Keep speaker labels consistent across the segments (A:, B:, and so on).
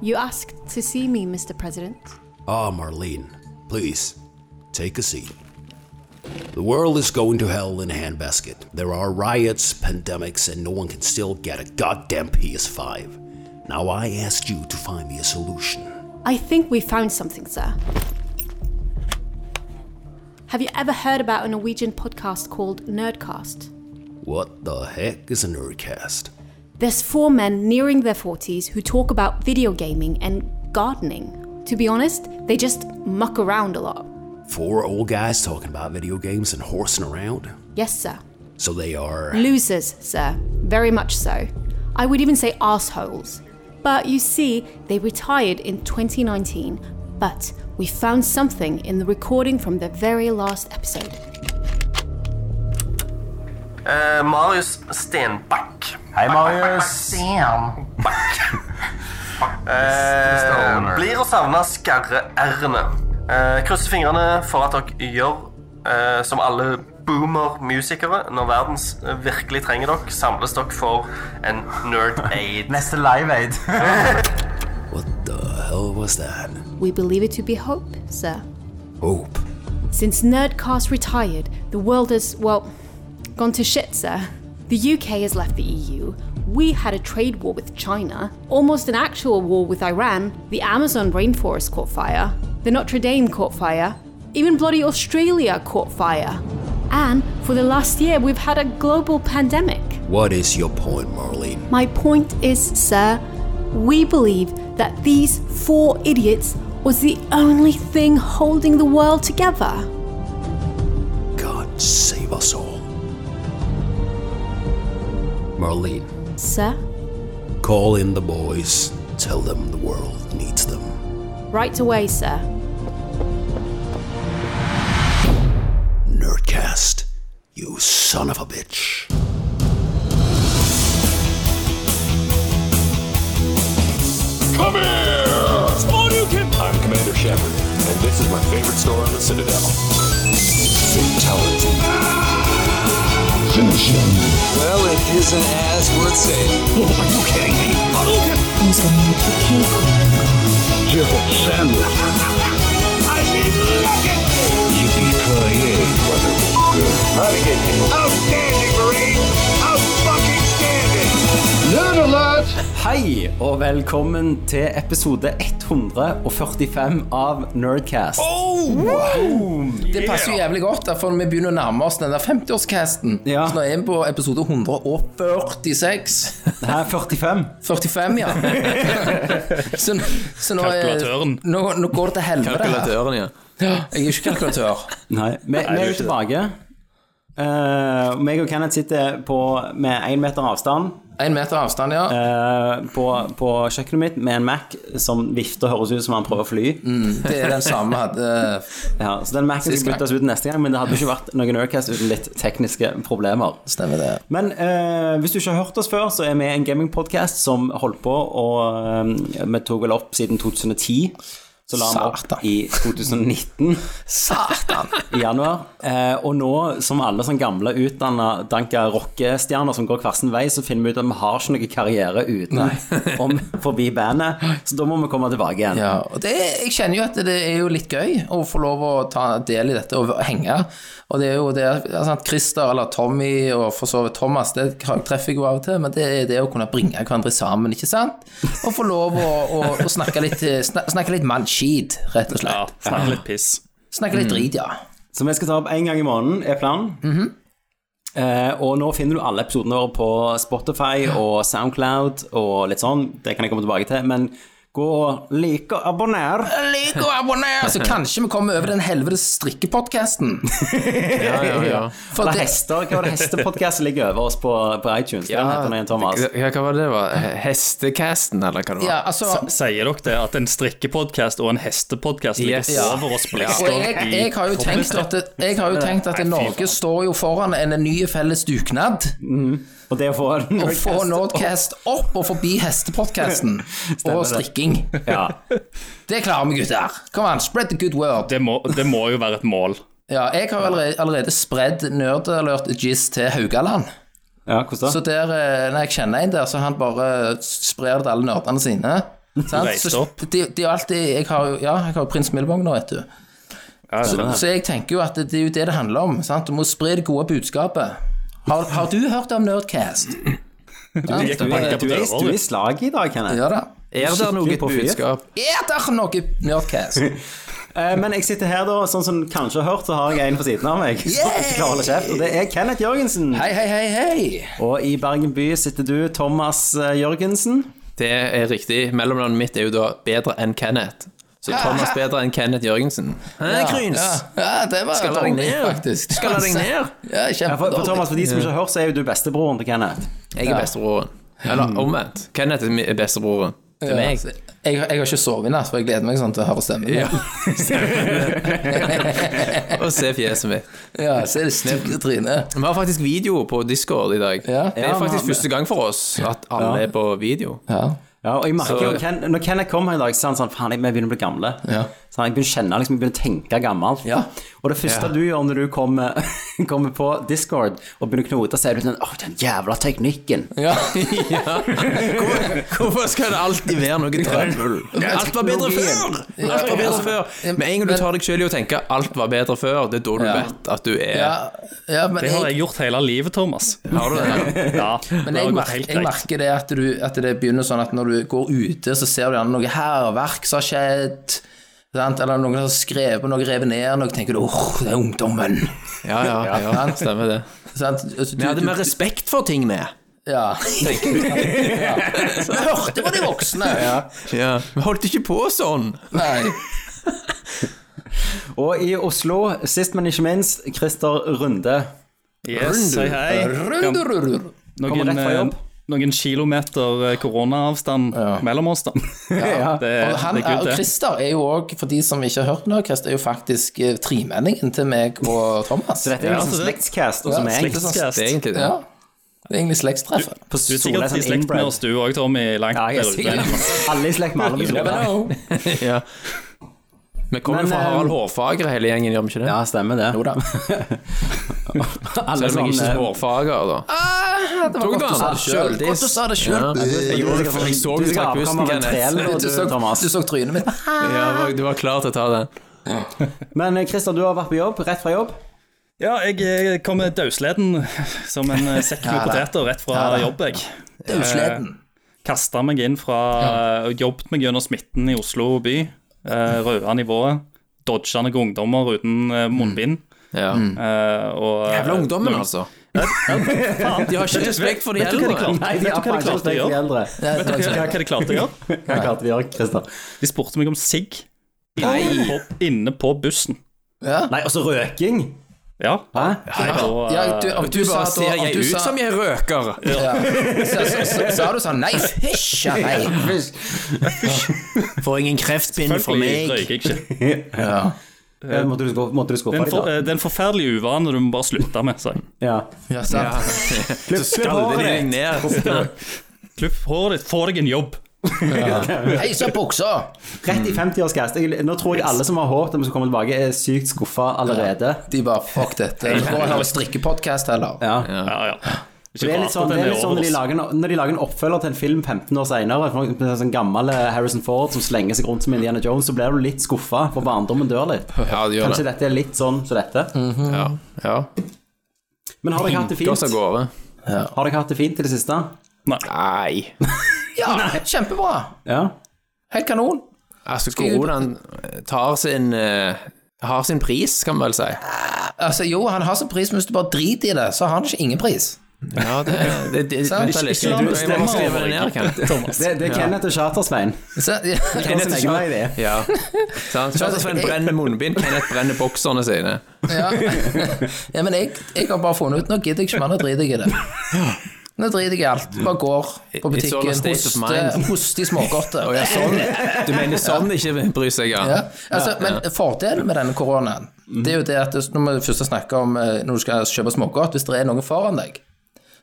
A: You asked to see me, Mr. President.
B: Ah, Marlene, please, take a seat. The world is going to hell in a handbasket. There are riots, pandemics, and no one can still get a goddamn PS5. Now I asked you to find me a solution.
A: I think we found something, sir. Have you ever heard about a Norwegian podcast called Nerdcast?
B: What the heck is a nerdcast?
A: There's four men nearing their 40s who talk about video gaming and gardening. To be honest, they just muck around a lot.
B: Four old guys talking about video games and horsing around?
A: Yes, sir.
B: So they are.
A: Losers, sir. Very much so. I would even say assholes. But you see, they retired in 2019. But we found something in the recording from the very last episode.
C: Eh, Marius Stenbakk.
D: Hei, Marius.
C: Stenbakk. Eh, blir å savne skarre-r-ene. Eh, krysser fingrene for at dere gjør eh, som alle boomer-musikere. Når verden s- virkelig trenger dere, samles dere for en nerd-aid.
D: Neste Live Aid.
B: What the hell was that?
A: We believe it to be hope, sir.
B: Hope.
A: Since Nerdcast retired, the world has, well, gone to shit, sir. The UK has left the EU. We had a trade war with China, almost an actual war with Iran. The Amazon rainforest caught fire. The Notre Dame caught fire. Even bloody Australia caught fire. And for the last year, we've had a global pandemic.
B: What is your point, Marlene?
A: My point is, sir, we believe that these four idiots was the only thing holding the world together.
B: God save us all. Marlene,
A: Sir?
B: call in the boys. Tell them the world needs them.
A: Right away, sir.
B: Nerdcast, you son of a bitch.
E: Come here! I'm Commander Shepard, and this is my favorite store on the Citadel. Fatality. Finish him. Well, it isn't as worth saying. Oh, Are you kidding me? Jibble sandwich. I mean, look at this! Yippee-ki-yay, motherfucker. Outstanding, Marine! Out-fucking-standing! Nerd alert!
D: Hei, og velkommen til episode 145 av Nerdcast.
F: Det passer jo jævlig godt, da, for vi begynner å nærme oss den der 50-årscasten.
D: Ja.
F: Så nå er vi på episode 146.
D: Det her er 45.
F: 45, ja. så, nå- så nå, er-
G: Kalkulatøren.
F: Nå, nå går det til helvete. her.
G: Kalkulatøren, ja.
F: Ja, jeg er ikke kalkulatør.
D: Nei, vi, vi er
G: det er
D: jo
G: ikke
D: tilbake. Eh, meg og Kenneth sitter på, med én meter avstand
F: Én meter avstand, ja.
D: eh, på, på kjøkkenet mitt med en Mac som vifter og høres ut som han prøver å fly.
F: Det er den samme vi hadde.
D: Ja, så den Mac-en
F: Sist
D: skal
F: gang.
D: byttes ut neste gang, men det hadde jo ikke vært noen Nerdcast uten litt tekniske problemer.
F: Stemmer det.
D: Men eh, hvis du ikke har hørt oss før, så er vi en gamingpodcast som holdt på og eh, Vi tok vel opp siden 2010. Så la vi
F: Satan.
D: opp i 2019
F: Satan!
D: i januar. Eh, og nå, som alle sånne gamle utdanna danka rockestjerner som går hver sin vei, så finner vi ut at vi har ikke noen karriere uten om forbi bandet. Så da må vi komme tilbake igjen.
F: Ja, og det, jeg kjenner jo at det er jo litt gøy å få lov å ta del i dette og henge. Og det er jo det altså, at Christer eller Tommy og for så vidt Thomas, det treffer jeg jo av og til, men det er det å kunne bringe hverandre sammen, ikke sant? Og få lov å, å, å snakke litt, snak, snakke litt mannskit, rett og
G: ja.
F: slett.
G: Snakke litt piss. Mm.
F: Snakke litt drit, ja.
D: Så vi skal ta opp en gang i måneden, er planen.
F: Mhm.
D: eh, og nå finner du alle episodene våre på Spotify og Soundcloud og litt sånn. Det kan jeg komme tilbake til. Men gå og like og abonner.
F: Lik og abonner! Så Altså, kanskje vi kommer over den helvetes strikkepodkasten.
G: Ja, ja, ja.
F: For
D: Eller
F: det,
D: hester. Hva var det hestepodkast ligger over oss på, på iTunes? Den heter den igjen, Thomas.
H: Ja, hva var det? det var? Hestecasten, eller hva det var?
F: ja, altså,
G: Sier dere det at en strikkepodkast og en hestepodkast ligger
H: Yes. Ja.
G: over oss på
F: Og
G: lista?
F: jeg, jeg, har jo tenkt at, jeg har jo tenkt at Norge står jo foran en ny felles dugnad.
D: Og det å få
F: Å få Nordcast opp og forbi hestepodkasten og strikking.
D: Ja.
F: Det klarer vi, gutter. Kom an, spread the good word.
G: Det må, det må jo være et mål.
F: Ja, jeg har allerede, allerede spredd nerdealert jizz til Haugaland.
D: ja, hvordan
F: Så
D: da?
F: der, eh, når jeg kjenner en der, så han bare sprer det til alle nerdene sine. sant?
E: reiste
F: Så
E: opp.
F: de, de er alltid, jeg har jo ja, jeg har jo prins Milvogn nå, vet du. Så, så jeg tenker jo at det, det er jo det det handler om. Sant? Du må spre det gode budskapet. Har, har du hørt om Nerdcast?
E: gikk og banket på
D: Du er,
E: døra,
D: du
E: du.
D: er i slaget i dag, Kenneth.
F: Ja da.
G: Er det noe
D: Skikkelig på fyr.
G: budskap?
F: Er det noe Nerdcast?
D: Eh, Men jeg sitter her, da, sånn som du kanskje har hørt, så har jeg en på siden av meg. som
F: Yay!
D: ikke klarer å holde kjeft, og det er Kenneth Jørgensen.
F: Hei, hei, hei, hei.
D: Og i Bergen by sitter du, Thomas eh, Jørgensen.
G: Det er riktig. Mellomnavnet mitt er jo da bedre enn Kenneth. Så Thomas bedre enn Kenneth Jørgensen. Hæ, Kryns?
F: Ja, ja, det var
G: Skal la deg
F: dårlig,
G: ned.
F: faktisk. Altså,
G: Skal la deg ned.
F: Ja,
D: Ja, for, for
F: kjempedårlig.
D: Thomas, for de som ikke har hørt, så er jo du bestebroren til Kenneth.
G: Jeg er bestebroren. Eller omvendt. Kenneth er mi- er bestebroren. Det er
F: Ja,
G: meg.
F: så Jeg, jeg har ikke sovet i natt, for jeg gleder meg sånn til å høre stemmen. din.
G: Ja. Og se fjeset mitt.
F: ja så er det stygge trynet.
G: Vi har faktisk video på Discord i dag.
F: Ja.
G: Det
D: Ja,
G: er
D: vi
G: faktisk
D: har-
G: første gang for oss at alle er på video.
F: Ja.
D: Ja, og jeg merker
G: Så-
D: jo, Ken, Når Kenneth kom her i dag, så sa han sånn Faen, jeg- vi begynner å bli gamle.
F: Ja.
D: Så jeg begynner å kjenne, liksom, jeg begynner å tenke gammelt.
F: Ja.
D: Og det første du gjør når du kommer, kommer på Discord og begynner å knote, så er du sånn Åh, den jævla teknikken.
F: ja.
G: Hvorfor skal det alltid være noe trøbbel? Alt var bedre før! Alt var
F: altså,
G: bedre før. Med en gang du tar deg selv i å tenke 'alt var bedre før', det er da du
F: Ja.
G: vet at du er
F: ja, ja men,
E: Det har
F: jeg,
E: jeg gjort hele livet, Thomas.
G: Har du det?
E: Ja, det
F: men jeg,
E: har gått
F: merker,
E: helt
F: jeg
E: greit.
F: merker det at, du, at det begynner sånn at når du går ute, så ser du gjerne noe hærverk som har skjedd. Sant? Eller noen har skrevet på noe, revet ned noe, tenker du åh, det er ungdommen.
G: Ja, ja, ja, stemmer det.
F: Sant? Altså, du-
G: Vi hadde
F: du-
G: mer respekt for ting med.
F: Ja. ja. Så jeg hørte på de voksne.
G: Ja. Vi holdt ikke på sånn.
F: Nei.
D: Og i Oslo, sist men ikke minst, Christer Runde.
E: Yes, si hei.
F: Rundururur.
E: Noen,
D: Kommer rett fra
E: eh,
D: jobb.
E: noen kilometer eh, koronaavstand mellom oss, da.
D: Ja.
E: Det,
G: Eh,
F: Og,
E: er-
F: han,
E: det er
F: er-
E: good,
F: og
E: det.
F: Christer er jo òg, for de som ikke har hørt noe, Christer er jo faktisk eh, tremenningen til meg og Thomas.
D: Så dette er jo liksom slektscast, og som er
F: slekt-
D: egentlig
G: Det er egentlig det.
F: ja. det er egentlig slektstreffet.
D: på
E: Du er
D: Sola
E: sikkert i
D: sånn
E: slekt med
D: inbred.
E: oss, du òg, Tommy. Langt
D: Ja, jeg er
E: der ute.
D: sikkert Alle i slekt med alle på Sola.
G: Ja. Vi kommer jo
D: Men,
G: fra
D: eh,
G: Harald Hårfager, hele gjengen, gjør vi ikke det?
D: Ja, stemmer det.
F: Jo da.
D: Alle
G: Selv om jeg ikke er
D: sånn, eh,
G: hårfager, da.
F: Det var
G: Tok
F: godt
G: han?
F: du sa det sjøl.
G: Sjøldiss.
F: Godt du sa det sjøl.
D: ah,
G: Ja. Jeg gjorde det, for jeg så du
D: skal
G: trakk
D: avkomme
G: pusten,
D: av en trell,
G: Kenneth.
D: og
F: Du så,
D: du, Thomas.
F: du så trynet mitt.
G: Ja, du var klar til å ta den.
D: Men eh, Christer, du har vært på jobb, rett fra jobb.
E: Ja, jeg eh, kommer dausleden som en eh, sekk med poteter rett fra jobb, jeg.
F: Dausleden.
G: Eh,
E: Kasta meg inn fra og Jobbet meg gjennom smitten i Oslo by. eh, Røde nivået. Dodga noen ungdommer uten eh, munnbind.
G: Ja.
E: eh, og-
G: Jævla ungdommen,
E: Noen-
G: altså.
E: Faen,
G: De har ikke respekt for de
E: Vet du hva de
G: eldre.
E: klarte? Vet du hva de klarte å gjøre?
D: eldre.
E: Vet du hva hva de klarte å gjøre?
D: Hva kalte de gjøre, Christer?
E: De spurte meg om sigg inne på- inne på bussen.
D: Nei, også røking.
E: Ja.
D: Hæ?
E: Og,
F: Ja,
E: eh,
F: du, om du sa
G: Bare
F: da-
G: ser
F: om
G: jeg
F: du
G: ut
F: sa-
G: som jeg røker?
F: ja. Så, så, så, sa du sånn Nei, hysj! ja, Nei.
G: Får ingen kreftpinn fra
E: Selvfølgelig
G: meg.
E: røyker jeg ikke.
D: Ja, måtte du skuffe, måtte du skuffe
E: Det er en
D: dem,
E: for-
D: da?
E: eh, det er en forferdelig uvane du må bare slutte med. sa jeg.
D: Ja.
F: Ja, sant.
G: Så skaller de deg ned.
E: Klipp håret ditt, få deg en jobb.
F: Hei, så buksa!
D: Rett i 50-årsgast. Jeg- Nå tror jeg alle som har håpet om å komme tilbake, er sykt skuffa allerede.
F: De bare fuck dette. Nå har jeg strikkepodkast heller.
D: Ja.
E: Ja, ja. Ikke
D: Det er
E: rart
D: litt sånn,
E: at
D: det
E: den
D: er litt sånn
E: over
D: når, de
E: oss.
D: lager, en- når de lager en oppfølger til en film 15 år senere, for eksempel en sånn gammel eh, Harrison Ford som slenger seg rundt som Indiana Jones, så blir du litt skuffa, for barndommen dør litt.
G: Ja, de gjør
D: Kanskje
G: det.
D: dette er litt sånn som dette.
G: Ja. ja.
D: Men har dere hatt det
G: Går seg
D: fint?
G: gårde.
D: Har dere hatt det fint i det siste?
G: Nei.
F: Ja, kjempebra.
D: Ja.
F: Helt kanon.
G: Altså, koronaen tar sin eh, har sin pris, kan man vel si.
F: Altså, jo, han har sin pris, men hvis du bare driter i det, så har han ikke ingen pris.
G: Ja, det, det, det,
F: Sant?
G: vent litt.
F: Ikke la
G: Jeg
F: han
G: må
E: bestemme
G: skrive
E: over
G: det ned, Kenneth.
E: Thomas.
D: Det, det er Kenneth og Charter-Svein.
F: Så, ja.
D: Kenneth og Charter-Svein.
G: Ja. Sant? Kjørt Sven brenner munnbind, Kenneth brenner bokserne sine.
F: Ja. ja, men jeg, jeg har bare funnet ut Nå gidder jeg ikke mer, nå driter jeg i det. Nå driter jeg i alt. Bare går på
G: It's all a
F: butikken,
G: state of
F: hoster,
G: mind.
F: hoster i smågodter.
G: Å ja, sånn. Du mener sånn ikke bryr seg om?
F: Ja. Altså, men fordelen med denne koronaen,
G: Mhm.
F: det er jo det at det- når vi først snakker om eh, når du skal kjøpe smågodt, hvis det er noen foran deg,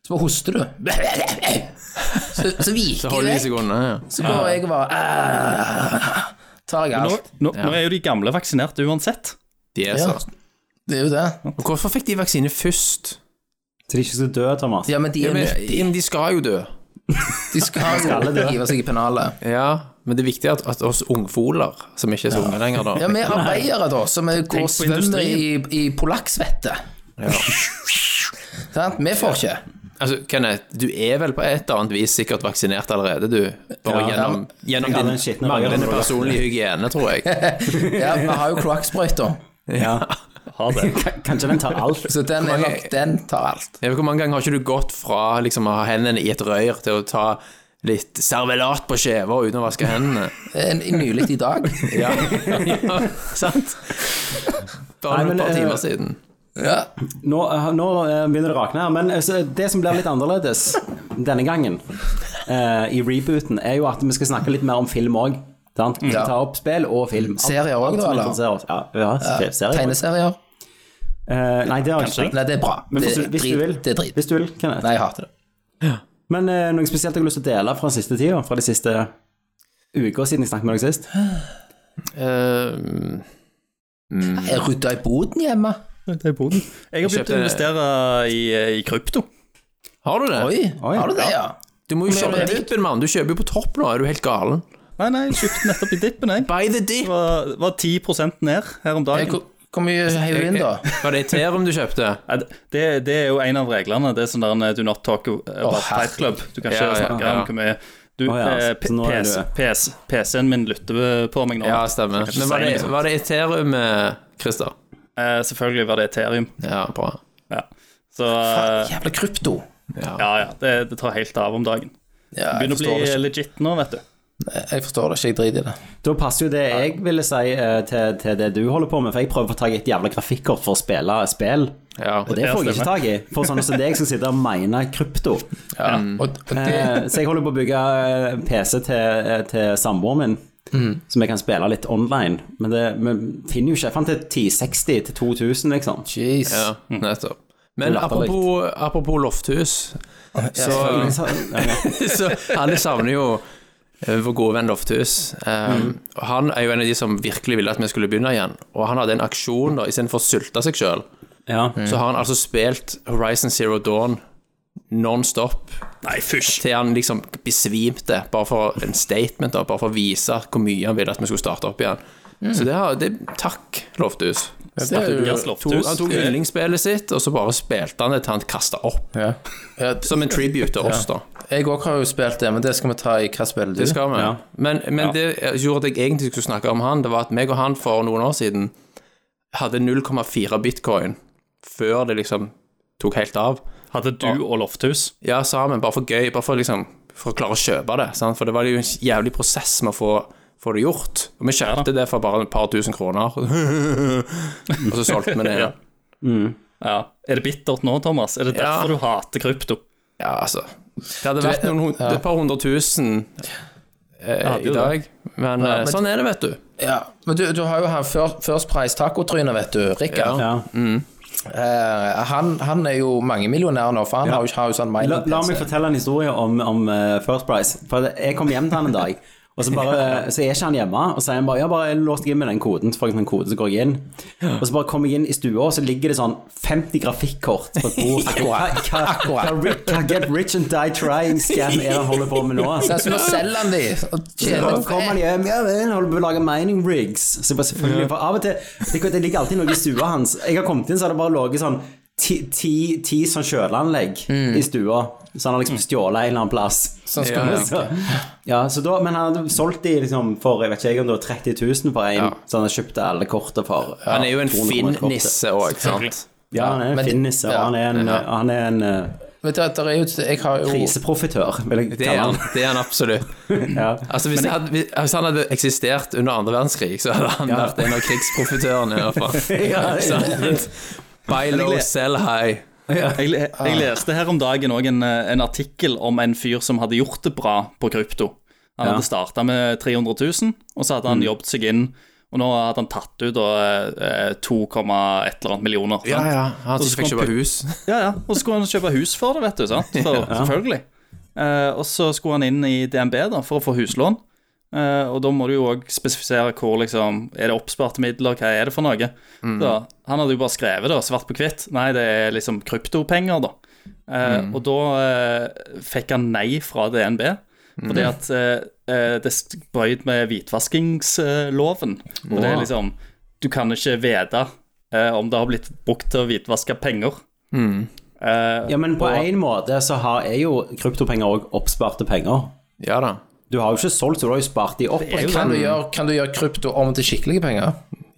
F: så bare hoster du. Så, så
G: Så
F: viker jeg
G: holder de
F: vekk.
G: seg unna, ja.
F: Så går jeg og bare ah, Tar jeg
E: Nå,
F: alt.
E: nå, nå er jo de gamle vaksinert uansett.
G: De er
F: Ja.
G: sånn.
F: Det er jo det.
G: Og hvorfor fikk de vaksine først?
D: Så de ikke skal dø, Thomas.
F: Ja, men de
G: Ja,
F: er
G: men,
F: nyttige.
G: men de skal jo dø.
F: De skal jo hive seg i pennalet.
G: Ja, men det er viktig at, at oss ungfoler, som ikke er så unge lenger, da
F: Ja, vi arbeidere, da, som er-
I: på
F: går og svømmer i,
I: industrien.
F: i polakksvette. Sant? Vi får ikke.
G: Altså, Kenneth, du er vel på et eller annet vis sikkert vaksinert allerede, du? Bare
D: Ja.
G: gjennom, gjennom
D: Jeg har den
G: din
D: skitne
G: manglende
D: bakgrunnen.
G: personlige hygiene, tror jeg.
F: Ja, vi har jo kloakksprøyta,
D: Ja.
I: Har det.
D: Kan- Kanskje den tar alt.
F: så den, er nok, den tar alt.
G: Jeg vet, hvor mange ganger har ikke du gått fra liksom, å ha hendene i et røyr til å ta litt servelat på skjeva uten å vaske hendene?
F: En- Nylig i dag.
G: Ja, ja sant? Bare
D: Nei, men,
G: et par
D: eh,
G: timer siden.
F: Ja.
D: Nå, eh, nå eh, begynner det å rakne her, men eh, så det som blir litt annerledes denne gangen, eh, i rebooten, er jo at vi skal snakke litt mer om film òg. Vi skal ta opp spill og film. Alt-
F: Serier også,
D: alt som
F: da, eller?
D: interesserer oss. Ja, ja, se- serier.
F: Tegneserier.
D: Eh, nei, det har jeg ikke tenkt.
F: Nei, det er bra.
D: Men
F: det,
D: hvis,
F: er
D: du- hvis
F: drit,
D: du vil,
F: det er drit.
D: hvis du vil Kenneth.
F: Nei, jeg hater det.
D: Men eh, noe spesielt jeg har lyst til å dele fra siste tida, fra de siste uker siden jeg snakket med deg sist?
G: Eh,
F: Jeg rydda i boden hjemme.
I: Det er boden. Jeg har begynt å
G: Kjøpte-
I: investere i, eh, i krypto.
G: har du det?
F: Oi,
D: Oi,
F: har du det, ja?
G: Du må jo
F: Men-
G: kjøpe dippen, mann. Du kjøper jo på topp nå, er du helt galen?
I: Nei, nei, jeg kjøpte nettopp i dippen, jeg.
G: By the
I: Det
G: dip!
I: var, det var 10 ned her om
F: Jeg,
I: dagen.
F: hvor, hvor mye heier du inn, da?
G: Var det Ethereum du kjøpte?
I: Nei, Det, det er jo en av reglene. Det er sånn der en do not talk about
F: herregud.
I: fight club. Du kan ikke
G: Ja, ja,
I: snakke
G: ja.
I: om hvor mye du,
D: Å, ja,
I: eh,
D: så nå er
I: PS,
D: du-
I: PS, PC-en min lytter på meg nå.
G: Ja, stemmer.
I: Jeg kan ikke
G: Men var
I: si
G: det,
I: liksom.
G: var det Ethereum, eh, Christer?
I: Eh, selvfølgelig var det Ethereum.
G: Ja, bra.
I: Ja. Så eh,
F: Jævla krypto.
I: ja, ja. Det, det tar helt av om dagen.
F: Ja, jeg
I: Begynner å bli
F: forstår det ikke.
I: legit nå, vet du.
D: eh,
F: Jeg forstår det ikke, jeg driter i det.
D: Da passer jo det jeg ville si eh, til, til det du holder på med, for jeg prøver å få tak i et jævla grafikkort for å spille spill.
G: Ja.
D: Og det
I: Ja,
D: får jeg ikke
I: stemmer.
D: tak i, for sånn som deg som sitter og mener krypto.
F: Ja. Og, og det
D: Eh, så jeg holder på å bygge eh, PC til, eh, til samboeren min,
I: Mm.
D: som jeg kan spille litt online. Men det, vi finner jo ikke Jeg fant til 1060 til 2000, liksom.
F: Jeez.
G: ja
I: Mm.
G: nettopp. Men
D: Latterlig.
G: apropos, apropos lofthus, så,
D: Så, ja, ja.
G: så Alle savner jo eh, vår gode venn Lofthus.
I: Mm.
G: Um, og Han er jo en av de som virkelig ville at vi skulle begynne igjen. Og han hadde en aksjon da, istedenfor å sulte seg sjøl.
D: Ja.
I: Mm.
G: Så har han altså spilt Horizon Zero Dawn non-stop
I: Nei, fysj.
G: til han liksom besvimte, bare for en statement, da, bare for å vise hvor mye han ville at vi skulle starte opp igjen.
I: Mm.
G: Så det, har, det takk, Lofthus.
F: Det er jo-
I: Jens
G: To,
I: Lofthus.
G: han tok yndlingsspillet sitt, og så bare spilte han det til han kasta opp.
F: Ja. Ja,
G: Som en tribute til oss, da.
F: jeg òg har jo spilt det, men det skal vi ta i Hva spiller du?
G: Det skal vi.
D: Ja.
G: Men, men det gjorde at jeg egentlig skulle snakke om han, det var at meg og han for noen år siden hadde 0,4 bitcoin før det liksom tok helt av.
I: Hadde du og Lofthus.
G: Ja, sammen, bare for gøy, bare for liksom For å klare å kjøpe det, sant? for det var jo en jævlig prosess med å få, få det gjort. Og vi kjøpte det for bare et par tusen kroner, og så solgte vi det. Ja,
I: Ja. Er det bittert nå, Thomas? Er det
G: Ja.
I: derfor du hater krypto?
G: altså Det hadde vært noen, hund- et par hundre tusen eh,
I: hadde
G: i
I: jo
G: dag, men, eh,
F: men-
G: sånn er det, vet du.
F: Ja, men du, du har jo han Fir- First Price Tacotryne, vet du, Rikard.
D: ja.
F: Eh, han, han er jo mangemillionær nå, for han har jo ikke har jo sånn
D: La, la meg
F: mining-PC.
D: fortelle en historie om, om eh, First Price. For jeg kom hjem til han en dag, og så, bare, så er ikke han hjemme. Og så er han bare ja, bare lås deg inn med den koden, så får jeg en sånn kode, så går jeg inn. Og så bare kommer jeg inn i stua, og så ligger det sånn 50 grafikkort på et bord.
F: Akkurat.
D: Hva, hva, hva, ri- hva get rich and die trying-scam er det han holder på med nå?
F: Så altså, nå selger han de, og
D: Da
F: tjener
D: kommer han hjem, ja vel, holder på å lage mining rigs. Så bare selvfølgelig, for av og til det, kan- det ligger alltid noe i stua hans. Jeg har kommet inn, så har det bare ligget sånn ti, ti, ti sånn kjøleanlegg
G: Mm.
D: i stua. Så han har liksom stjålet en eller annen plass.
F: Sånn skal
G: Ja,
F: vi
G: ja.
D: Så, ja, så da, men han hadde solgt de liksom for jeg vet ikke jeg om det var 30 000 for en, så han kjøpte alle kortene for. Ja,
G: Han er jo en
D: 200
G: fin
D: kroner kortet.
G: nisse òg, sant.
D: Ja, han er
F: Men
D: en
F: det-
D: fin nisse, og
F: ja,
D: han er en,
G: ja.
D: han er en eh,
F: Vet du, at der er jo, jeg har jo
D: kriseprofitør, vil jeg
G: Det er
D: kalle
G: han,
D: han.
G: det er han absolutt.
D: Ja.
G: Altså, hvis, han hadde, hvis han hadde eksistert under andre verdenskrig, så hadde han
D: Ja.
G: vært en av krigsprofitørene, i hvert fall.
D: Ja,
G: Sant? Buy low, sell high.
I: Jeg, le-
G: Ah.
I: jeg leste her om dagen òg en, eh, en artikkel om en fyr som hadde gjort det bra på krypto. Han hadde starta med 300 000, og så hadde
G: Mm.
I: han jobbet seg inn. Og nå hadde han tatt ut da, eh, 2, komma et eller annet millioner. sant?
G: Han
I: Og
G: som
I: så
G: fikk
I: kom
G: kjøpe
I: pu-
G: hus.
I: Ja, ja. Og så skulle han kjøpe hus for det, vet du. sant? For, Selvfølgelig. Eh, og så skulle han inn i DNB da, for å få huslån. Eh, og da må du jo òg spesifisere hvor liksom, Er det oppsparte midler, hva er det for
H: Mm.
I: noe? Så, han hadde jo bare skrevet det, svart på hvitt. Nei, det er liksom kryptopenger, da.
G: Eh,
H: Mm.
G: Og da eh, fikk han nei fra DNB,
H: Mm.
G: fordi at eh, eh, det brøt med hvitvaskingsloven. Og det er liksom Du kan ikke vite eh, om det har blitt brukt til å hvitvaske penger. Eh,
D: Ja, men på en måte så har, er jo kryptopenger òg oppsparte penger.
H: Ja da.
D: Du har jo ikke solgt, så du har jo spart de opp.
F: Kan du, gjøre, kan du gjøre krypto om til skikkelige penger?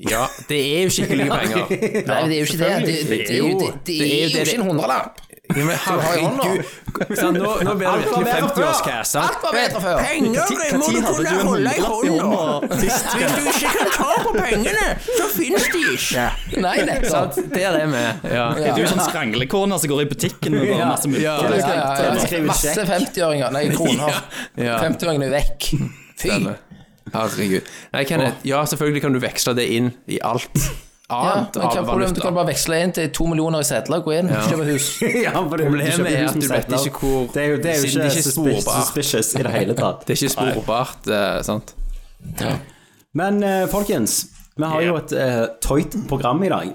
H: Ja, det er jo skikkelige penger.
F: Nei, men det er jo ikke det. Det, det, det, er jo- det, det er jo ikke en hundrelapp.
H: Ja, men herregud.
D: Sant, nå, nå blir det virkelig 50-årskasse.
F: Alt var bedre før.
G: Når må du kunne holde i hånda?
F: Nei, nettopp.
H: Der er vi. Ja.
G: Er du sånn skranglekone som går i butikken og har masse
H: Ja.
G: mynter?
F: Ja, ja, ja.
D: skriver
F: Masse 50-åringer. Nei, kroner.
H: Ja.
F: 50-åringene er vekk. Fy.
H: Stemmer. Herregud. Nei, Kenneth, ja, selvfølgelig kan du veksle det inn i alt
F: Ja,
H: annet
F: men hva er
H: av
F: problemet? Du kan
H: valuta.
F: bare veksle inn til to millioner i sedler, gå inn, kjøpe hus.
D: Ja, for det er jo ikke
H: Problemet er at
D: som
H: du vet
D: setter opp.
H: ikke hvor-
D: Det er jo, det er jo
H: siden det ikke
D: ikke,
H: er
D: suspicious,
H: sporbart.
D: suspicious i det hele tatt.
H: Det er ikke sporbart, eh, sant?
D: Men eh, folkens, vi har jo et eh, tøyt program i dag.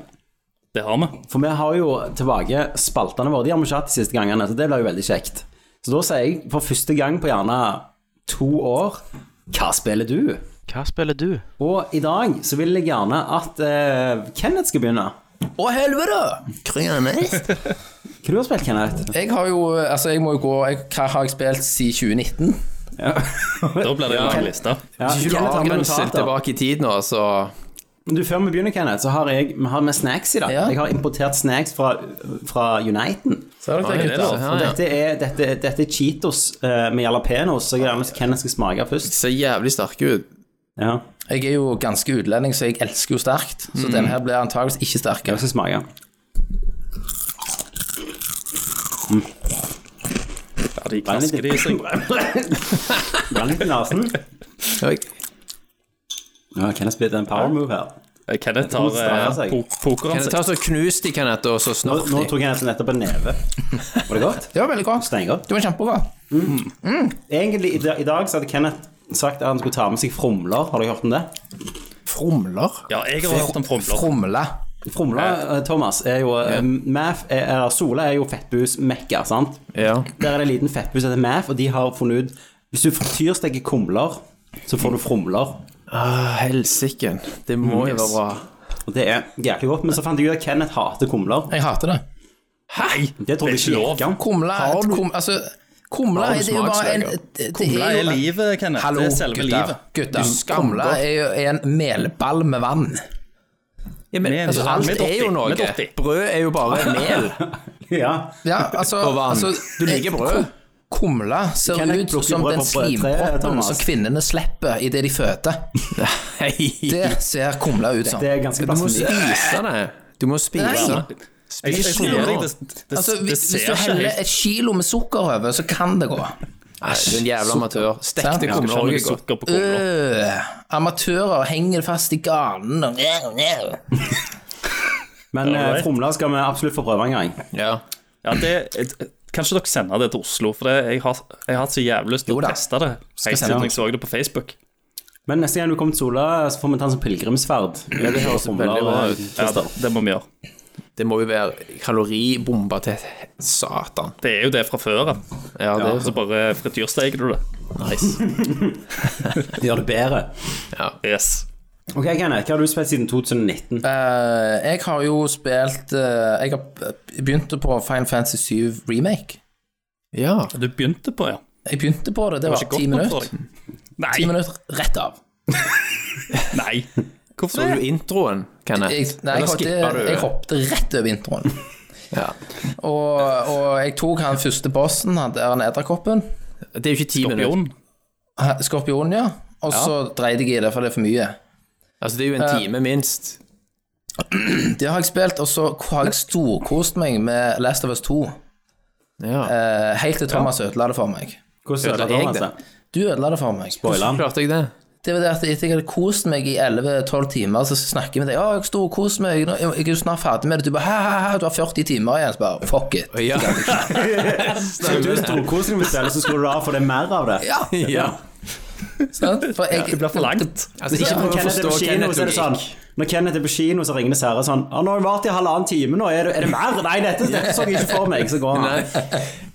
G: Det har vi.
D: For vi har jo tilbake spaltene våre. De har vi ikke hatt de siste gangene, så det blir jo veldig kjekt. Så da sier jeg for første gang på gjerne to år Hva spiller du?
J: Hva spiller du?
D: Og i dag så vil jeg gjerne at eh, Kenneth skal begynne.
F: Å, helvete! Krønest.
D: Hva har du har spilt, Kenneth?
F: Jeg har jo Altså, jeg må jo gå jeg, Hva har jeg spilt siden 2019?
G: Da blir det en lang liste.
D: Ja,
H: Hvis ikke du
D: Kenneth har med
H: avgrenser
D: notater.
H: tilbake i tid nå, så
D: Du, Før vi begynner, Kenneth, så har jeg, vi har med snacks i dag.
F: Ja.
D: Jeg har importert snacks fra, fra Uniten.
F: Ser dere det,
G: det er
F: gutter?
G: lov.
H: Ja,
D: Og
H: Ah, ja.
D: dette er, dette, dette er Cheetos eh, med jalapeños, så jeg gjerne Kenneth skal smake først.
H: Ah, ser jævlig sterke ut.
D: Ja,
F: Jeg er jo ganske utlending, så jeg elsker jo sterkt. Så
H: Mm.
F: denne her blir antageligvis ikke sterkere.
D: jeg skal smake. Mm.
G: Ja, de klasker de seg.
D: Brenn litt i nesen.
H: Oi.
D: Ja, Kenneth spilte en power move her.
G: Eh, Kenneth
D: Hun stranger
G: tar eh,
D: seg.
G: po pokeren
H: Kan jeg
G: sin.
H: ta så knust de, Kenneth, og så
D: Nå,
H: snort
D: nå
H: de?
D: tok Kenneth nettopp en neve. Var det godt?
F: Det var veldig godt.
D: Steingodt.
F: Det var kjempegodt.
D: Egentlig, i, da- i dag så hadde Kenneth sagt at han skulle ta med seg fromler. Har dere hørt om det?
F: Fromler?
G: Ja, jeg har hørt om fromler.
F: Fromle.
D: Fromler, eh, Thomas, er jo eh, Math, er, eller Sola er jo fettbus-mekka, sant?
H: Ja.
D: Der er det en liten fettbus som heter Math, og de har funnet ut Hvis du frityrsteker kumler, så får du fromler.
H: Ah, Helsiken. Det må jo være bra.
D: Og det er jæklig godt. Men så fant jeg ut at Kenneth hater kumler.
F: Jeg hater det.
D: Det trodde jeg
G: Det er
D: ikke
G: ikke
D: gikk an.
F: Kumle er kum, Altså, kumle
H: Har du
F: er det jo bare en
H: smaksløker?
F: det- det
G: Kumle
F: jo-
G: er livet, Kenneth.
F: Hallo,
G: det er selve
F: gutter.
G: livet.
F: Gutter. Kumle er jo en melball med vann.
H: Ja, men
G: Med-
H: altså, alt
G: med dotti,
H: er jo noe.
G: med dotti.
H: Brød er jo bare mel.
D: Ja.
F: Ja, altså,
H: Og vann.
F: altså
H: Du liker
F: eh,
H: brød.
F: ku- Kumle ser
D: Kenneth
F: ut
D: plukker
F: som
D: brød
F: den
D: på brødtreet,
F: slimproppen
D: Thomas.
F: som kvinnene slipper idet de føder. Det ser kumle ut som.
D: Det er
H: Du
D: ganske
H: må
D: passende.
H: spise det. Du må spise
F: Nei.
H: det.
G: Jeg, jeg sier deg, det, det, det,
F: Altså, hvis, hvis du
G: ser ikke
F: heller
G: helt
F: et kilo med sukker over, så kan det gå.
H: Nei, Du er en jævla amatør.
F: Sant?
H: Stekte
F: Ja,
H: kumler
G: Kanskje
H: også
G: noe
H: er godt.
G: sukker på kumler.
F: Øh, amatører henger fast i ganen og
D: Men eh,
G: Alright.
D: fromler skal vi absolutt få prøve en gang.
H: Ja.
G: Ja, det, et- kanskje dere sender det til Oslo, for det, jeg, har, jeg har hatt så jævlig lyst til
F: Jo
G: å
F: da.
G: teste det. Helt
D: sende
G: siden
D: det.
G: jeg så det på Facebook.
D: Men neste gang du kommer til Sola, så får vi ta en sånn pilegrimsferd. Ja, det høres
H: veldig bra ut.
D: eh,
G: Ja, det,
D: Christer.
G: det må vi gjøre.
H: Det må jo være kaloribomber til satan.
G: Det er jo det fra før av.
H: Ja, det
G: Så bare frityrsteker du det.
H: nice.
D: Det gjør det bedre.
G: Yes.
D: Ok, Kenneth, hva har du spilt siden 2019?
F: Eh, Jeg har jo spilt eh, Jeg har begynte på Final Fantasy 7 Remake.
H: Ja.
G: Du begynte på, ja.
F: Jeg begynte på det, det var
G: ikke
F: ti
G: godt nok
F: minutter.
G: for deg.
F: Ti
G: Nei.
F: minutter rett av.
G: Nei. Hvorfor
H: Så
G: det?
H: du introen, Kenneth?
F: Jeg, nei, jeg,
H: Eller
F: hoppet,
H: skippa du?
F: jeg hoppet rett over introen.
H: Ja.
F: Og, og jeg tok han første bossen, han der han edderkoppen.
H: Det er jo ikke ti minutter.
G: Skorpion?
F: Ha- Skorpionen, ja. Og så dreide jeg i det, for det er for mye.
H: Altså, det er jo en time minst.
F: Det har jeg spilt, og så har jeg storkost meg med Last of Us 2.
H: Ja.
F: eh, Helt til Thomas ødela det for meg.
D: Hvordan altså?
H: ødela
D: ødela
H: jeg
D: Thomas
H: det?
D: det?
F: Du ødela det for meg.
D: Spoiler han?
H: Klarte jeg det?
F: Det var det at etter jeg hadde kost meg i 11-12 timer, så snakker jeg med deg. 'Å, jeg storkoser meg. nå- Jeg er jo snart ferdig med det.' Du bare «Hæ, hæ, hæ, Du har 40 timer igjen. Så bare fuck it.
H: Ja.
D: Så du storkoser deg med spillet, så skrur du av for det er mer av det?
F: Ja.
H: ja.
F: Sant? For jeg,
K: Det blir for langt.
G: Altså,
D: Ikke
G: ikke
D: når
G: prøv å
D: Kenneth er
G: forstå
D: på kino,
G: Kenneth
D: så er det sånn
G: Logik.
D: Når Kenneth er på kino, så ringer det Sverre sånn «Å, 'Nå har vi vært i halvannen time nå, er det, er det mer?' Nei, dette, dette så jeg ikke for meg. Så går han.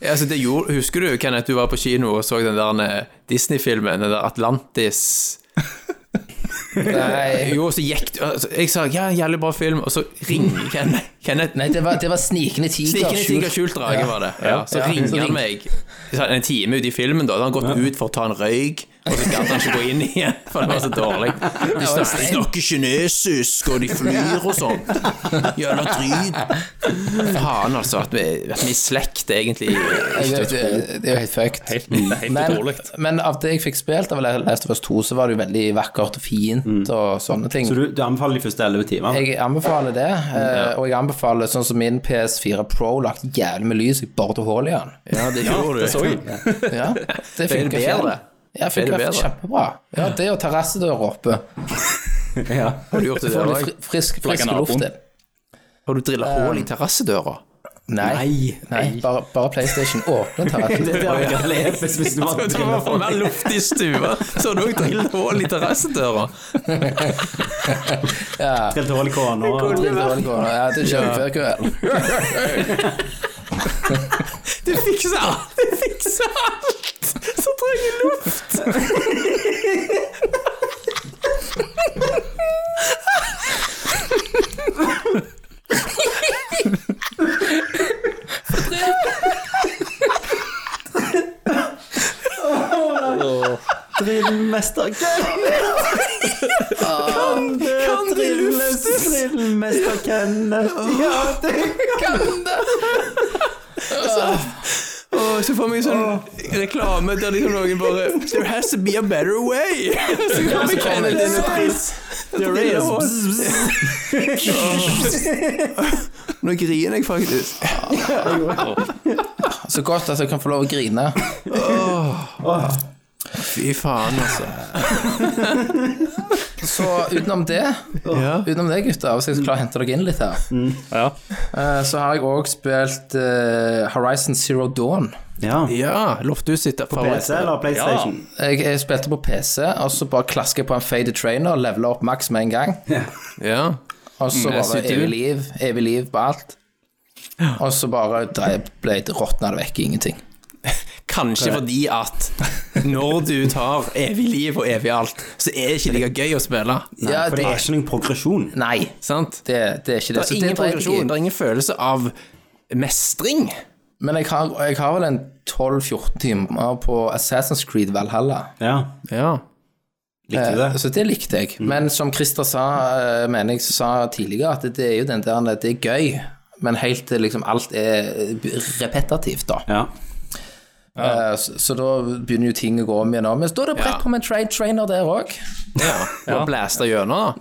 G: Altså, det gjorde, husker du, Kenneth, du var på kino og så den der eh, Disney-filmen, den der Atlantis
F: Nei,
G: Jo, så gikk du altså, Jeg sa ja, jævlig bra film, og så ringer Kenneth. Kenneth
F: nei det, var, det var Snikende tiger.
G: Snikken i tiger,
F: skjult-
G: skjult drage, var det. Ja, så
F: Ja.
G: ringer
F: Ring.
G: han meg så en time ut i filmen, da. Da har han gått ut for å ta en røyk, og så gadd han ikke gå inn igjen, for det var så dårlig. De
F: var
G: snakker, de snakker kinesisk, og de flyr og sånt. Jævla drit. Faen, altså. At vi, at vi er i slekt, er egentlig.
F: Jeg vet, det, det er jo helt fucked.
K: Helt, det er helt
F: Men,
K: utrolig.
F: men av det jeg fikk spilt av Last of Us 2, så var det jo veldig vakkert og fint og sånne ting.
D: Så du, du anbefaler de første elleve timene?
F: Jeg anbefaler det, eh, og jeg anbefaler sånn som min PS4 Pro lagt jævlig med lys, jeg borte hull i den.
G: Ja, det gjorde du.
F: Ja, det
G: det
F: funker
G: bedre?
F: fjell. Ja, funker
G: Er det bedre?
F: kjempebra. Ja, det og terrassedøra oppe.
D: Ja.
G: Har du gjort det
F: Får
G: der
F: litt
G: òg?
F: fri- frisk,
K: Flagger
F: frisk luft
K: naboen.
F: inn.
G: Har du drilla hull i terrassedøra?
F: Nei,
D: Nei.
F: nei bare, bare PlayStation åpner
D: Det
F: terrassen.
D: der jeg kan leve hvis du var
G: Det var for mer luft i stua, så har du òg drillet hull i terrassedøra.
D: Trilt hull i kona.
F: Det er dårlig gående. Ja, det kjører vi før kveld.
G: Du fikser alt! Du fikser alt! Så trenger jeg luft!
D: Drillmester Kenneth! Kan det luftes? Drillmester Kenneth. Ja, det
G: Og så får vi en sånn reklame der liksom noen bare There has to be a better way! Så kommer Kenneth inn og
D: There is. Bzz, bzz.
G: Nå griner jeg faktisk.
F: Så godt at jeg kan få lov å grine.
G: Fy faen, altså.
F: Så utenom det,
G: Ja.
F: utenom det gutter, hvis jeg skal klare å hente dere inn litt her,
K: Ja.
F: eh, så har jeg òg spilt eh, Horizon Zero Dawn.
D: Ja.
G: Ja, lofthuset sitt er
D: PC eller PlayStation?
F: Jeg, jeg spilte på PC, og så bare klasker jeg på en faded trainer, leveler opp maks med en gang.
G: Ja.
F: Og så
G: Mm, jeg
F: bare
G: sitter jo.
F: evig liv, evig liv på alt. Og så bare drev- ble det råtna det vekk i ingenting.
G: Kanskje fordi at når du tar evig liv og evig alt, så er det ikke like gøy å spille.
F: ja,
D: For det er
F: det,
D: ikke noen progresjon.
F: nei,
G: Sant?
F: det, det er ikke det.
G: Det
F: Så
G: er
F: drev
G: ingen
F: jeg i.
G: progresjon, det er ingen følelse av mestring.
F: Men jeg har, jeg har vel en 12-14 timer på Assassin's Creed Valhalla.
D: Ja,
G: Ja.
D: likte du
F: Eh,
D: det?
F: Så det likte jeg. Men som Christer sa, eh, mener jeg sa tidligere, at det er jo den der Det er gøy, men helt til liksom alt er repetitivt, da.
D: Ja.
F: Eh, Så, så da begynner jo ting å gå om igjen. og om igjen. Så da er det brett
G: Ja.
F: på med en tra trainer der òg.
G: Bare blæste gjennom, da.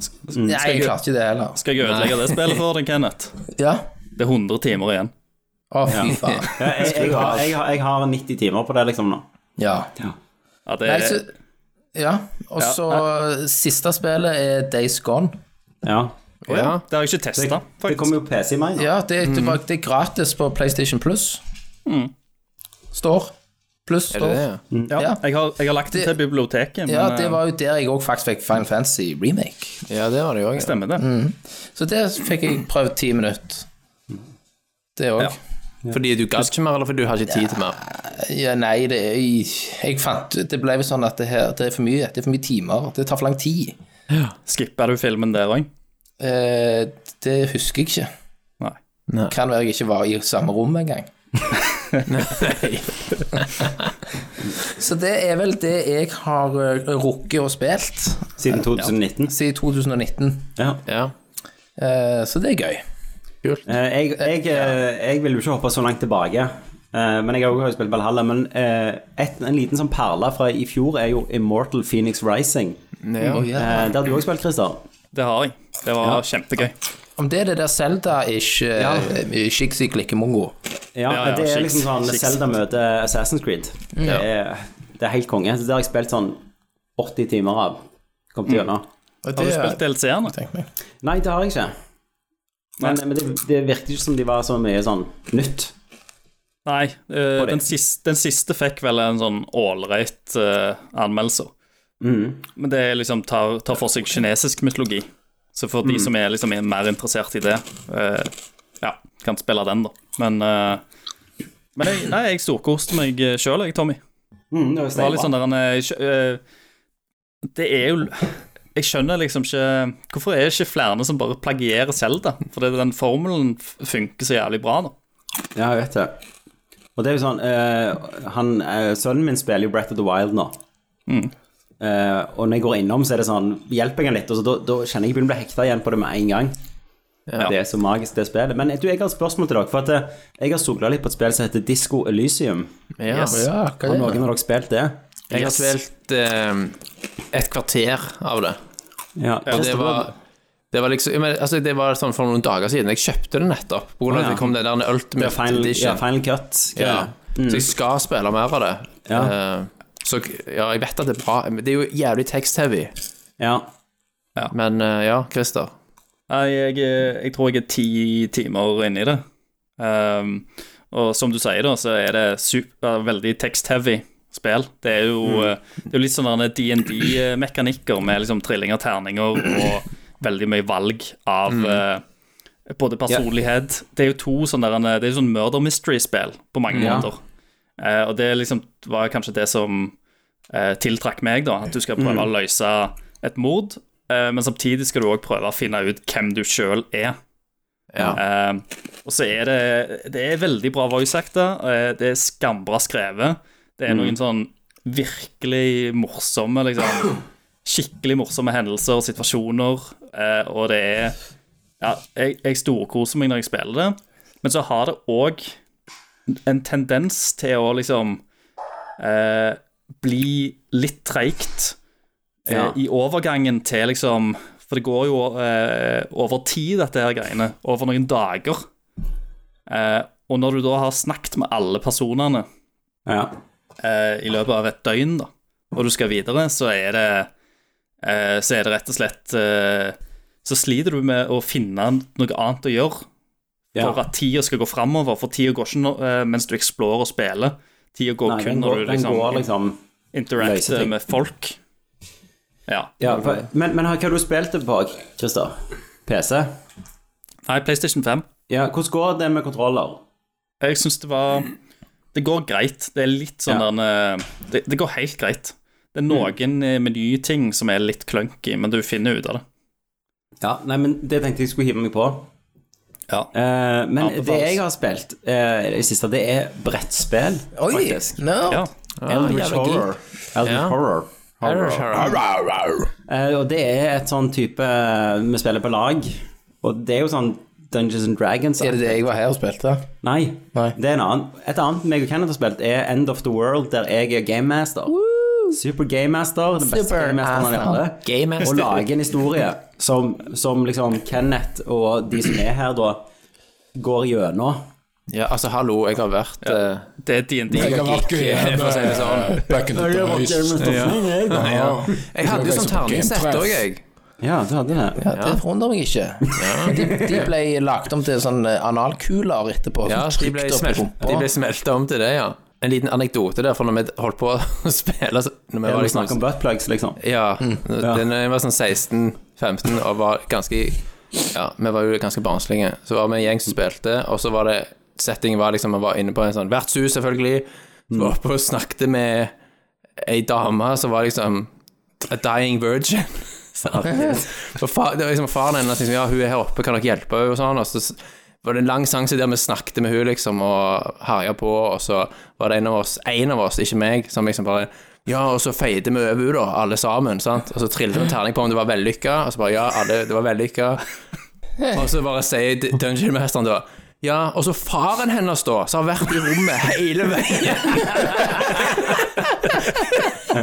F: Nei, jeg klarte ikke det heller.
K: Skal jeg ødelegge det spillet for deg, Kenneth?
F: Ja.
K: Det er 100 timer igjen.
F: Å, fy faen.
D: Ja, jeg, jeg, har, jeg, har, jeg har 90 timer på det liksom nå.
F: Ja.
K: Ja, det
F: Nei,
K: er,
F: så, ja. Og så siste spillet er Days Gone.
D: Ja.
G: Ja.
K: det har jeg ikke testa,
D: Det
K: faktisk.
D: kommer jo PC i meg.
F: Ja, det, det,
K: Mm.
F: var, det er gratis på PlayStation Plus. Står. Pluss
G: Er det
F: står.
G: det?
D: Mm.
F: Ja.
K: Jeg har, jeg har lagt det
F: Det-
K: til biblioteket, men
F: Ja, det
K: eh,
F: var jo der jeg òg faktisk fikk Final Fantasy remake.
G: Ja, Mm. det var det jo òg.
K: stemmer det.
F: Så det fikk jeg prøvd ti minutter. Det òg.
G: Fordi du gadd ikke mer, eller fordi du har ikke tid til mer?
F: Ja, nei, det er Jeg fant Det ble jo sånn at det her Det er for mye. Det er for mye timer. Det tar for lang tid.
K: Skippa du filmen der òg?
F: Eh, det husker jeg ikke.
K: Nei.
F: Kan være jeg ikke var i samme rom engang. Så det er vel det jeg har eh, rukket og spilt
D: Siden 2019.
F: siden 2019.
D: Ja.
G: Ja.
F: Eh, så det er gøy.
D: Eh, Jeg, jeg, eh, jeg vil jo ikke hoppe så langt tilbake, eh, men jeg har jo spilt Valhalla. Men eh, et, en liten sånn perle fra i fjor er jo Immortal Phoenix Rising.
G: Mm. Oh,
F: Å, ja.
D: Eh, Det har du òg spilt, Christer.
K: Det har jeg. Det var kjempegøy.
F: Om det er det der Zelda-ish eh, ja. Shixi klikker mongo.
D: Ja,
K: Ja, ja,
D: det er
K: skiks-
D: liksom sånn
K: skiks.
D: Zelda møter Assassin's Creed. Det, er, det er helt konge. Så det har jeg spilt sånn 80 timer av. Kom til gjennom.
K: Har du spilt DLC-ene?
D: Nei, det har jeg ikke. Men, men det, det virket ikke som de var så mye sånn nytt.
K: Nei. eh,
D: det.
K: den, siste, den siste fikk vel en sånn ålreit uh, anmeldelse.
G: eh, Men det liksom tar, tar for seg kinesisk mytologi. Så for de som er, liksom, er mer interessert i det, eh, ja, kan spille den, da. Men, eh, men jeg, nei, jeg storkoste meg sjøl, jeg, Tommy.
D: Mm, det
G: Det var litt sånn der han eh, skjø- eh, Det er jo Jeg skjønner liksom ikke Hvorfor er det ikke flere som bare plagierer Zelda? For det, den formelen f- funker så jævlig bra, da.
D: Ja, jeg vet det. Og det er jo sånn eh, han, eh, Sønnen min spiller jo Breath of the Wild nå. Eh, og når jeg går innom, så er det sånn Hjelp meg litt. Og så da, da kjenner jeg jeg begynner å bli hekta igjen på det med en gang. Det er så magisk, det spillet. Men du, jeg har et spørsmål til dere. For at eh, jeg har sogla litt på et spill som heter Disco Elysium.
H: Ja,
F: Ja, hva
D: Har
F: er
D: noen
F: det?
D: av dere spilt det?
H: Jeg har spilt eh, et kvarter av det.
D: Ja.
H: Og det var, det var liksom ja, men, altså, Det var sånn for noen dager siden. Jeg kjøpte det nettopp. På grunn av
D: Å, ja.
H: at det kom den der
D: det
H: Ultimate
D: er final,
H: Edition.
D: ja, final cut.
H: Ja.
F: Mm.
H: Så jeg skal spille mer av det.
D: Ja.
H: Eh, så ja, jeg vet at det er bra. Men Det er jo jævlig tekst-heavy.
D: Ja.
H: Men eh, ja, Christer.
G: Nei, jeg, er- jeg tror jeg er ti timer inne i det. Ehm, og som du sier, da, så er det super, veldig tekstheavy spill. Det er jo, eh, det er jo litt sånn DND-mekanikker med liksom trilling av terninger og veldig mye valg av eh, både personlighet Det er jo to sånne der, Det er jo sånn murder mystery-spill på mange måter. Eh, og det liksom var kanskje det som eh, tiltrakk meg, da. At du skal prøve å løse et mord, eh, men samtidig skal du òg prøve å finne ut hvem du sjøl er.
H: Ja.
G: Eh, og så er det Det er veldig bra voice actor. Eh, det er skambra skrevet. Det er noen sånn virkelig morsomme, liksom Skikkelig morsomme hendelser og situasjoner, eh, og det er Ja, jeg, jeg storkoser meg når jeg spiller det, men så har det òg en tendens til å liksom eh, bli litt treigt eh,
D: Ja.
G: i overgangen til liksom For det går jo eh, over tid, dette her greiene. Over noen dager. Eh, og når du da har snakket med alle personene
D: ja.
G: eh, i løpet av et døgn, da, og du skal videre, så er det eh, Så er det rett og slett eh, Så sliter du med å finne noe annet å gjøre
D: ja.
G: for at tida skal gå framover. For tida går ikke nå- eh, mens du eksplorer og spiller. Tida går
D: Nei,
G: kun
D: den
G: når
D: går,
G: du
D: den
G: liksom,
D: går liksom løser
G: interacter
D: ting.
G: med folk. Ja.
D: Ja, for, men, men hva har du spilt det på, Christer? PC?
G: Nei, PlayStation 5.
D: Ja, hvordan går det med kontroller?
G: Jeg syns det var Det går greit. Det er litt sånn
D: Ja.
G: der, eh, det, det går helt greit. Det
H: Mm.
G: er noen eh, menyting som er litt clunky, men du finner ut av det.
D: Ja, nei, men det tenkte jeg skulle hive meg på.
G: Ja.
D: Eh, men
G: Anbefales.
D: det jeg har spilt eh, i det siste, det er brettspill,
F: Oi,
D: faktisk.
F: nerd!
G: ja.
D: Eldritch
F: jævla geek.
D: Horror. Eldritch
H: Ja.
D: Horror. Eh, og det er et sånn type Vi spiller på lag, og det er jo sånn Dungeons and Dragons.
F: Er det det jeg var her og spilte?
D: Nei,
F: Nei.
D: det er en annen. Et annet meg og Kenneth har spilt, er End of the World, der jeg er game master. Super game master. Den beste
F: Super
D: game masteren av alle.
F: awesome. Game master.
D: Og lage en historie som, som liksom Kenneth og de som er her, da, går gjennom.
H: Ja, altså, hallo, jeg har vært eh,
G: Det er DND.
J: Jeg har vært gøy
H: for å si det sånn.
J: back in the days.
H: Jeg hadde jo sånn terningsett òg, jeg.
D: Ja, du hadde det.
F: Ja, det forundrer meg ikke. De, de ble lagt om til sånn eh, analkuler etterpå.
H: Ja, de
F: sånn
H: ble,
F: trykt opp i
H: smelt,
F: rumpa.
H: de ble smelta om til det, ja. En liten anekdote der, for når vi holdt på å spille så- når vi
D: Ja,
H: var
D: vi
H: liksom,
D: snakker om buttplugs, liksom.
H: Ja. det- Når Mm. jeg var sånn 16-15 og var ganske Ja, vi var jo ganske barnslige. Så var vi en gjeng som spilte, og så var det Settingen var liksom Vi var inne på en sånn vertshus, selvfølgelig. Så var vi oppe og snakket med ei dame som var liksom A dying virgin. Og fa, det var liksom faren hennes liksom, Ja, hun er her oppe, kan dere hjelpe henne? Og sånn. Og så s- var det en lang seanse der vi snakket med hun liksom, og herja på, og så var det en av oss, en av oss, ikke meg, som liksom bare Ja, og så feide vi over henne, da, alle sammen, sant? Og så trillet vi en terning på om det var vellykka, og så bare Ja, alle, det var vellykka. Og så bare sier D- Dungeon-mesteren da ja, og så faren hennes, da, som har vært i rommet hele veien.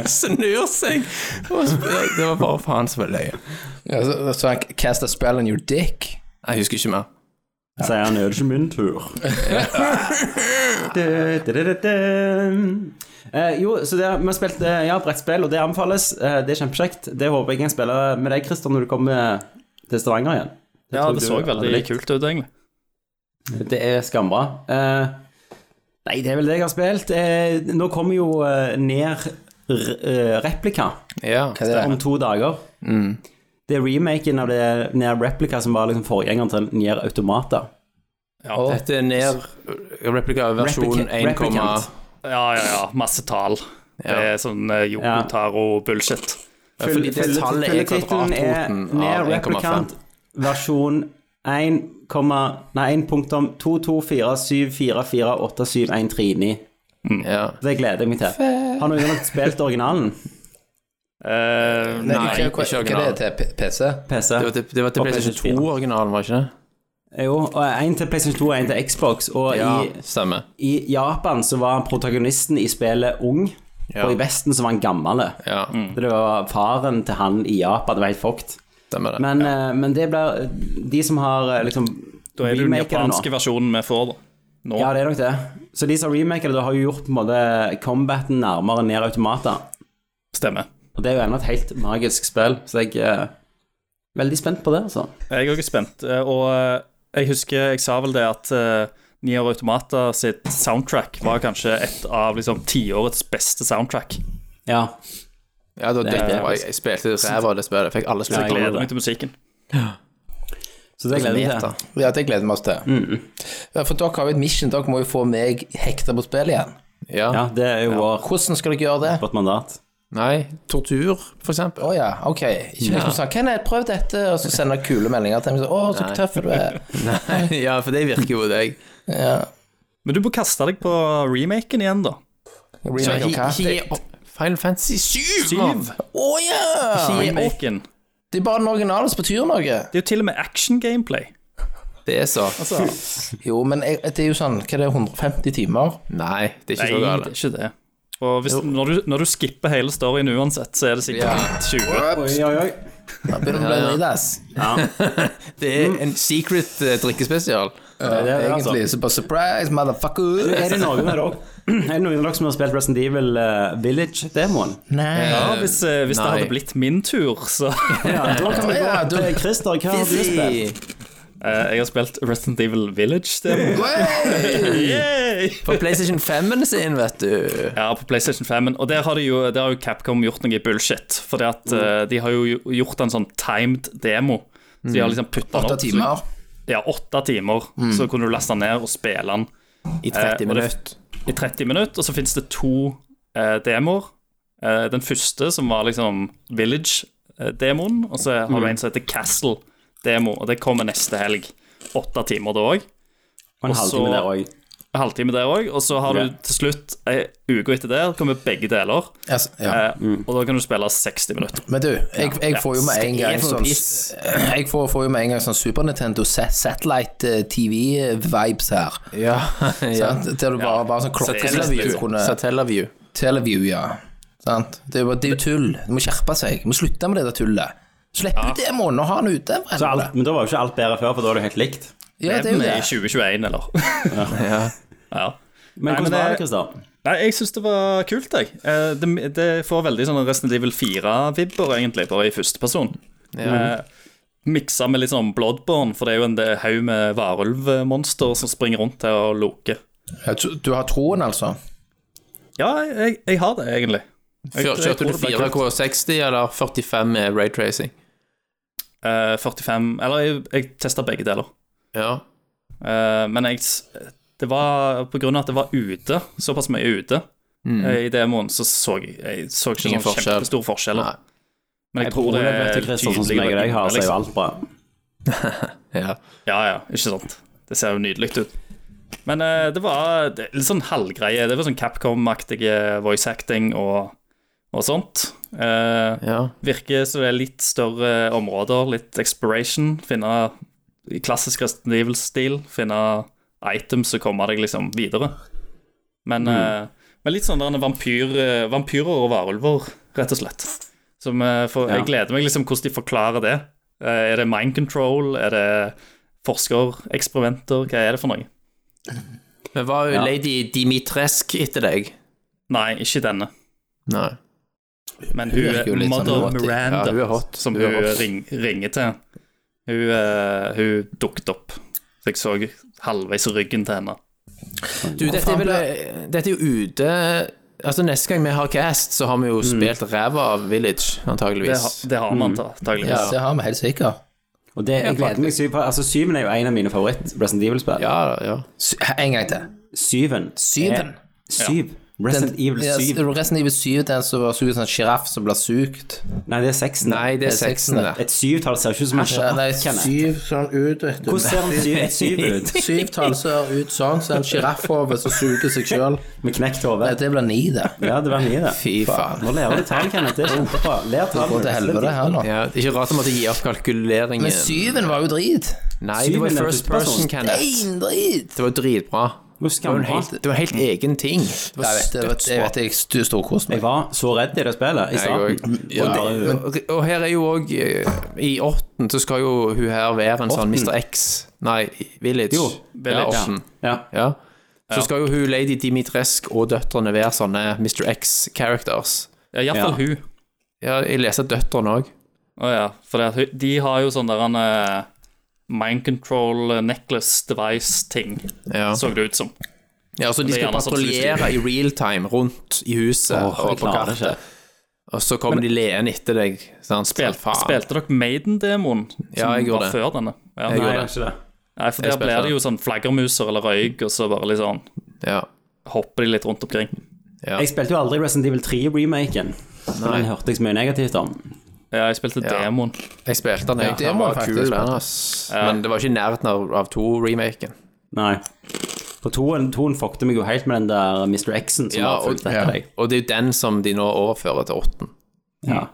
H: Snur seg. Og så- Det var bare faen så løye.
F: Ja, så, så han cast a spell on your dick.
H: Jeg husker ikke mer.
D: Sier han, er det ikke min tur? Du, du, du, du, du. Eh, jo, så det, vi har spilt eh, ja, brettspill, og det anbefales. Eh, det er kjempekjekt. Det håper jeg kan spille med deg, Christer, når du kommer til Stavanger igjen.
G: Ja,
D: tror
G: det
D: du
G: så
D: hadde
G: veldig
D: likt.
G: kult ut, egentlig.
D: Det er skambra. Eh, nei, det er vel det jeg har spilt. Eh, nå kommer jo eh, Ner r- eh, replika
H: Ja.
F: Hva er det?
D: om to dager.
H: Mm.
D: Det er remaken av det Nier Replica som var liksom forgjengeren til Nier Automata.
H: Dette er ned replika av versjon
D: Replicant-
H: 1,
D: replicant.
G: Ja, ja, ja. Masse tall. Det er sånn uh,
D: Ja.
G: Yokotaro-bullshit.
H: fordi det
D: Full-
H: tallet er
D: fulltitlen er
H: kvadratfoten
D: Nier
H: av 1,5.
D: Replicant versjon 1, nei, 1.22474487139.
H: Mm. Ja.
D: Det gleder jeg meg til. Har noen nok spilt originalen?
G: Eh,
F: Nei,
G: nei,
F: hva- hva-
G: ikke
F: Hva er
G: original.
F: det til P- PC?
D: PC?
H: Det var til, det var til
D: Og
H: PlayStation
D: PlayStation
H: 2-originalen, var ikke det?
D: Jo, og en til PlayStation 2 og en til Xbox. Og i,
H: stemmer.
D: i Japan så var protagonisten i spillet ung,
H: Ja.
D: og i Vesten så var han gammel.
H: Ja,
D: Det var faren til han i Japan, det var helt fucked.
H: stemmer det.
D: Men, eh, men det blir De som har eh, liksom
G: Da er det jo den
D: remaker det nå.
G: japanske versjonen vi får, da. Nå.
D: Ja, det er nok det. Så de som remaker det, da har jo gjort på en måte combaten nærmere ned automata.
G: Stemmer.
D: Og det er jo ennå et helt magisk spill, så jeg er veldig spent på det, altså.
G: Jeg er også spent. eh, Og eh, jeg husker jeg sa vel det at eh, Nier Automata sitt soundtrack var kanskje et av liksom tiårets beste soundtrack.
D: Ja.
H: Ja, det var
D: er
H: det,
D: det.
H: jeg, jeg spilte ræva av det spillet. Fikk alle
D: Ja, jeg
H: spillene.
G: Gleder meg til musikken.
D: Så det gleder jeg meg til.
F: Ja, det gleder vi oss til.
H: Mm.
F: Ja, for dere har jo et mission, dere må jo få meg hekta på spill igjen.
H: Ja.
D: Ja, det er jo vår
F: Hvordan skal dere gjøre det?
D: vårt mandat.
H: Nei, tortur, for eksempel.
F: Å ja, ok. Ikke liksom sånn Kenneth, prøv dette, og så sender jeg kule meldinger til meg. sånn, Å, så tøff du er.
H: ja, for det virker jo deg.
F: Ja.
G: Men du må kaste deg på remaken igjen, da.
F: Remake hva?
H: Ikke gi opp. Final Fantasy 7! mann.
G: Syv.
F: Å ja!
G: Remaken.
F: Det er bare den originale som betyr noe.
G: Det er jo til og med action gameplay.
H: Det er så
G: Altså.
F: Jo, men jeg, det er jo sånn Hva er det, 150 timer?
H: Nei, det er ikke
G: Nei,
H: så
G: det er
H: galt.
G: ikke det. Og hvis, når, du, når du skipper hele storyen uansett, så er det sikkert
H: Ja.
G: 20.
D: Oi, oi, oi.
F: Da begynner det å bli dritt, ass.
H: Det er en secret eh, drikkespesial.
D: Det er det, altså.
F: Mm. Egentlig så bare surprise, motherfucker.
D: Er det noen av dere Er det noen av dere som har spilt Resident Evil eh, Village-demoen?
F: Nei.
G: Ja, hvis eh, hvis det
H: Nei.
G: hadde blitt min tur, så
D: Ja, da kan vi
F: Ja,
D: gå
F: du-
D: til Christer. Hva har du spilt?
G: Eh, Jeg har spilt Resident Evil Village. Det må- Yay!
H: På PlayStation 5-en sin, vet du.
G: Ja, på PlayStation 5. -en, Og der har, de jo, der har jo Capcom gjort noe bullshit. For
F: Mm.
G: de har jo gjort en sånn timed demo. Så de har liksom putta den
F: Mm. Åtte
G: opp.
F: timer. Mm.
G: Ja, åtte timer. Så kunne du laste den ned og spille den
H: I
G: Eh,
H: 30
G: og det-
H: minutter.
G: i 30 minutter. Og så fins det to eh, demoer. Eh, den første, som var liksom Village-demoen. Og så har
F: Mm.
G: du en som heter Castle-demo, og det kommer neste helg. Åtte timer, det òg.
D: Og en
G: Og så-
D: halvtime der òg.
G: Halvtime der òg. Og så har
D: Ja.
G: du til slutt, ei uke etter det, kommer begge deler.
F: Altså, ja.
G: Eh,
H: Mm.
G: Og da kan du spille 60 minutter.
F: Men du, jeg, jeg får jo med en gang
H: for
F: sånn
H: piss.
F: Jeg får, får jo med en gang sånn Super Nintendo sa- Satellite eh, TV-vibes her.
H: Ja. ja.
F: Sant? Der du bare, bare sånn klokkeslettvis
H: Satellaview.
F: kunne
H: Satellaview.
F: Teleview, ja. Sant? Det, er jo- det er jo tull. Du må skjerpe seg. Du må slutte med det der tullet. Slipp ut demoen og ha den ute. for
D: Så
F: helvete.
D: alt- Men da var jo ikke alt bedre før, for da var det jo helt likt.
F: Ja, det er jo
G: Med
F: det.
G: 2021, eller?
H: Ja.
G: ja.
D: Men
G: Nei, men
D: hvordan var
G: det-
D: det, Christer?
G: Nei, jeg syns det var kult, jeg. Eh, Det, det får veldig sånn Resident Evil 4-vibber, egentlig, bare i første person. Eh, Miksa med litt sånn Bloodborne, for det er jo en del- haug med varulvmonster som springer rundt her og loker.
F: Ja, du- Du har troen, altså?
G: Ja, jeg, jeg har det, egentlig. Jeg-
H: Før,
G: jeg
H: kjørte
G: tror
H: du
G: det ble kult.
H: 4K60 eller 45 med raytracing?
G: Eh, 45 Eller jeg, jeg testa begge deler.
H: Ja.
G: Eh, men jeg, s- det var på grunn av at det var ute, såpass mye ute eh, i demoen, så så jeg, jeg så
H: Mm.
G: ikke
H: Ingen
G: sånn
H: forskjell.
G: kjempestor forskjell.
H: Nei.
G: Men jeg,
D: Jeg
G: tror det er
D: til Christer, sånn som
G: tydeligere
D: jeg og deg har, så er jo
G: liksom.
D: alt bra.
H: ja.
G: Ja, ja, ikke sant. Det ser jo nydelig ut. Men eh, det var det, litt sånn halvgreie. Det var sånn Capcom-aktig eh, voice acting og, og sånt. Eh,
H: Ja.
G: Virker som det er litt større områder, litt exploration. Finne i klassisk Resident Evil-stil, finne items og komme deg liksom videre. Men, eh, men litt sånn der en vampyr, eh, vampyrer og varulver, rett og slett. Som, eh, for,
D: Ja.
G: Jeg gleder meg liksom hvordan de forklarer det. Eh, er det mind control? Er det forskereksperimenter? Hva er det for noe?
H: Men var jo
D: Ja.
H: lady Dimitresk etter deg?
G: Nei, ikke denne.
H: Nei.
G: Men
F: Hun
G: hun
F: virker jo
G: er
F: litt
G: Mother
F: sånn hot.
G: Miranda,
H: Ja, hun er hot.
G: som
H: Hun
G: hun,
H: er hot.
G: ring, ringer til. Hun, eh, hun dukket opp. Så jeg så halvveis ryggen til henne.
H: Du, dette er, vel, dette er jo ute Altså Neste gang vi har cast, så har vi jo spilt ræva av Village,
G: Det,
H: antageligvis.
G: har- det har man antakeligvis.
F: Det har vi helt sikkert.
D: Og det, jeg gleder meg syv på. Altså, syven er jo en av mine favoritt-Resident Evil-spill.
H: Ja, ja.
F: Sy- En gang til.
D: Syven.
F: Syven.
D: er- Syv. Resident Evil
F: Ja,
D: 7.
F: Resident Evil 7 den som var suget som en sjiraff som ble sugt.
D: Nei, det er seksen.
H: Nei, det er
F: Det er
H: seksen, det.
D: Et syvtall ser ikke ut som en
F: Ja, det er
D: sjiraff. Kenneth.
F: syv sånn ut, vet du.
D: Hvordan ser en syv, et syv ut?
F: Syvtall ser ut sånn, så en sjiraffhode som suger seg sjøl.
D: Med knekt hode?
F: Det blir ni, det.
D: Ja, det var mye, det.
H: Fy faen.
D: Nå lærer du tall, Kenneth. Det er kjempebra. Lær tall.
F: Går til helvete her nå.
H: Ja, det er ikke rart jeg måtte gi opp kalkuleringen.
F: Men syven var jo drit.
H: Nei, det var
D: Syven er
H: first
D: førsteperson.
H: person, Kenneth.
F: Én drit!
H: Det var dritbra.
D: Nå
H: Det var en
D: skammer
H: helt, det var en helt egen ting. Det var
F: Jeg vet det, jeg vet- jeg vet jeg stu- storkoste
D: Jeg
F: meg.
D: var så redd i det spillet i
H: Jeg òg.
D: starten.
H: Ja,
D: Og det-
H: og, og her er jo òg I åtten så skal jo hun her være en sånn Mr. X Nei, Village.
D: Jo,
H: Ja,
G: Village.
H: åtten.
D: ja.
H: Ja. Så skal jo hun Lady Dimitrescu og døtrene være sånne Mr. X-characters.
G: Ja, Iallfall
D: Ja.
G: hun.
H: Ja, jeg leser døtrene òg.
G: Å ja, for det, at hun- de har jo sånn der en eh, mind control eh, necklace device-ting,
H: Ja.
G: så det ut som.
H: ja, så de
G: Det er
H: skal
G: gjerne sånn
H: patruljere i real time rundt i huset
D: Åh, jeg
H: og på
D: klarer det
H: kartet. Og så kommer de leende etter deg. Sant?
G: Spil,
H: Faen.
G: spilte dere Maiden-demoen som
H: Ja, jeg gjorde det.
G: var før denne? Ja.
H: Jeg
D: Nei,
H: gjorde
D: jeg
H: det.
D: ikke det.
G: Nei, for
H: Jeg
G: der blir
H: spilte
G: det jo sånn flaggermuser eller røyk, og så bare litt sånn
H: Ja.
G: hopper de litt rundt omkring.
H: Ja.
D: Jeg spilte jo aldri Resident Evil 3-remaken. Den hørte jeg så mye negativt om.
G: Ja, jeg spilte
H: Ja.
G: demoen.
H: Jeg spilte den, jeg.
F: det
H: Den
F: må
H: var
F: jeg
H: kul,
F: faktisk
H: den, ass. Men det var ikke i nærheten av, av to-remaken.
D: Nei. På toen, toen fuckte meg jo helt med den der Mr. X-en som
H: Ja,
D: har fulgt
H: og-
D: etter
F: ja.
D: deg.
H: Og det er jo den som de nå overfører til åtten.
D: Ja.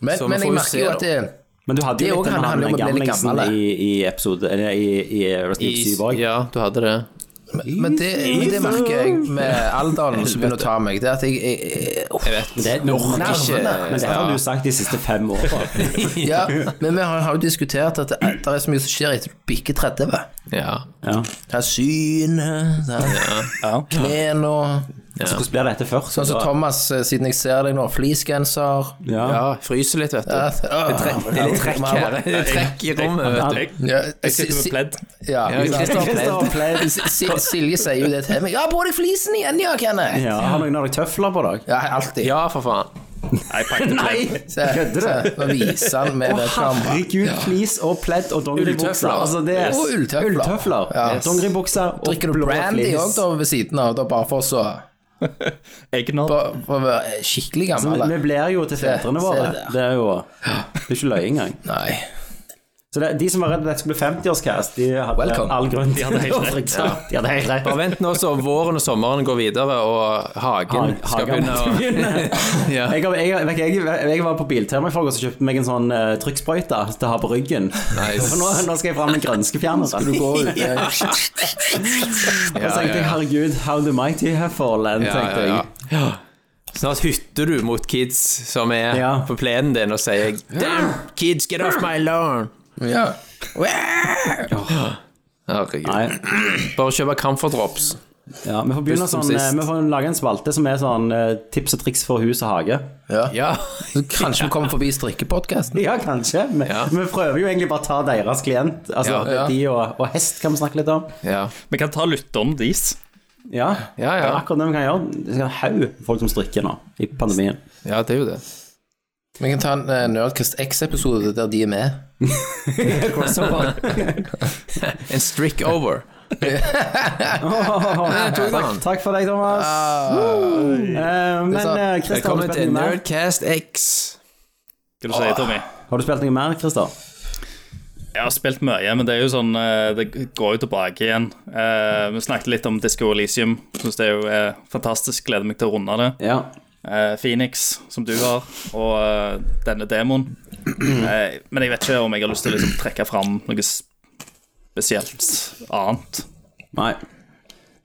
F: Men,
H: Så vi
F: men
H: får
F: jeg
H: jo
F: merker
H: se,
F: jo
H: da.
F: at det
D: Men du hadde
F: Det
D: jo litt
F: også
D: den
F: handler
D: han
F: om å bli litt
D: gamlingsen
F: gammel,
D: i, i episode Eller i, i Resident Evil 7 òg.
H: Ja, du hadde det.
F: Men det, men det merker jeg med alderen som begynner å ta meg. Det er at jeg, jeg, jeg uff.
H: Jeg vet.
D: Det er nok
F: Nervene.
D: ikke Men det har
H: Ja.
D: du sagt de siste fem årene.
F: Ja, men vi har, har jo diskutert at det, det er så mye som skjer etter du bikker 30.
H: Ja.
D: Ja.
F: Det er synet, det er knærne
D: Så hvordan blir dette først?
F: Sånn som
D: da?
F: Thomas, eh, siden jeg ser deg nå, fleecegenser.
D: ja.
H: ja. Fryser litt, vet du.
F: Ja,
H: Det er litt trekk her. Det er trekk i rommet, vet du.
G: Jeg,
F: Ja,
G: jeg sitter med pledd.
F: Ja,
H: Ja, Christian
F: Christian
H: Pledd.
F: Pledd. Si- Si- Silje sier jo det til meg. Ja, på deg flisen igjen, ja, Kenneth!
D: Ja, Har noen av deg tøfler på deg?
F: Ja, alltid.
H: Ja, for faen.
G: Nei, jeg pakket pledd.
F: Se, se, nå viser han med
D: Å,
F: webkamera.
D: herregud, flis og pledd og dongeribukser.
H: Ulltøfler.
D: Altså, det er
F: Og ulltøfler.
D: Ulltøfler,
F: Ja.
D: Dongeribukser og
F: Drikker du
D: blå
F: brandy
D: flis.
F: òg, da, ved siden av? Da bare for så
G: Eggnog.
F: For for å være skikkelig
D: Så vi-
F: gammel?
D: Vi
F: da.
D: blir jo til fedrene
F: Se- se
D: våre.
F: det der.
D: Det er jo Det er ikke løye engang.
F: Nei.
D: Så det, de som var redd for at dette skulle bli 50-årscast, de hadde
F: Welcome.
D: all grunn til
G: hadde helt
D: å
G: rett.
D: frykte. De hadde helt rett.
H: Bare vent nå så våren og sommeren går videre, og hagen
D: Hagen
H: skal begynne å Ja.
D: Jeg, har- jeg, har- jeg, jeg, jeg var på Biltema i forgårs og kjøpte meg en sånn uh, trykksprøyte til å ha på ryggen.
H: Nice.
D: For nå, nå skal jeg fram med grønskefjerner. Skal du gå
F: Oi, ja.
D: Og så
H: ja,
D: tenkte jeg
H: ja.
D: herregud, how the mighty have fallen,
H: Ja, ja,
D: tenkte jeg.
H: ja. Snart hytter du mot kids som er
D: Ja.
H: på plenen din og sier Damn, kids, get off my lawn!
F: Ja.
H: Herregud.
D: Nei,
H: Bare kjøpe Camphor Drops.
D: ja, vi får begynne
H: Først som
D: sånn eh,
H: sist.
D: Vi får lage en spalte som er sånn eh, tips og triks for hus og hage.
F: Ja.
H: Ja.
F: Så Kanskje vi kommer forbi strikkepodkasten?
D: Ja, kanskje. Vi,
H: Ja.
D: vi prøver jo egentlig bare å ta deres klient. Altså
H: Ja, ja.
D: de og, og hest kan vi snakke litt om.
H: ja.
G: Vi kan ta lytterne deres.
D: Ja,
H: Ja, ja.
D: Det er akkurat det vi kan gjøre. Det er en haug folk som strikker nå, i pandemien.
H: Ja, det er jo det.
F: Vi kan ta en eh, Nerdcast X-episode der de er med.
H: En strick over. tok
D: takk,
H: den.
D: takk for deg, Thomas.
H: Ah,
D: Eh, men
F: sant.
D: eh, Christer, har du
H: Velkommen
D: spilt
H: til
D: noe mer?
H: Nerdcast X.
G: Skal du si, Tommy?
D: Har du spilt noe mer, Christer?
G: Jeg har spilt mye, men det er jo sånn eh, Det går jo tilbake igjen. Eh, vi snakket litt om Disco Elysium. Syns det er jo eh, fantastisk. Gleder meg til å runde det.
D: Ja.
G: Eh, Phoenix, som du har, og eh, denne demoen. Eh, men jeg vet ikke om jeg har lyst til å liksom, trekke fram noe spesielt annet.
D: Nei.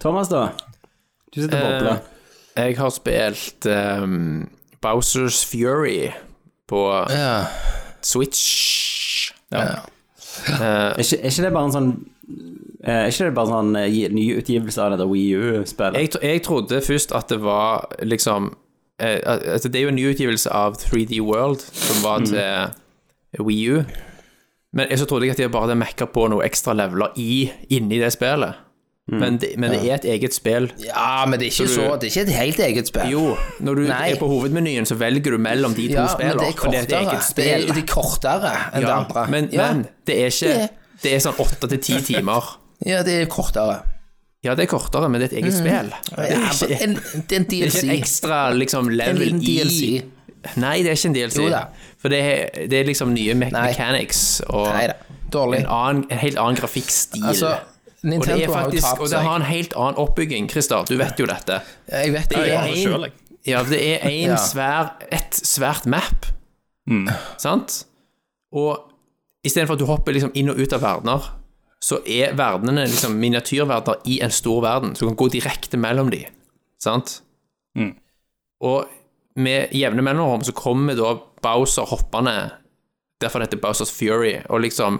D: Thomas, da? Du sitter
H: Eh,
D: og bobler.
H: Jeg har spilt ehm, Bowsers Fury på
F: Ja.
H: Switch.
D: Er ikke, er ikke det bare en sånn eh, Er ikke det bare sånn eh, gi- ny utgivelse av det der Wii U-spillet?
H: Jeg, tro- jeg trodde først at det var liksom eh, at- at Det er jo en ny utgivelse av 3D World, som var til Wii U. Men jeg så trodde jeg at de bare hadde mekka på noe ekstra leveler i, inni det spillet. Men, det, men det er et eget spill.
F: Ja, men det er ikke så, Det er ikke et helt eget spill.
H: Jo, når du
F: Nei.
H: er på hovedmenyen, så velger du mellom de to
F: ja, men
H: spillene.
F: det er
H: og
F: kortere.
H: det er et eget
F: Det
H: spill.
F: er, det er kortere enn det andre.
H: Men,
F: ja.
H: men det er
F: Det
H: ikke
F: er-
H: Det er sånn åtte til ti timer.
F: ja, det er kortere.
H: Ja, det er kortere, men det er et eget spill.
F: Mm. Det er, ikke, en, det er en
H: Det er ikke en
F: DLC.
H: ekstra liksom,
F: En
H: level
F: liten DLC.
H: i Nei, det er ikke en DLC.
F: Jo da.
H: For det er, det er liksom nye me
F: Nei.
H: mechanics og
F: Nei da. Dårlig.
H: en, annen, en helt annen grafikkstil.
F: Altså,
H: og det er
F: Nintendo har jo
H: faktisk
F: tapt
H: Og det
F: seg.
H: har en helt annen oppbygging, Christer. Du vet jo dette.
F: Jeg vet
H: Det
F: det.
H: er
G: det
H: en-
G: selv, jeg.
H: Ja, det er en
F: Ja.
H: svær Et svært map. Sant? Og istedenfor at du hopper liksom inn og ut av verdener, så er verdenene liksom miniatyrverdener i en stor verden. Så du kan gå direkte mellom de. Sant?
G: Mm.
H: Og med jevne mellomrom så kommer da Bowser hoppende, derfor det heter Bowsers Fury, og liksom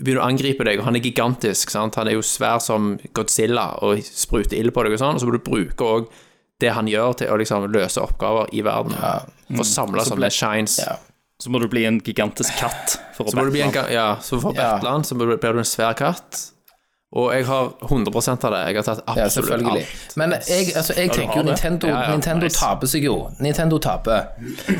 H: begynner å angripe deg, og han er gigantisk, sant? han er jo svær som Godzilla og spruter ild på deg og sånn, og så må du bruke òg det han gjør til å liksom løse oppgaver i verden, for å samle sånne shines.
F: Ja.
G: Så må du bli en gigantisk katt for å
H: Så må du bli en
G: battle.
H: ga- Ja, så for
F: Ja.
H: Betland så blir du en svær katt. Og jeg har 100 av det. Jeg har tatt
F: Ja,
H: absolutt
F: selvfølgelig.
H: alt.
F: Men jeg, altså, jeg tenker jo
G: det.
F: Nintendo,
H: Ja, ja,
F: Nintendo
H: nice.
F: taper seg jo. Nintendo taper.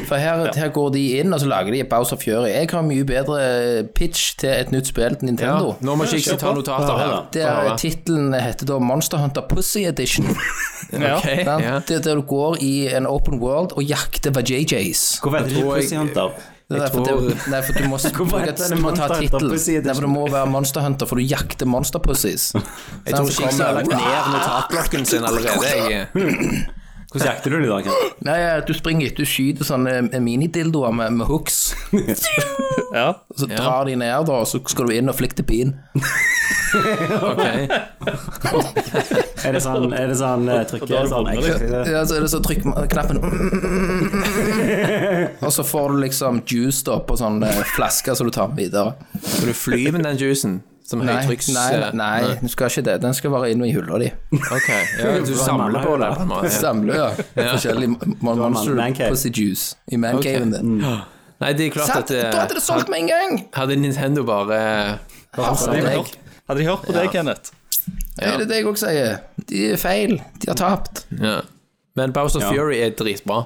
F: For her, her går de inn, og så lager de et Bowser Fury. Jeg har mye bedre pitch til et nytt spill til
H: Ja,
F: Nintendo.
H: nå må ikke jeg ta notater her.
F: Det er, Tittelen heter da Monster Hunter Pussy Edition.
H: Ok,
F: Sant?
H: ja.
F: Det er Der du går i en open world og jakter VJJs.
D: Hvorfor heter det ikke
H: tror jeg-
D: Pussy Hunter?
F: Det er derfor,
H: tror-
F: det, nei, for du må,
D: heter
F: bruke et-
D: det
F: du må ta
D: Monster Hunter
F: tittelen.
D: Pussy Edition?
F: Nei, for du må være Monster Hunter, for du jakter monsterpussies.
H: Jeg tror ikke jeg har lagt ned notatblokken sin allerede. Jeg.
D: Hvordan jakter du det i dag? Ken?
F: Nei, ja, du springer etter, du skyter sånne eh, minidildoer med, med hooks.
G: Ja.
F: Og så drar de ned, da, og så skal du inn og flikte bin.
H: Ok.
D: Er det sånn, er det sånn eh, trykker
G: Da har du
D: sånn,
G: vunnet, liksom.
D: jeg-
F: Ja, så er det så trykk knappen Og så får du liksom juice da på sånne flasker som du tar med videre.
H: Skal du fly med den juicen? Som
F: Nei,
H: høytrykks...
F: nei, nei, du skal ikke det. Den skal være inne i hylla di.
H: Ok, ja, du samler på det. på en måte. Ja.
F: Samle ja. forskjellige mon- monster
D: man cave.
F: pussy juice i mancaven din.
H: Nei, det er klart
F: Sant?
H: at
F: Da hadde
H: eh,
F: det solgt med en gang!
H: hadde Nintendo bare
F: Herre
G: Hadde de
F: meg.
G: hørt- Hadde de hørt på det, Kenneth?
F: Det er det jeg også sier. De er feil. De har tapt.
H: ja. Men Bowser Fury er dritbra.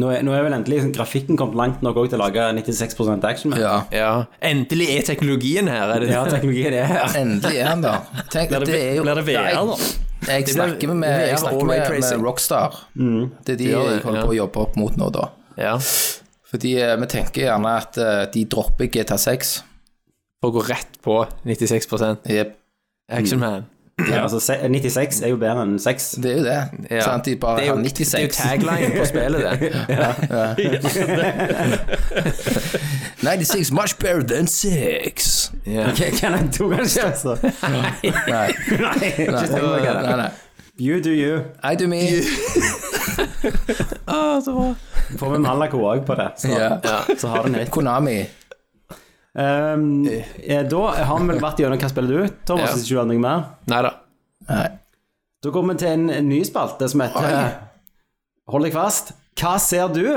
D: Nå er, nå er vel endelig liksom, grafikken kommet langt nok også til å lage 96 action. med.
F: Ja.
H: Ja. Endelig er teknologien her! Er det
D: Ja, teknologien er her.
F: Endelig er han der. Tenk,
G: Blir
F: det
G: det,
F: er jo
G: blir det VR, da?
F: Jeg snakker med, jeg
H: VR
F: snakker
H: og
F: med,
H: raytracing.
F: med Rockstar. Det er de
H: gjør det,
F: jeg holder
H: ja.
F: på å jobbe opp mot nå, da.
H: Ja.
F: Fordi eh, vi tenker gjerne at eh, de dropper GTA 6.
H: For å gå rett på 96
F: Jep.
H: Action Man.
D: Ja, altså, se- 96 er jo bedre enn 6.
F: Det er jo det.
H: Ja.
F: Sant? De bare
H: Det er jo,
F: har
H: det er jo
F: 96.
H: tagline på spillet, det.
F: Nei, de sier 'much better than six'.
H: Ja.
D: Kan jeg to kanskje? Altså?
F: Nei.
D: Nei, ikke tenk på
F: Nei,
D: det.
F: nei.
D: You do you.
F: I do me.
D: Får vi Malaco òg på det, så,
F: Ja.
D: så har den litt.
F: Konami.
D: Um, eh, da har vi vel vært gjennom hva spiller du, Thomas,
H: Ja.
D: hvis du har noe mer.
H: Nei da.
F: Nei.
D: Da går vi til en, en ny spalte som heter
F: Oi.
D: Hold deg fast. Hva ser du?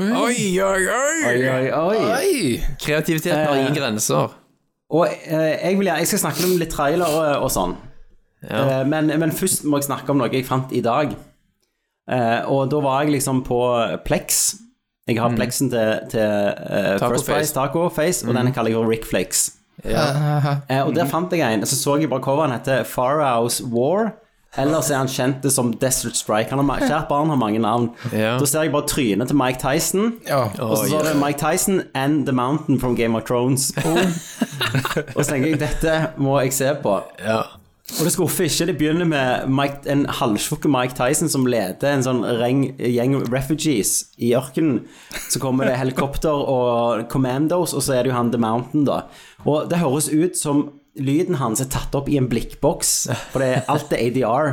H: Oi, oi, oi!
D: Oi, oi, oi.
F: Oi!
H: Kreativiteten har ingen grenser.
D: Og eh, jeg, vil, jeg skal snakke om litt trailer og, og sånn. Eh, men, men først må jeg snakke om noe jeg fant i dag. Eh, og da var jeg liksom på Plex. Jeg har Plexen til, til
H: Mm.
D: eh,
H: Taco
D: First
H: Face.
D: Price,
H: Mm.
D: Taco Face, og denne kaller jeg for Rick Flakes. Eh, og der fant jeg en, så så jeg bare coveren heter Farah's War. Ellers er han kjent som Desert Strike. Han har, ma- kjært barn har mange navn.
H: Ja.
D: Da ser jeg bare trynet til Mike Tyson.
F: Ja.
D: Og så står det Mike Tyson and The Mountain from Game of Thrones. og så tenker jeg dette må jeg se på.
H: Ja.
D: Og det skuffer ikke. Det begynner med Mike, en halvtjukk Mike Tyson som leder en sånn reng, gjeng refugees i ørkenen. Så kommer det helikopter og commandos, og så er det jo han The Mountain, da. Og det høres ut som lyden hans er tatt opp i en blikkboks, for det er alt er ADR.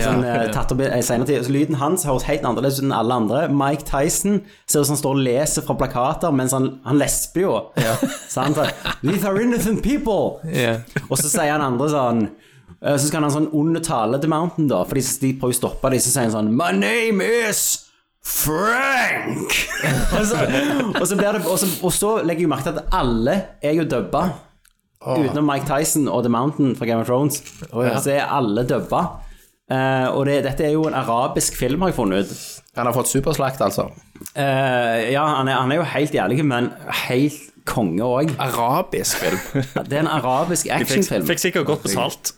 D: Sånn, eh, tatt opp i eh, senere tid. Så lyden hans høres helt annerledes ut enn alle andre. Mike Tyson ser ut som han står og leser fra plakater, mens han, han lesper jo. Så han tar, These are innocent people!
H: Ja.
D: Og så sier han andre sånn eh, Så skal han ha en sånn ond tale til Mountain, da, for de, de prøver å stoppe dem, så sier han sånn My name is
B: Frank!
D: Altså, og, så blir det, og, så, og så legger jeg merke til at alle er jo dubba. Utenom Mike Tyson og The Mountain fra Game of Thrones. Så er alle dubba. Eh, og det, dette er jo en arabisk film, har jeg funnet ut.
F: Han har fått superslakt, altså.
D: Eh, ja, han er, han er jo helt jævlig, men helt konge òg.
H: Arabisk film.
D: Det er en arabisk
G: Fikk,
D: actionfilm.
G: fikk sikkert godt betalt.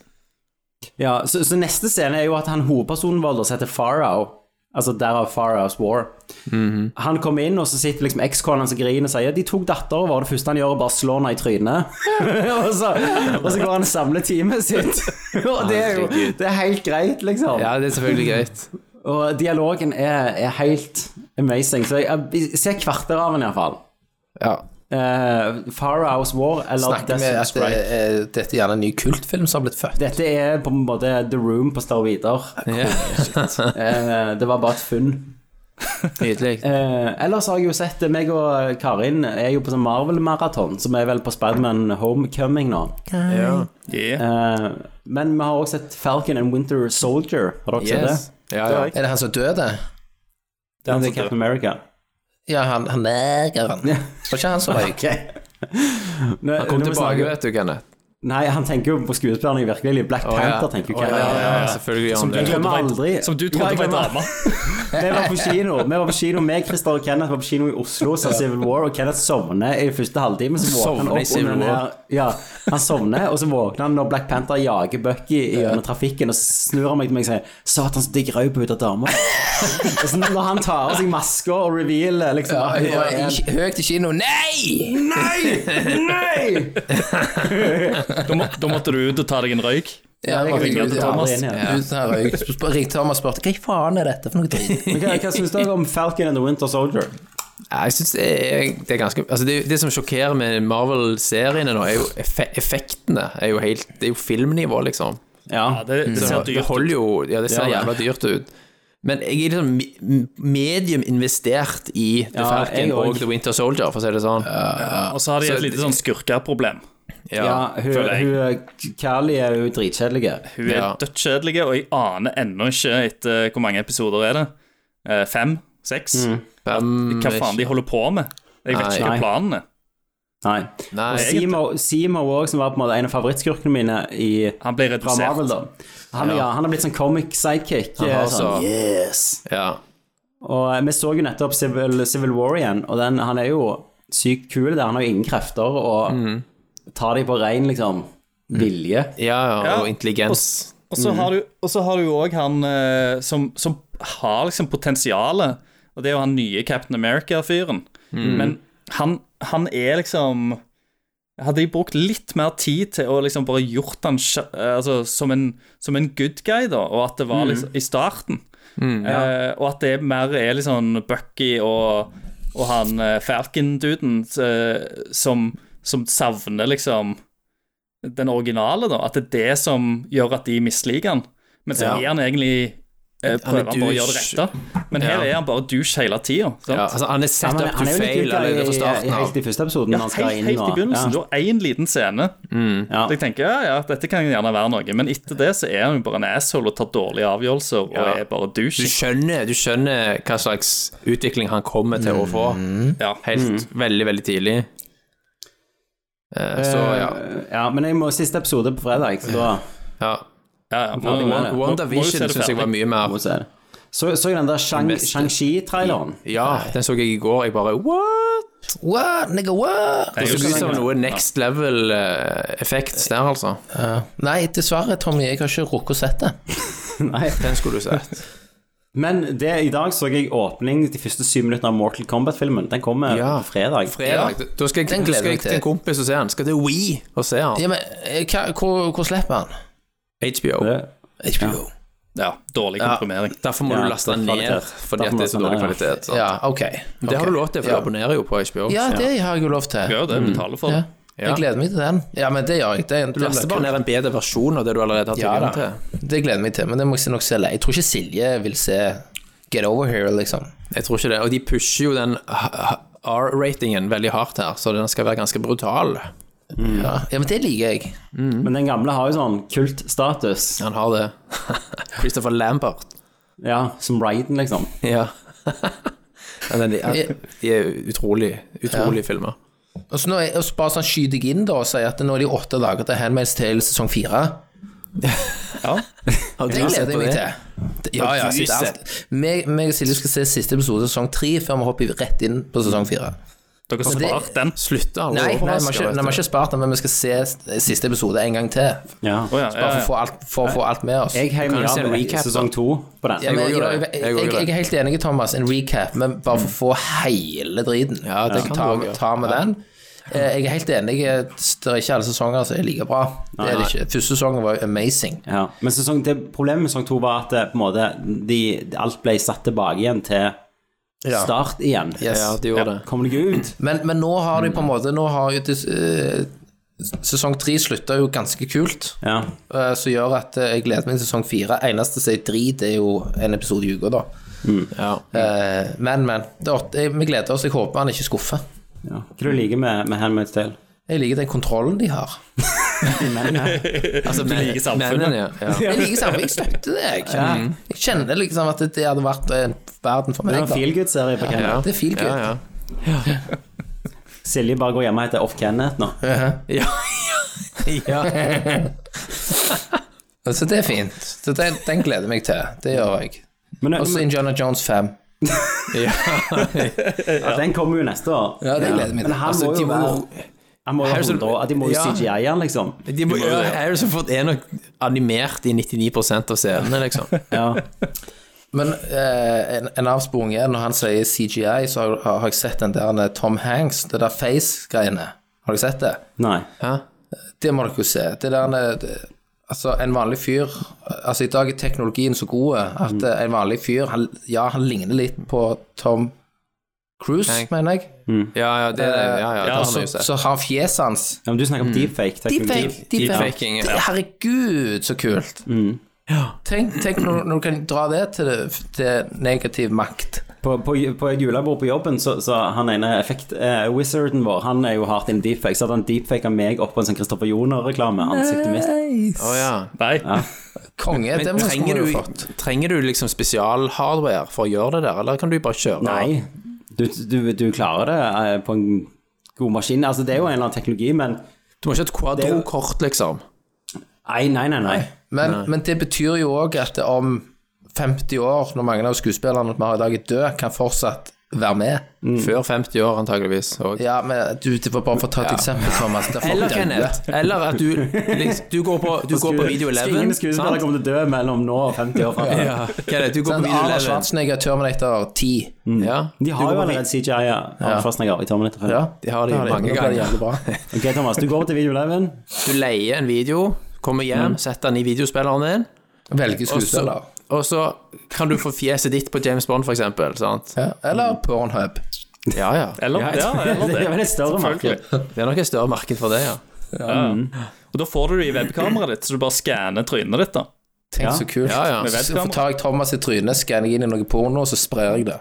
D: Ja, så, så neste scene er jo at han hovedpersonen vår da, som heter Farao, altså derav Farahs War,
F: Mhm.
D: han kommer inn, og så sitter liksom ekskonen hans og griner og sier de tok datteren vår, det første han gjør er bare å slå henne i trynet. og, så, og så går han og samler teamet sitt. og det er jo det er helt greit, liksom.
H: Ja, det er selvfølgelig greit.
D: Og dialogen er, er helt amazing. Så jeg, jeg ser kvarter av den iallfall.
F: Ja.
D: Uh, Farahs War eller
F: Snakker vi
D: Desert
F: at det,
D: Sprite.
F: er- dette er gjerne en ny kultfilm som har blitt født?
D: Dette er på en måte The Room på steroider. Eh, det var bare et funn.
H: Nydelig.
D: Eh, ellers har jeg jo sett Meg og Karin er jo på sånn Marvel-maraton, som er vel på Spiderman Homecoming nå.
G: Yeah.
D: Eh, men vi har også sett Falcon and Winter Soldier. Har dere sett det?
H: Yes. Ja, ja.
F: Er det han som døde?
D: Det er Captain America.
F: Ja, han, han negeren.
D: Ja.
F: Var ikke han som røyk?
D: Nå-
H: Han kom
D: nå må vi snakke-
H: tilbake, vet du, Kenneth.
D: Nei, han tenker jo på skuespillerne i virkelig Black
H: Å, ja.
D: Panther, tenker
H: Å,
D: jeg.
H: ja, ja, ja, selvfølgelig gjør han
D: Jeg
H: det.
D: glemmer aldri
G: Som du
D: Ja,
G: trodde
D: jeg
G: var en
D: glemmer-
G: dame.
D: Vi var på kino. Vi var på kino Meg, Christer og Kenneth var på kino i Oslo så Civil War, og Kenneth sovner i første halvtime. Så våkner
H: Sovner i
D: han opp
H: Civil
D: under den her
H: War.
D: Ja, han sovner, og så våkner han når Black Panther jager Bucky gjennom trafikken, og så snur han meg til meg og sier 'Satan, så digg rød på ut av dama'. Og så når han tar av seg maska og revealer liksom
F: Ja,
D: at hun
F: ja,
D: er en-
F: i- Høyt i kino. Nei!
D: Nei! Nei!
G: Da, må, da måtte du ut og ta deg en røyk.
F: Ja, jeg
G: ringer til Thomas.
D: Ja.
F: Ringte Thomas og spurte hva i faen er dette for noe dritt.
D: Men Hva, hva syns dere om Falcon and the Winter Soldier?
H: Ja, Jeg synes det er, det er ganske Altså, det, det som sjokkerer med Marvel-seriene nå, er jo effe, effektene. Er jo helt, det er jo filmnivå, liksom.
D: Ja.
G: Ja, det, det ser
H: Det
G: dyrt ut.
H: holder jo Ja, det ser
D: Ja,
H: jævla dyrt ut. Men jeg er liksom mi- m- medium investert i The
D: Ja, jeg
H: Falcon
D: også.
H: og The Winter Soldier, for å si det sånn.
G: Og så har de et lite sånn skurkeproblem.
D: ja hun,
G: føler jeg.
D: hun Kali er jo dritkjedelig.
G: Hun er
H: Ja.
G: dødskjedelig, og jeg aner ennå ikke etter hvor mange episoder er det. Eh, fem? Seks?
H: Hvem-
G: Hva faen de holder på med? Jeg vet
H: Nei.
G: ikke hva planen er.
D: Nei.
H: Nei,
D: Og
H: jeg,
D: Seymour- Seymour òg, som var på en måte en av favorittskurkene mine i,
G: Han blir
D: fra Marvel,
G: redusert.
D: da. Han, ja. han har blitt sånn comic sidekick.
H: Han har
D: eh, sånn,
H: så-
D: yes.
H: ja.
D: Og eh, vi så jo nettopp Civil, Civil War igjen, og den, han er jo sykt kul der. Han har jo ingen krefter, og tar de på rein, liksom, vilje.
H: Ja, ja,
G: Ja.
H: og intelligens. Mm.
G: Og så har du- og så har du jo òg han eh, som, som har liksom potensialet, og det er jo han nye Captain America-fyren.
H: Mm.
G: Men han, han er liksom Hadde de brukt litt mer tid til å liksom bare gjort han sj- eh, altså, som, en, som en good guy, da, og at det var
H: Mm.
G: liksom i starten, eh, og at det mer er liksom Bucky og, og han eh, Falcon-duden eh, som, som savner liksom den originale, da. At det er det som gjør at de misliker han. Men så er han egentlig eh, prøver han bare å gjøre det
H: douche.
G: rette. Men her
H: Ja.
D: Ja.
G: er han bare douche hele tida.
H: Ja, altså, han er set
D: Han,
H: up
D: er-
H: to
D: han er jo litt
H: fail
D: kult da,
H: allerede fra
D: i, i,
H: starten av.
D: helt i første episoden.
G: Ja,
D: når han skal
G: helt,
D: inn
G: helt
D: nå.
G: i begynnelsen.
D: Ja.
G: Du har én liten scene.
D: Ja.
G: Så jeg tenker ja, ja, dette kan gjerne være noe. Men etter det så er han jo bare en asshole og tar dårlige avgjørelser og
H: Ja.
G: er bare
H: Du
G: douche.
H: skjønner, du skjønner hva slags utvikling han kommer til å få.
G: Ja.
H: Helt veldig, veldig tidlig. Eh, så ja.
D: Eh, ja, men jeg må siste episode på fredag, så da
H: ja.
G: Ja, ja, må-
D: Ferdig med det.
G: må- må jo se det
H: WandaVision syns jeg
G: ferdig.
H: var mye mer
D: må vi se det. Så, så jo den der Shang-
H: beste.
D: Shang-Chi-traileren.
H: Ja, den så jeg i går. Jeg bare What?!
F: What, nigga, what?
H: Det
G: Jeg
H: så
G: husker
H: ut som
G: ikke.
H: noe next level eh, effects der, altså.
F: Ja. Nei, dessverre, Tommy, jeg har ikke rukket å sett det.
D: Nei.
H: Den skulle du sett.
D: Men det, i dag så jeg åpning de første syv minuttene av Mortal Kombat-filmen. Den kommer
H: Ja.
D: på fredag.
H: Fredag. Da skal jeg,
F: Den
H: da
F: gleder
H: skal jeg
F: jeg
H: til en
F: til.
H: kompis og se den. Skal til We og se den.
F: Ja, men eh, hva, hvor, hvor slipper han?
H: HBO.
D: Det-
F: HBO.
G: Ja, dårlig komprimering.
H: Derfor må
D: Ja,
H: du laste den
D: kvalitet.
H: ned, fordi
D: Derfor
H: at
D: må
H: det er så
D: du laste
H: dårlig
D: den ned, ja.
H: kvalitet. sant?
F: Ja, ok.
H: Det har
F: Ok.
H: du lov til, for du abonnerer jo på HBO.
F: Ja, det har jeg jo lov til.
G: Gjør jo det, betaler for
F: Ja.
G: det.
H: Ja.
F: Jeg gleder meg til den. Ja, men det gjør jeg. Det,
H: Du
F: det
H: laster
F: blir
H: bare
F: kult.
H: ned en bedre versjon av det du allerede har
F: Ja
H: tilgang
F: da,
H: til.
F: det gleder jeg meg til, men det må jeg nok se lei. Jeg tror ikke Silje vil se Get Over Here, liksom.
H: Jeg tror ikke det. Og de pusher jo den R-ratingen veldig hardt her, så den skal være ganske brutal.
F: Ja, ja men det liker jeg.
D: Mm. Men den gamle har jo sånn kultstatus.
H: Han har det. Christopher Lambert.
D: Ja, som Raiden, liksom.
H: Ja. Men den, ja, de er utrolig, utrolig filmer.
F: Og så, nå er, og så bare sånn skyter jeg inn da og sier at nå er det åtte dager til Handmaid's Tale sesong fire.
H: Har
F: Det gleder
H: sett
F: jeg
H: på
F: meg
H: det?
F: til. Ja, ja,
H: Har du
F: sist alt. Meg meg og Silje skal se siste episode av sesong tre før vi hopper rett inn på sesong fire.
G: Dere
F: Men det-
G: sparte den.
H: Slutter alle
F: Mm. Nei, nei, vi har
H: overrasker, vet
F: ikke- nei, vi har
H: du.
F: ikke spart den, men vi skal se s- siste episode en gang til.
D: Ja.
G: Å, ja,
F: Bare for å
G: ja, ja.
F: få alt, for å få alt med oss.
D: Jeg heier
H: Kan
D: meg
H: du se en
D: av
H: recap, da?
D: sesong to på den.
F: Ja, men,
H: Jeg
F: jeg,
H: går jo
F: jeg,
H: det. Jeg
F: jeg,
H: går jo
F: jeg er helt enig, Thomas. En recap, men bare for å få hele driten.
H: Ja, det kan du
F: ta,
H: også gjøre.
F: ta med den. Eh, Jeg er helt enig. eh, Det er ikke alle sesonger som er like bra. Det er det ikke. Første sesongen var jo amazing.
D: Ja. Men sesong, det, problemet med sesong to var at det, på en måte, de, alt ble satt tilbake igjen til
F: Ja.
D: start igjen.
F: Yes.
H: Ja, de gjorde det.
D: Kom deg ut.
F: Men, men nå har
H: Mm.
F: de på en måte Nå har jo dis- eh, Sesong tre slutta jo ganske kult,
D: Ja.
F: eh, som gjør at eh, jeg gleder meg til sesong fire. Eneste som er drit, er jo en episode i uka, da.
H: Ja.
F: Eh, Men, men. Det er åtte, jeg- vi gleder oss. Jeg håper han ikke skuffer.
D: ja. Hva du liker med, med Handmaid's Tale?
F: Jeg liker den kontrollen de har.
H: Altså,
G: Du liker samfunnet.
H: mennene, ja. ja.
F: Jeg liker samfunnet. Jeg støtter det. Jeg kjenner, jeg kjenner liksom at det hadde vært en verden for
D: Det
F: meg.
D: er en
F: Da.
D: feelgood-serie på Kenneth.
F: Det er feel good.
H: Ja, ja.
D: Silje bare går hjemme og heter Off Kenneth nå.
F: Så det er fint. Så den, den gleder jeg meg til. Det gjør jeg.
D: Men,
F: Og så
D: men
F: Indiana Jones 5.
D: den kommer jo neste år.
F: Ja, det gleder jeg meg til.
D: Men han
H: Altså,
D: må
H: de
D: jo
H: må-
D: være Han må jo ha
H: Harrison-
D: 100 år. De må jo
H: Ja.
D: CGI-en, liksom.
H: De må, ja, Harrison Ford er nok animert i 99 av scenene, liksom.
D: Ja.
F: Men eh, en, en avsporing er når han sier CGI, så har, har jeg sett den der Tom Hanks, det der face-greiene. Har dere sett det?
D: Nei.
H: Hæ?
F: Det må dere jo se. Det der det- Altså, en vanlig fyr Altså, i dag er teknologien så god at
H: Mm.
F: eh, en vanlig fyr han, Ja, han ligner litt på Tom Cruise,
H: Hanks.
F: mener jeg.
H: Ja, ja, det, ja, ja, det har vi
F: Så,
H: jo sett.
F: så har fjeset hans
D: Ja, men du snakker om deepfake. teknologi.
F: Deepfake, deepfake.
H: Deepfaking, ja.
F: Det- Herregud, så kult.
H: Mm.
F: Tenk, tenk når, når du kan dra det til, til negativ makt.
D: På, på, på et julebord på jobben, så, så han ene effekt-wizarden vår, han er jo hardt in deepfake, så hadde han deepfaka meg opp på en sånn Christopher Joner-reklame. Ansiktet mitt.
H: Å, ja.
G: Nei.
F: Konge, det
H: Men
F: må
H: trenger
F: du
H: du,
F: fått.
H: trenger du liksom spesialhardware for å gjøre det der, eller kan du bare kjøre?
D: Nei, du, du, du klarer det eh, på en god maskin. Altså, det er jo en eller annen teknologi, men
H: Du må ikke ha et quadro-kort, liksom.
D: Nei, nei, nei. nei.
F: Men, men det betyr jo òg at om 50 år, når mange av skuespillerne vi har i dag er døde, kan fortsatt være med.
H: Før 50 år, antageligvis. Og...
F: Ja, men du, det var bare for å ta et eksempel, Thomas. Det er folk
H: Eller
F: døde.
H: Kenneth. Eller at du liksom, Du går på, du går på video 11.
D: Ingen skuespillere
H: sant?
D: kommer til å dø mellom nå og 50 år framover.
H: Ja, Kenneth, du går på
F: Sånn,
H: video
F: Arnold
H: 11.
F: Schwarzenegger, Terminator
H: Ja,
D: De
F: 10.
D: har
H: Du går
D: jo
H: på
D: allerede CGI av Schwarzenegger i Terminator.
F: Ja,
D: Ja.
H: De har det jo mange
F: nå ble det
H: ganger.
F: jævlig bra.
D: Ok, Thomas, du går til Video 11.
H: Du leier en video, kommer hjem, setter den i videospilleren din,
F: Velge
H: og så,
F: skuespiller.
H: og så kan du få fjeset ditt på James Bond, for eksempel. Sant?
F: Ja, eller Pornhub.
H: Ja, ja.
G: Eller,
D: Ja,
G: ja, eller
D: det
G: det.
D: er vel et større marked.
G: Selvfølgelig. Mm.
H: Det er nok et større marked for det, ja.
G: Og da får du det i webkameraet ditt, så du bare skanner trynet ditt, da.
F: Tenk så kult.
H: Ja, ja.
G: Med
F: Så får- tar jeg Thomas i trynet, skanner jeg inn i noe porno, og så sprer jeg det.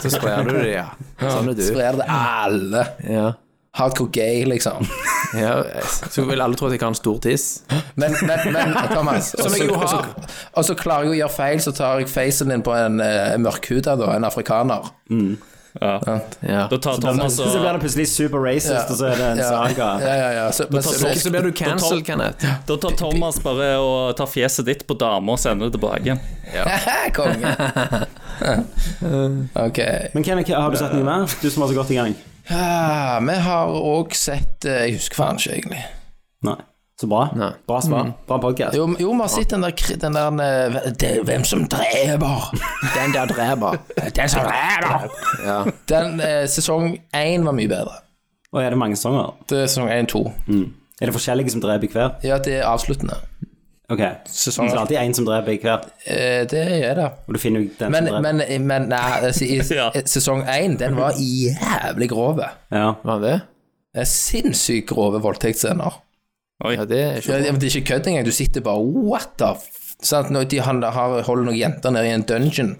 H: Så sprer du det, ja. Sånn er du.
F: Sprer det alle.
H: Ja.
F: Hardcore gay, liksom.
H: ja. Så vil alle tro at jeg har en stor tiss.
F: Men, men, men Thomas og
H: Som jeg
F: så-
H: jo
F: og så-
H: har.
F: Og så klarer jeg å gjøre feil, så tar jeg facen din på en uh, mørkhuda, da, en afrikaner.
H: Ja.
G: Da tar Thomas
F: Altså-
D: Så
G: og
D: blir det plutselig super racist, og så er det en saga.
F: Ja, ja, ja. Så, men, så,
H: Så, så blir du
G: Da tar-
H: cancelled, Kenneth.
G: Da tar Thomas bare og tar fjeset ditt på dama og sender det tilbake igjen.
F: Konge. ok.
D: Men Kenneth, har du sett noe mer? Du som var så godt i gang.
F: Ja, Ah, vi har òg sett eh, Jeg husker faen ikke, egentlig.
D: Nei. Så bra.
H: Nei.
D: Bra svar. Bra podcast.
F: Jo, jo, vi har sett den der, kri- den der eh, det, er Hvem som dreper? Den der dreper. Den som dreper.
H: Ja.
F: Den eh, sesong én var mye bedre.
D: Og er det mange sanger?
F: Det er sesong én, to.
D: Er det forskjellige som dreper i hver?
F: Ja, det er avsluttende.
D: Ok.
F: Sesong-
D: Så det er alltid én som dreper i hver,
F: Eh, det er det.
D: og du finner ut den
F: Men,
D: som dreper.
F: men, men nei, altså, i,
G: Ja.
F: i sesong én, den var jævlig grove.
D: Ja.
H: Var han det?
F: Det er Sinnssykt grove voldtektsscener.
H: Ja, det er
F: Ja,
H: ikke
F: ja, men det er ikke kødd engang. Du sitter bare What the f... Sant? Når de han, har, holder noen jenter nede i en dungeon,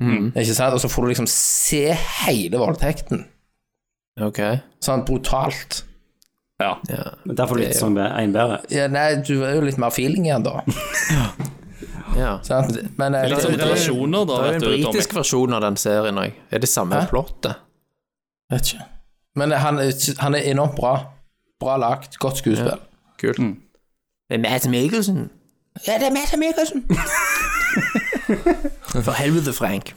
G: Mm.
F: ikke sant? og så får du liksom se hele voldtekten.
H: Ok.
F: Sånn brutalt.
G: Ja.
D: Men Der får du litt sånn én bedre.
F: Ja, nei, du er jo litt mer feeling igjen da.
H: Ja.
F: Sant? Men eh,
G: Litt sånn
F: det- det-
G: relasjoner, da,
H: Det er jo
G: vet
H: en
G: du, Tommy.
H: britisk versjon av den serien òg. Er det samme
F: Hæ?
H: plottet?
F: Vet ikke. Men eh, han, er- han er enormt bra. Bra lagt, godt skuespill.
H: Kult.
G: Mm.
H: Det er Matt Mikkelsen.
F: Ja, det er altså. Mette Mikkelsen.
H: For helvete, Frank.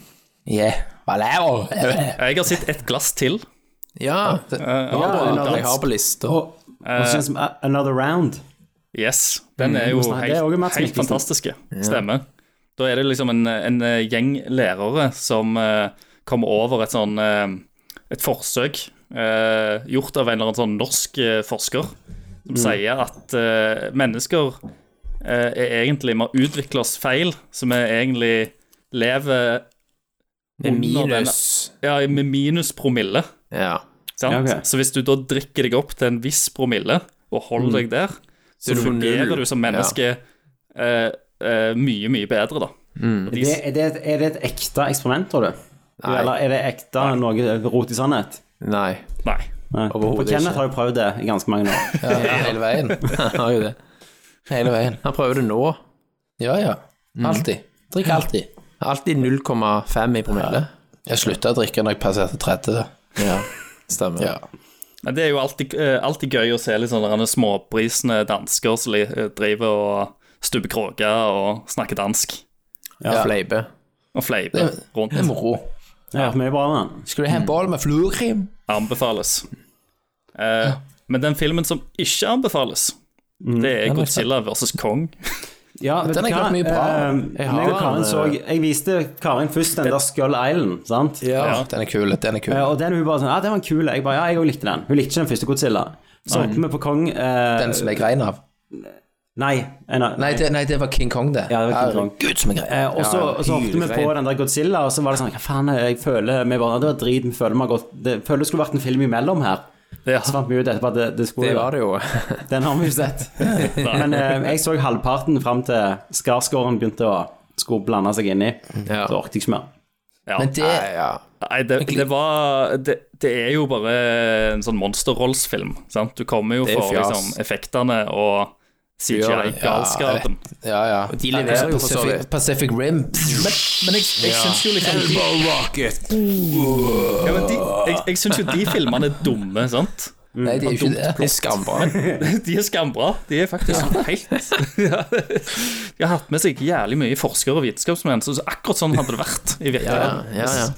F: Ja, hva laver du?
G: Jeg har sett et glass til.
H: Ja, det,
G: Eh, Abel,
D: ja,
G: dans. Eh,
H: jeg har på lista.
D: Og og så kjennes det som A- Another Round.
G: Yes, den er jo
D: det er også
G: helt,
D: Mads
G: helt
D: Mikkelsen.
G: fantastiske. Stemmer. Da er det liksom en, en gjeng lærere som eh, kommer over et sånn eh, et forsøk eh, gjort av en eller annen sånn norsk eh, forsker, som sier at eh, mennesker eh, er egentlig Vi har utvikla oss feil, så vi egentlig lever
H: Med
G: under den-
H: minus.
G: ja, med minus promille.
H: Ja.
G: Sant?
D: Ja, ok.
G: Så hvis du da drikker deg opp til en viss promille og
F: Mm.
G: holder deg der, så
H: er du på null.
G: fungerer du som menneske eh, eh, mye, mye bedre, da. Og De,
D: Det, er, det, et- er det et ekte eksperiment, tror du?
H: Nei.
D: Eller er det ekte noe rot i sannhet?
H: Nei.
G: nei.
D: Nei. For
H: Overhodet
D: Kenneth
H: ikke.
D: har jo prøvd det i ganske mange år.
F: Ja, hele veien.
H: Han har jo det.
F: Hele veien.
H: Han prøver det nå.
F: Ja, ja.
G: Mm.
F: Alltid. Drikk alltid.
H: Alltid 0,5 i promille.
F: Jeg slutta å drikke når jeg passerte 30.
H: Ja, stemmer.
F: Ja.
G: Men det er jo alltid, eh, alltid gøy å se litt sånne der småprisende dansker som li- eh, driver og stuper kråker og snakker dansk
H: Ja. Fleipe.
G: og fleiper
F: Det-
G: rundt.
F: Det er moro.
D: Jeg har hørt mye bra om den.
F: Skal du
G: Mm.
F: ha en boll med fluorkrim?
G: Anbefales. Eh, Men den filmen som ikke anbefales,
F: Mm.
G: det er Godzilla versus Kong.
D: Ja, vet
F: Den
D: du
F: har jeg
D: hva?
F: hørt mye bra om.
D: Eh, meg og Karin så, jeg viste Karin først den der Skull Island, sant?
F: Ja,
G: Ja.
F: den er kul. Den er kul.
D: Eh, Og den hun bare sånn, ja, den var kul. Jeg bare, ja, jeg også likte den. Hun likte ikke den første Godzilla. Så hoppet vi på Kong... eh,
F: Den som jeg grein av.
D: Nei, en av...
F: Nei, det, nei, det var King Kong, det.
D: Ja, det var King Kong.
F: Herregud, som jeg grein.
D: Eh, og så, og så hoppet vi på den der Godzilla, og så var det sånn, hva faen, jeg føler, vi bare, det var drit, vi føler vi har gått, det, føler det skulle vært en film imellom her.
G: Ja.
D: Så fant vi ut etterpå at det, det skulle
H: Det var det jo.
D: Den har vi jo sett. Men eh, jeg så halvparten fram til Skarsgården begynte å skulle blande seg inn i.
H: Ja.
D: Så orket jeg ikke mer.
G: Ja.
F: Men det
H: Nei, ja.
G: Nei, det, det var det, det er jo bare en sånn monsterrollsfilm. Sant? Du kommer jo
H: Det er
G: for
H: fjas.
G: liksom, effektene og CGI-galskapen.
F: Ja, ja.
H: De leverer jo for så
F: sånn
H: vidt.
F: Pacific, Pacific Rim. Men, men jeg, jeg syns jo liksom de,
G: Ja, men de, jeg jeg syns jo de filmene er dumme, sant?
F: Nei, de er jo ikke
H: Det
F: det.
H: er skambra.
G: De er skambra. De er faktisk helt ja. De har hatt med seg jævlig mye forskere og vitenskapsmenn, så akkurat sånn hadde det vært i virkeligheten.
H: Ja, ja.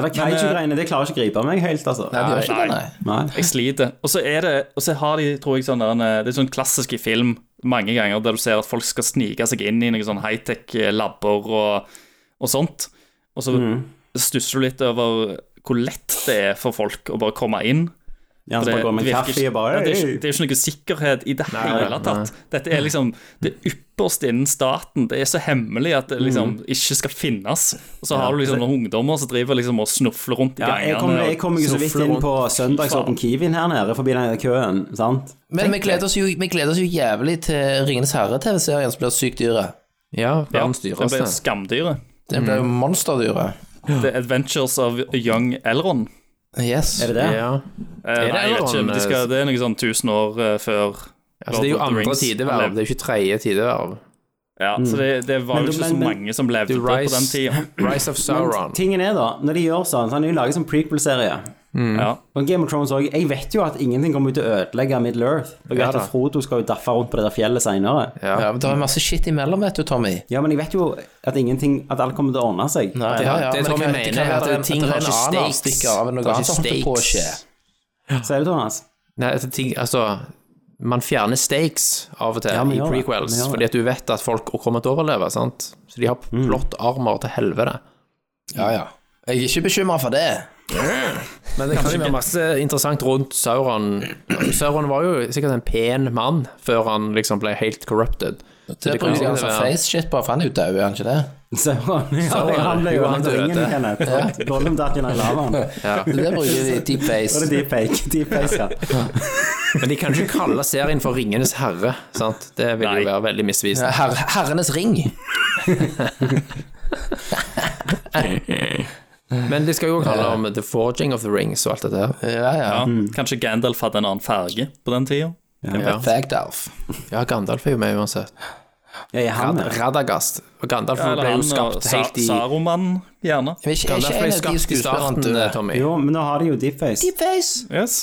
D: Det der kaiju-greiene, det klarer ikke å gripe meg helt, altså.
F: eh, Nei, de gjør ikke det, nei.
D: Nei.
G: Jeg sliter. Og så er det Og så har de, tror jeg, sånn der en, Det er sånn klassisk i film mange ganger der du ser at folk skal snike seg inn i noen sånn high-tech-labber og, og sånt. Og så
D: Mm.
G: stusser du litt over hvor lett det er for folk å bare komme inn.
D: Ja, så
G: det,
D: Altså, bare går med
G: virker
D: kaffe
G: ikke-
D: og bare
G: ja, det, er
D: «Øy!»
G: ikke, det er ikke noe sikkerhet i det hele
H: nei.
G: tatt. Dette er liksom det ypperste innen staten. Det er så hemmelig at det liksom
D: Mm.
G: ikke skal finnes. Og så har du liksom noen ungdommer som driver liksom og snufler rundt i
D: ja, jeg kom,
G: gangene.
D: jeg kom jo så vidt inn på søndagsåpen Kiwien her nede, forbi den køen, sant?
F: Men vi gleder, oss jo, vi gleder oss jo jævlig til Ringenes herre-TV-serien som blir sykt dyre.
H: Ja,
G: ja,
H: verdens
G: det ble
H: dyreste.
G: skamdyre.
F: Den blir jo monsterdyre.
G: The Adventures of Young Elron.
F: Yes.
D: Er det det?
H: Ja.
G: Eh,
H: det
G: nei, jeg vet ikke,
H: Elrond,
G: men de skal,
H: eh,
G: det er noe sånn 1000 år eh, før
H: Altså, det er jo
G: Lord of the
H: andre
G: Rings.
H: tideverv, det er jo ikke tredje tideverv.
G: Ja,
H: Mm.
G: så det, det var
D: Men
G: jo
D: du-
G: ikke så
D: men- men-
G: mange som levde
H: Du,
G: på
H: Rise-
G: den tida.
H: Rise of Sauron.
D: Tingen er da, når de gjør sånn, så har de jo laget sånn prequel-serie.
H: Mm.
G: Ja.
D: Og Game of Thrones også, jeg vet jo at ingenting kommer til å ødelegge Middle-earth. Jeg vet
H: Ja, da.
D: at Frodo skal jo daffe rundt på det der fjellet senere.
F: Ja, men Det er masse shit imellom, vet du, Tommy.
D: Ja, men jeg vet jo at ingenting, at alt kommer til å ordne seg.
F: Ja, ja,
H: det
F: men
H: Tommy
F: kan-
H: mener
F: kan være
H: er at
F: at
H: ting
F: det
H: har
F: har
H: ikke
F: ikke
H: stakes.
F: avstikker av
H: Det
F: noe
H: har
F: annet
H: ikke
F: som holder på å skje.
H: stakes.
D: Sier du, Thomas?
H: Nei, altså, ting, altså Man fjerner stakes av og til
D: Ja, vi
H: i
D: gjør det.
H: prequels,
D: Vi gjør det.
H: fordi at du vet at folk kommer til å overleve, sant? Så de har blått armer til helvete.
F: Ja, ja. Jeg er ikke bekymra for det.
H: Men det kan jo være masse interessant rundt Sauron. Sauron var jo sikkert en pen mann før han liksom ble helt corrupted.
F: Det
H: kan
F: bruker de
H: sikkert
F: altså
H: være-
F: face shit på, for han er jo død, er han ikke det?
D: Sauron. Ja,
H: Sauron.
D: han ble jo
H: Jo, han
D: han til ringen,
H: døde.
D: Kenneth. Gollum datt jo ned i lavaen.
F: Det bruker de deep
D: Så
F: face.
D: er det deepfake. Deepfake, ja.
H: Men de kan jo ikke kalle serien for Ringenes herre, sant? Det vil
G: Nei.
H: jo være veldig misvisende.
F: Her, herrenes ring.
H: Men det skal jo også handle om The Forging of the Rings og alt dette her.
F: Ja, ja.
G: Ja. Kanskje Gandalf hadde en annen farge på den tida.
H: Ja.
F: Fagdalf.
H: Ja, Gandalf er jo med uansett.
D: Jeg er han, ja.
H: Radagast. Og Gandalf
G: Eller
H: ble
G: han
H: jo skapt
G: og
H: helt i
G: Saruman, gjerne.
F: Men ikke,
H: Gandalf
F: ikke
H: ble
F: en av de
H: skapt i starten,
F: skuespillerne
H: eh, Tommy.
D: Jo, men da har de jo deepface.
F: Deepface!
G: Yes.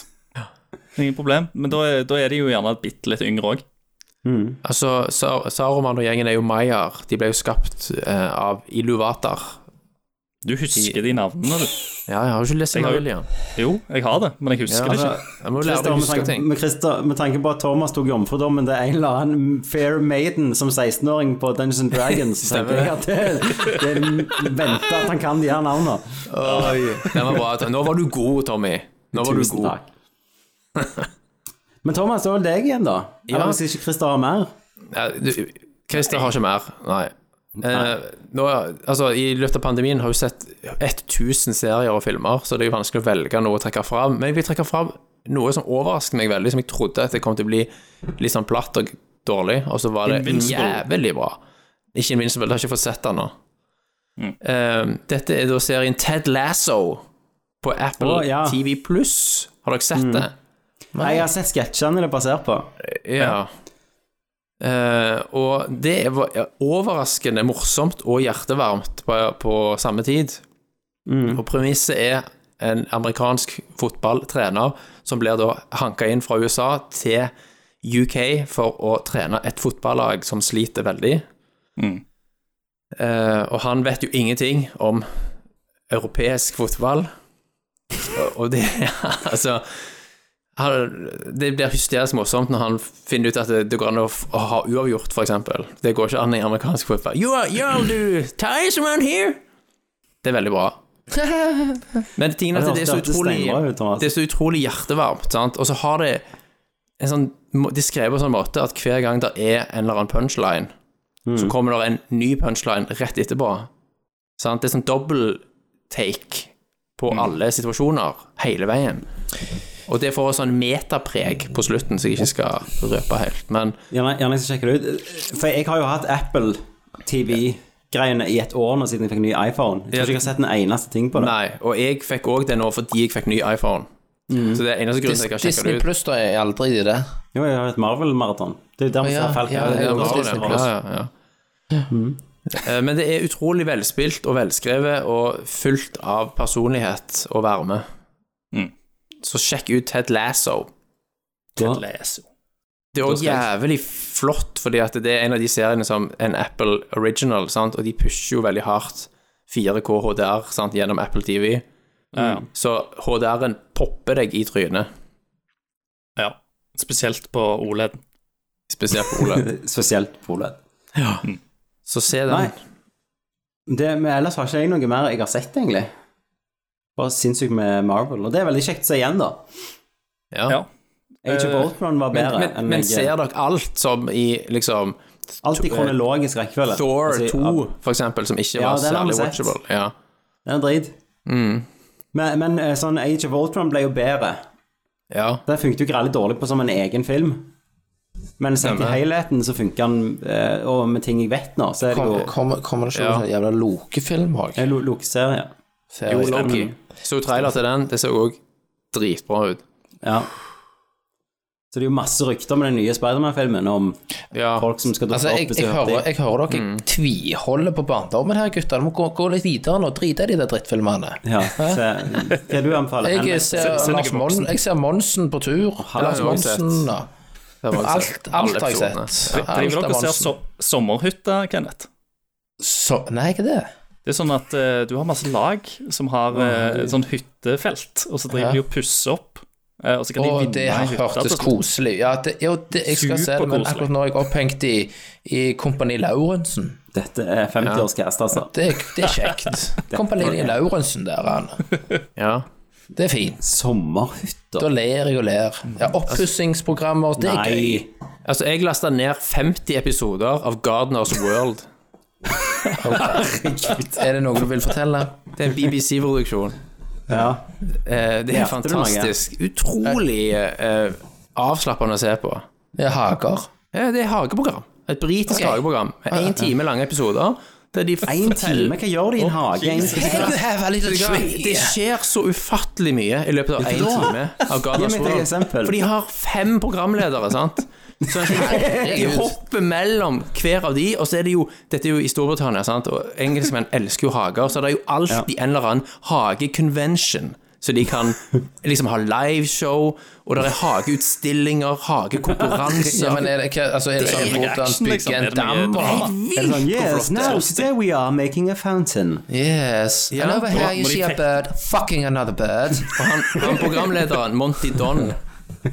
G: Ingen problem. Men da er, da er de jo gjerne bitte litt yngre òg.
H: Altså, Sa- Saruman og gjengen er jo mayaer. De ble jo skapt eh, av iluvater.
G: Du husker de navnene, du.
H: Ja, jeg har jo ikke lest
G: Jeg har jo-
H: William.
G: Jo, jeg har det, men jeg husker det ikke.
H: Jeg må jo lære meg
D: Christer,
H: å
D: med,
H: huske
D: tanke,
H: ting.
D: med, Christer, med tanke på at Thomas tok jomfrudommen til en eller annen fair maiden som 16-åring på Dungeons and Dragons, så tenker jeg at det, det er venta at han kan de her navnene.
H: Den var bra. Tom. Nå var du god, Tommy. Nå var du
D: Tusen
H: god.
D: takk. Men Thomas, det var vel deg igjen, da?
H: Ja.
D: Eller hvis ikke Christer har mer?
H: Ja, du- Christer har ikke mer. Nei. Eh, nå, altså, I løpet av pandemien har vi sett 1000 serier og filmer, så det er jo vanskelig å velge noe å trekke fram. Men jeg vil trekke fram noe som overrasket meg veldig, som jeg trodde at det kom til å bli litt sånn platt og dårlig, og så var det jævlig bra. Ikke Invincible, jeg har ikke fått sett den nå.
D: Mm.
H: Eh, dette er da serien Ted Lasso på Apple
D: Å, ja. Mm.
H: TV Pluss. Har dere sett det?
D: Nei, jeg har sett sketsjene det er basert på.
H: Ja. Eh, og det var overraskende morsomt og hjertevarmt på, på samme tid. Og premisset er en amerikansk fotballtrener som blir da hanka inn fra USA til UK for å trene et fotballag som sliter veldig.
G: Mm.
H: Eh, og han vet jo ingenting om europeisk fotball. Og- Og det Altså han, det blir hysterisk morsomt når han finner ut at det, det går an å, f- å ha uavgjort, for eksempel. Det går ikke an i amerikansk fotball. You are, you all do ties around here! Det er veldig bra. Men tingen er at det er så
D: hørtes
H: utrolig
D: steinbra ut, Thomas.
H: Det er så utrolig hjertevarmt, sant? Og så har det en sånn må- De skrev på en sånn måte at hver gang det er en eller annen punchline,
D: Mm.
H: så kommer det en ny punchline rett etterpå. Sant? Det er sånn dobbel take på
D: Mm.
H: alle situasjoner hele veien. Og det får også en metapreg på slutten, så jeg ikke skal røpe helt. Men
D: Gjerne, gjerne jeg skal sjekke det ut. For jeg har jo hatt Apple TV-greiene i et år nå siden jeg fikk en ny iPhone. Jeg tror ikke jeg har sett en eneste ting på det.
H: nei, og jeg fikk òg det nå fordi jeg fikk ny iPhone.
D: Mm.
H: Så det er eneste grunnen til at jeg har sjekka det
F: Disney
H: ut.
F: Pluss, da, er aldri i det.
D: Jo, jeg har et Marvel-maraton. Det er jo der vi
F: Å,
D: ser
F: ja,
D: Falcon.
F: ja,
D: Det er
F: ja,
D: jo
F: ja,
D: Disney+.
F: det er
H: Ja, ja, ja. Eh, Men det er utrolig velspilt og velskrevet og fullt av personlighet og varme.
G: Mm.
H: Så sjekk ut Ted Lasso.
D: Da-
G: Leso.
H: Det er
G: Da
H: også
G: skal jeg-
H: jævlig flott, fordi at det er en av de seriene som en Apple Original, sant? og de pusher jo veldig hardt 4K HDR sant? gjennom Apple TV.
G: Ja, ja.
H: Så HDR-en popper deg i trynet,
G: ja. Spesielt på E OLED-en.
H: spesielt på Ole.
D: Spesielt Poled.
H: Så se den.
D: Nei. Det, men ellers har ikke jeg noe mer jeg har sett, egentlig. Bare sinnssykt med Marvel. Og det er veldig kjekt å se igjen, da.
H: Ja.
G: Ja.
D: Age
G: Eh,
D: of Ultron var
H: Eh, Men,
D: bedre
H: men, men
D: enn jeg
H: ser dere alt som i liksom
D: Alt i kronologisk rekkefølge.
H: Thor
D: Altså,
H: 2, for eksempel, som ikke
D: Ja,
H: var
D: den har vi
H: særlig
D: sett.
H: watchable? Ja.
D: Det er en drit.
H: Mm.
D: Men, men eh, sånn Age of Ultron ble jo bedre.
H: ja.
D: Den funket jo greit dårlig på som en egen film. Men sett i
H: Stemmer.
D: helheten så funker den, eh, og med ting jeg vet nå, så er det jo
F: Kommer kommer- kommer det ikke noen sånn jævla lokefilm òg?
D: en lo- lokeserie.
H: Jo, Loki.
F: Mm.
H: Så trailer til den. Det så òg dritbra ut.
D: Ja. Så det er jo masse rykter med den nye Spiderman-filmen om
H: Ja.
D: folk som skal
F: Altså,
D: dukke
F: jeg,
D: opp. hvis
F: jeg,
D: du hørte
F: hører,
D: det.
F: jeg hører dere tviholder på barndommen her, gutter. Du må gå, gå litt videre nå. Drite i de der drittfilmene.
D: Ja, så, hva du anbefaler
F: Jeg eh,
D: Henrik?
F: ser, Lars Mon, jeg ser Monsen på tur. Lars
H: har jeg også
F: Monsen og
H: Det var altså
F: Alt, alt har jeg sett. Alt
G: Driver
F: av
G: dere og ser
F: Monsen.
G: so sommerhytta, Kenneth?
F: Så, nei, ikke det.
G: Det er sånn at eh, du har masse lag som har eh, sånn hyttefelt, og så driver
F: Ja.
G: de og pusser opp. eh, og så kan
F: Og
G: de
F: det
G: vinne
F: har
G: hytta. sånn til
F: hørtes
G: slutt.
F: koselig Ja, det, jo, det, jeg skal se det, men
G: Superkoselig.
F: akkurat nå er jeg opphengt i, i Kompani Lauritzen.
D: Dette er 50-årscast, altså.
F: Det, er- det er kjekt. Kompani Lauritzen der, han.
H: Ja.
F: Det er fint. Da
D: Sommerhytter?
F: ler jeg og ler.
G: Mm.
F: Ja,
G: Altså,
F: Oppussingsprogrammer, det er gøy.
D: Nei.
H: Altså, jeg lasta ned 50 episoder av Gardeners World.
F: Er det noe du vil fortelle?
H: Det er en BBC-produksjon.
D: Ja.
H: Eh, det er
D: Lærte du noe?
H: fantastisk. Utrolig eh, avslappende å se på.
F: Det er hager.
H: Ja, det er hageprogram. Et britisk
F: Ok.
H: hageprogram. Én time lange episoder. Der de
D: En
H: forteller-
D: time? Hva gjør de i en hage? En
F: You have a little tree.
H: Det skjer så ufattelig mye i løpet av én
D: da.
H: time. Av Gardas
D: Gi meg et
H: World.
D: eksempel.
H: For de har fem programledere, sant? Så de hopper mellom hver av de, og så er det jo Dette er jo i Storbritannia, sant? og engelskmenn elsker jo hager, så det er jo alltid en eller annen hagekonvensjon. Så de kan liksom ha liveshow, og det er hageutstillinger,
F: Ja,
H: hagekonkurranser
F: men er det, hva, altså, er det sånn
G: mye
F: hvordan
G: action,
F: bygge
G: liksom.
F: en
G: Er det mye
F: dam?
G: drama?
F: og-
D: Er det sånn, yes, now today we are making a fountain.
F: Yes. And over here you
G: må de
F: see a
G: fekte?
F: bird fucking another bird.
H: Og han, han programlederen, Monty Don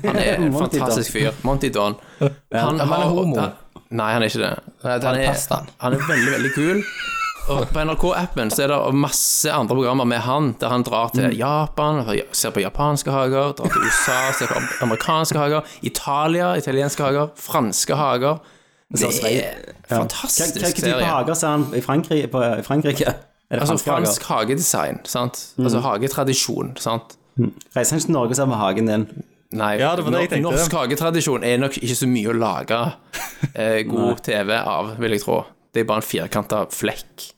H: Han er en
D: Monty
H: fantastisk fyr. Monty Don. Han
F: er
H: har-
F: homo.
H: han- Nei, han er ikke det.
F: Nei, det hadde passet han.
H: han er veldig, veldig kul. Og på NRK-appen så er det masse andre programmer med han, der han drar
D: Mm.
H: til Japan, ser på japanske hager, drar til USA, ser på am- amerikanske hager, Italia, italienske hager, franske hager. Det er
D: Hva-
H: fantastisk
D: Hvilken type
H: serie.
D: hager sa han i Frankrike? På, i Frankrike? Er det
H: Altså
D: franske hager? Mm.
H: fransk hagedesign, sant. Altså hagetradisjon, sant.
D: Reiser han ikke til Norge sammen med hagen din?
H: Nei,
G: Ja, det var det jeg
H: nor- norsk
G: tenkte.
H: hagetradisjon er nok ikke så mye å lage eh, god TV av, vil jeg tro. Det er bare en firkanta flekk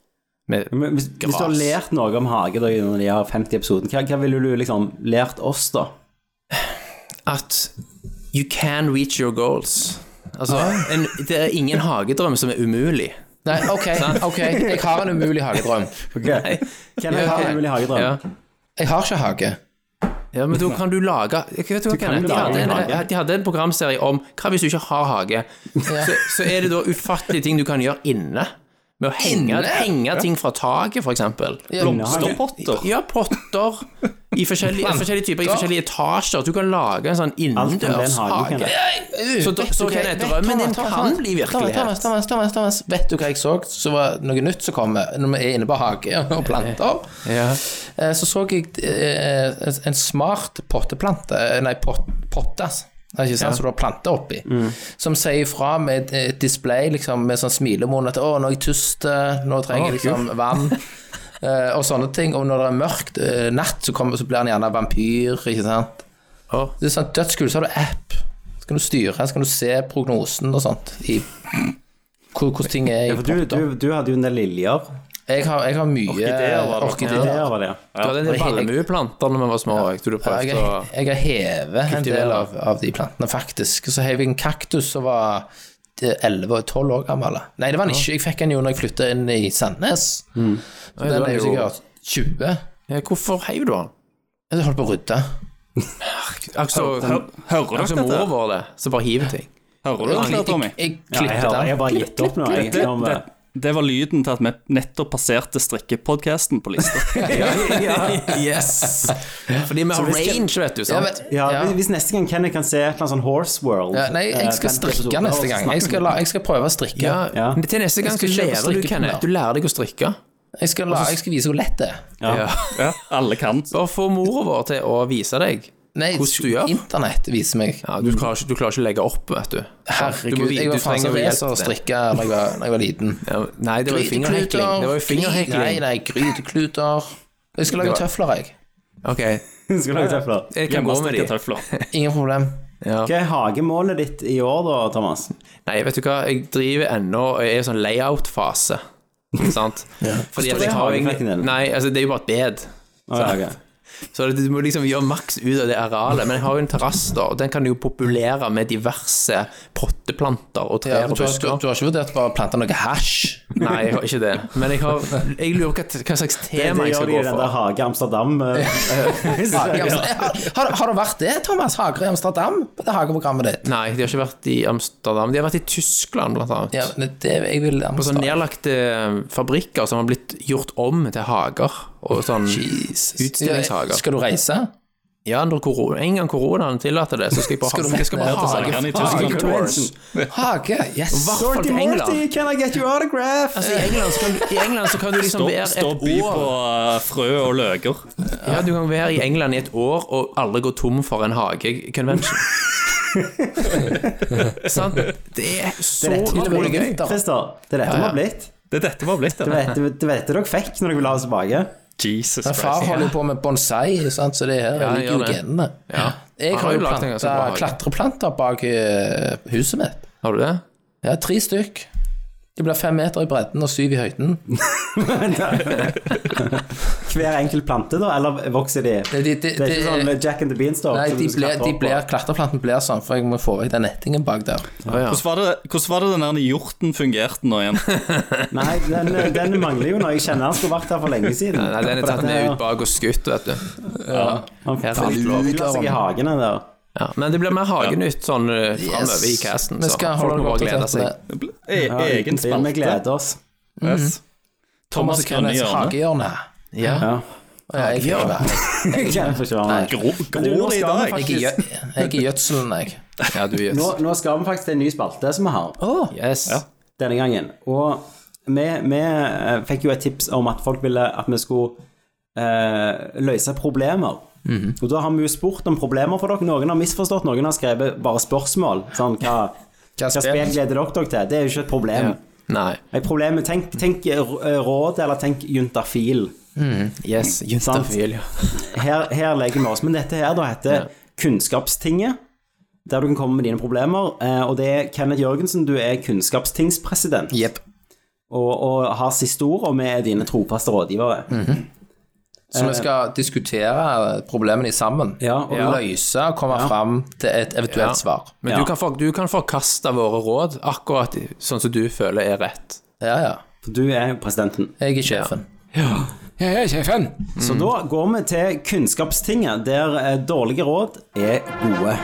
H: med
D: Men hvis, hvis du har
H: Gras.
D: lært noe om hage da, når de har 50 episoden, hva, hva ville du liksom lært oss, da?
H: at you can reach your goals. Altså, en, det er ingen hagedrøm som er umulig.
F: Ah. Nei, ok, ok, jeg har en umulig hagedrøm.
D: Okay. Hvem har
F: ok.
D: en mulig hagedrøm?
H: Ja.
F: Jeg har ikke hage.
H: ja, men da kan du lage Jeg vet du hva, Kenneth, de,
D: jo lage
H: hadde
D: en
H: en,
D: hage.
H: de hadde en programserie om hva hvis du ikke har hage? Så, så er det da ufattelige ting du kan gjøre inne. Med å henge,
F: Inne?
H: henge ting fra taket, for eksempel.
G: Blomsterpotter.
H: Ja, potter i forskjellige, forskjellige typer, i forskjellige etasjer. Du kan lage en sånn
D: Alt kan bli en
H: innendørshage.
D: hage, Kenneth.
H: Så da- så kan jeg- drømmen din kan bli virkelighet.
F: Thomas, Thomas, Thomas, Thomas, vet du hva jeg så? Så var det noe nytt som kom eh, når vi er inne på hage og planter.
H: Ja.
F: Eh, Så så jeg eh, en- en smart potteplante, eh, nei, pot, potte, det er ikke sant, som du har planter oppi, som sier ifra med et- et display, liksom, med sånn smilemåne at 'Å, nå er jeg tørst, eh, nå trenger jeg liksom vann'. eh, Og sånne ting. Og når det er mørkt eh, natt, så, kommer, så blir han gjerne vampyr, ikke sant.
H: Å.
F: Det er sånn dødskult, så har du app. Så kan du styre, så kan du se prognosen og sånt. I, hvor- hvordan ting er i
D: For du,
F: potter.
D: du, du hadde jo en del liljer.
F: Jeg har, jeg har mye
G: Orkideer var det.
F: orkideer.
D: Orkideer var det.
H: Du hadde en del valmueplanter da vi var små. Jeg tror du
F: Ja,
H: prøvde å
F: Jeg, jeg hever en del av, av de plantene, faktisk. Så hev jeg en kaktus som var 11 og 12 år gammel. Nei, det var den ikke. Jeg fikk den jo når jeg flytta inn i Sandnes. Så
H: da
F: den
H: er
F: er jo
H: jo-
F: sikkert 20.
H: Ja, Hvorfor heiv du han?
F: Jeg holdt på å rydde.
H: Altså,
G: Hø- Hører
H: altså
G: dere
H: mor
G: dette?
H: vår det, så bare hiver ting.
G: Hører dere
F: Jeg,
G: dette, Tommy?
F: jeg, jeg
D: Ja, jeg,
F: klippet
D: har,
F: den.
D: jeg har bare gitt opp nå. Jeg, om,
G: Det, det var lyden til at vi nettopp passerte strikkepodcasten på lista.
D: eh,
H: Yes! Fordi vi har range, vet du.
F: Ja,
H: sant?
F: men,
D: ja,
F: ja.
D: hvis- Hvis neste gang Kenneth kan se et eller annet sånn Horse World eh,
F: Ja, nei, jeg skal strikke neste gang. Jeg skal, la, jeg skal prøve å strikke.
H: Ja,
D: Ja.
H: men Til neste gang
F: Jeg skal
H: så
F: kjøpe
H: lærer du,
F: strikkepinner.
H: Kenneth. Du lærer deg å strikke.
F: Jeg, skal la, jeg skal vise hvor lett det er.
H: Ja.
G: Ja, alle kan.
H: Bare få mora vår til å vise deg.
F: Nei,
H: Hvordan du gjør?
F: internett viser meg.
H: Ja,
D: Mm.
H: du, klarer ikke, du klarer ikke å legge opp, vet du. Du må
F: Herregud,
H: vite-
F: jeg var
H: du
F: faen så
H: trenger
F: res
H: hjelp til
F: å
H: det.
F: strikke da jeg var- da jeg var liten.
H: Ja, nei, det var jo fingerhekling. Det var jo
F: Nei,
H: fingerhekling.
F: nei, grytekluter. Jeg skal lage
H: Det var-
F: tøfler, jeg.
H: Ok,
D: Skal du lage tøfler?
H: jeg kan
G: Hjemme
H: gå
G: og
H: med
G: strikke
H: de.
G: tøfler.
F: Ingen problem.
H: Ja.
D: Hva er hagemålet ditt i år, da, Thomas?
H: Nei, vet du hva, jeg driver ennå og jeg er i sånn layout-fase. Sant? Fordi at
D: Hvordan
H: jeg har
D: er
H: jo
D: hageflekken
H: ingen
D: din?
H: Nei, altså, det er jo bare et bed.
D: Å, ja, ok.
H: Så du må liksom gjøre maks ut av det arealet. Men jeg har jo en terrasse, da, og den kan du jo populere med diverse potteplanter og
F: Ja,
H: trær
F: men
H: og
F: du, har, du,
H: busker.
F: du har ikke vurdert bare å plante noe hasj?
H: Nei, jeg har ikke det. Men jeg, har, jeg lurer på hva, hva slags
D: Det,
H: tema jeg
D: gjør
H: skal
D: de i
H: gå
D: den der
H: for.
D: Hage Amsterdam. eh,
F: Hage i Amsterdam. altså, Har, har det vært det, Thomas? Hager i Amsterdam? På det hageprogrammet ditt?
H: Nei, de har ikke vært i Amsterdam. De har vært i Tyskland, blant annet.
F: Ja, men det jeg vil
H: På sånn sånne
F: Amsterdam.
H: nedlagte eh, fabrikker som har blitt gjort om til hager. Og sånn utstillingshager.
F: Skal du reise?
H: Ja, når korona, en gang koronaen tillater det, så skal jeg bare
F: Skal du
H: ha jeg skal bare
F: rett
H: ha
F: ned til
G: Sagene i
H: hage-
G: Tyskland?
H: hagetours.
F: Hage, yes.
H: Hva-
D: Dorothy
H: Folk i England.
D: Morty, can I get your autograph?
H: Altså, I England, så kan, du- I England så kan du liksom
G: Stå,
H: være
G: stå by
H: et
G: på
H: år
G: eh, frø og løker.
H: Ja, du kan være i England i et år og aldri gå tom for en hagekonvensjon. Sant? Det er så
D: Det er til og med
H: utrolig gøy.
F: gutter.
D: Christer, det er dette vi har blitt.
G: Det er dette vi har blitt.
D: Det
G: Det.
D: vet, det vet- det vet dere fikk når dere ville ha oss tilbake.
G: Jesus
F: Men far
G: Christ.
F: holder jo på med bonsai, sant? så det her
H: han
F: ligger jo
H: gjør
F: i
H: det.
F: genene.
H: Ja.
F: Jeg
H: Han
F: har
H: har
F: jo
H: jo lagt en ganske bra
F: planta
H: hage.
F: klatreplanter bak eh, huset mitt.
H: Har du det?
F: Ja, tre stykk. De blir fem meter i bredden og syv i høyden.
D: Hver enkelt plante, da? Eller vokser de?
F: De, de, de,
D: Det er ikke sånn Jack and the Beanstalk?
F: nei,
D: som
F: de
D: du skal
F: blir,
D: klatre
F: de
D: opp på.
F: blir, klatreplanten blir sånn, for jeg må få vekk den nettingen bak der.
G: Hvordan var det, hvordan var det den der hjorten fungerte nå igjen?
D: Nei, den, eh, den mangler jo når jeg kjenner han skulle vært her for lenge siden.
H: Nei, den er tatt ned ut bak og skutt, vet du.
D: Han
H: alt lov.
D: flyr seg i hagen, den der.
H: Ja, men det blir mer hagenytt sånn eh, framover i casten.
F: Vi
H: så
F: skal
H: folk
F: holde
H: må
F: dere
H: bare glede
F: oppdatert på
H: seg.
F: det.
G: Det ble e
D: Ja,
G: egen
D: uten tvil, Vi
G: spalte.
D: gleder oss.
G: Yes.
F: Thomas
G: Mm. Thomas
F: og
G: Grønne
F: Kenneths
G: Hjørne.
F: hagehjørne. Ja.
D: Ja.
F: Og jeg, jeg, jeg,
D: Jeg kjenner for kjøren.
G: Grå-
D: Men du, nå
G: Gror det i
D: skal vi
G: dag?
D: faktisk-
F: er gjø- jeg er gjødselen, jeg.
H: Ja, du, yes.
D: Nå, nå skal vi faktisk til en ny spalte som vi har
H: yes.
D: denne gangen. Og vi, vi eh, fikk jo et tips om at folk ville at vi skulle eh, løse problemer. Og da har vi jo spurt om problemer for dere. Noen har misforstått, noen har skrevet bare spørsmål. Sånn hva, hva
F: spill?
D: spill gleder dere dere til? Det er jo ikke et problem.
H: Nei.
D: Et problem, tenk, tenk eh, råd, eller tenk juntafil.
H: Yes. Juntafil, ja.
D: her, her legger vi oss. Men dette her da heter Kunnskapstinget. Der du kan komme med dine problemer. Eh, og det er Kenneth Jørgensen, du er kunnskapstingspresident.
F: Jepp.
D: Og, og har siste ord, og vi er dine trofaste rådgivere.
F: Så vi skal diskutere eh, problemene sammen.
D: Ja, og-
F: og løse og komme fram til et
H: Ja.
F: eventuelt svar.
H: Men
D: Ja.
H: du, kan for, du kan forkaste våre råd akkurat i- sånn som du føler er rett.
F: Ja, ja.
D: For du er presidenten.
F: Jeg er sjefen.
J: Jeg er sjefen.
D: Så da går vi til Kunnskapstinget, der eh, dårlige råd er gode.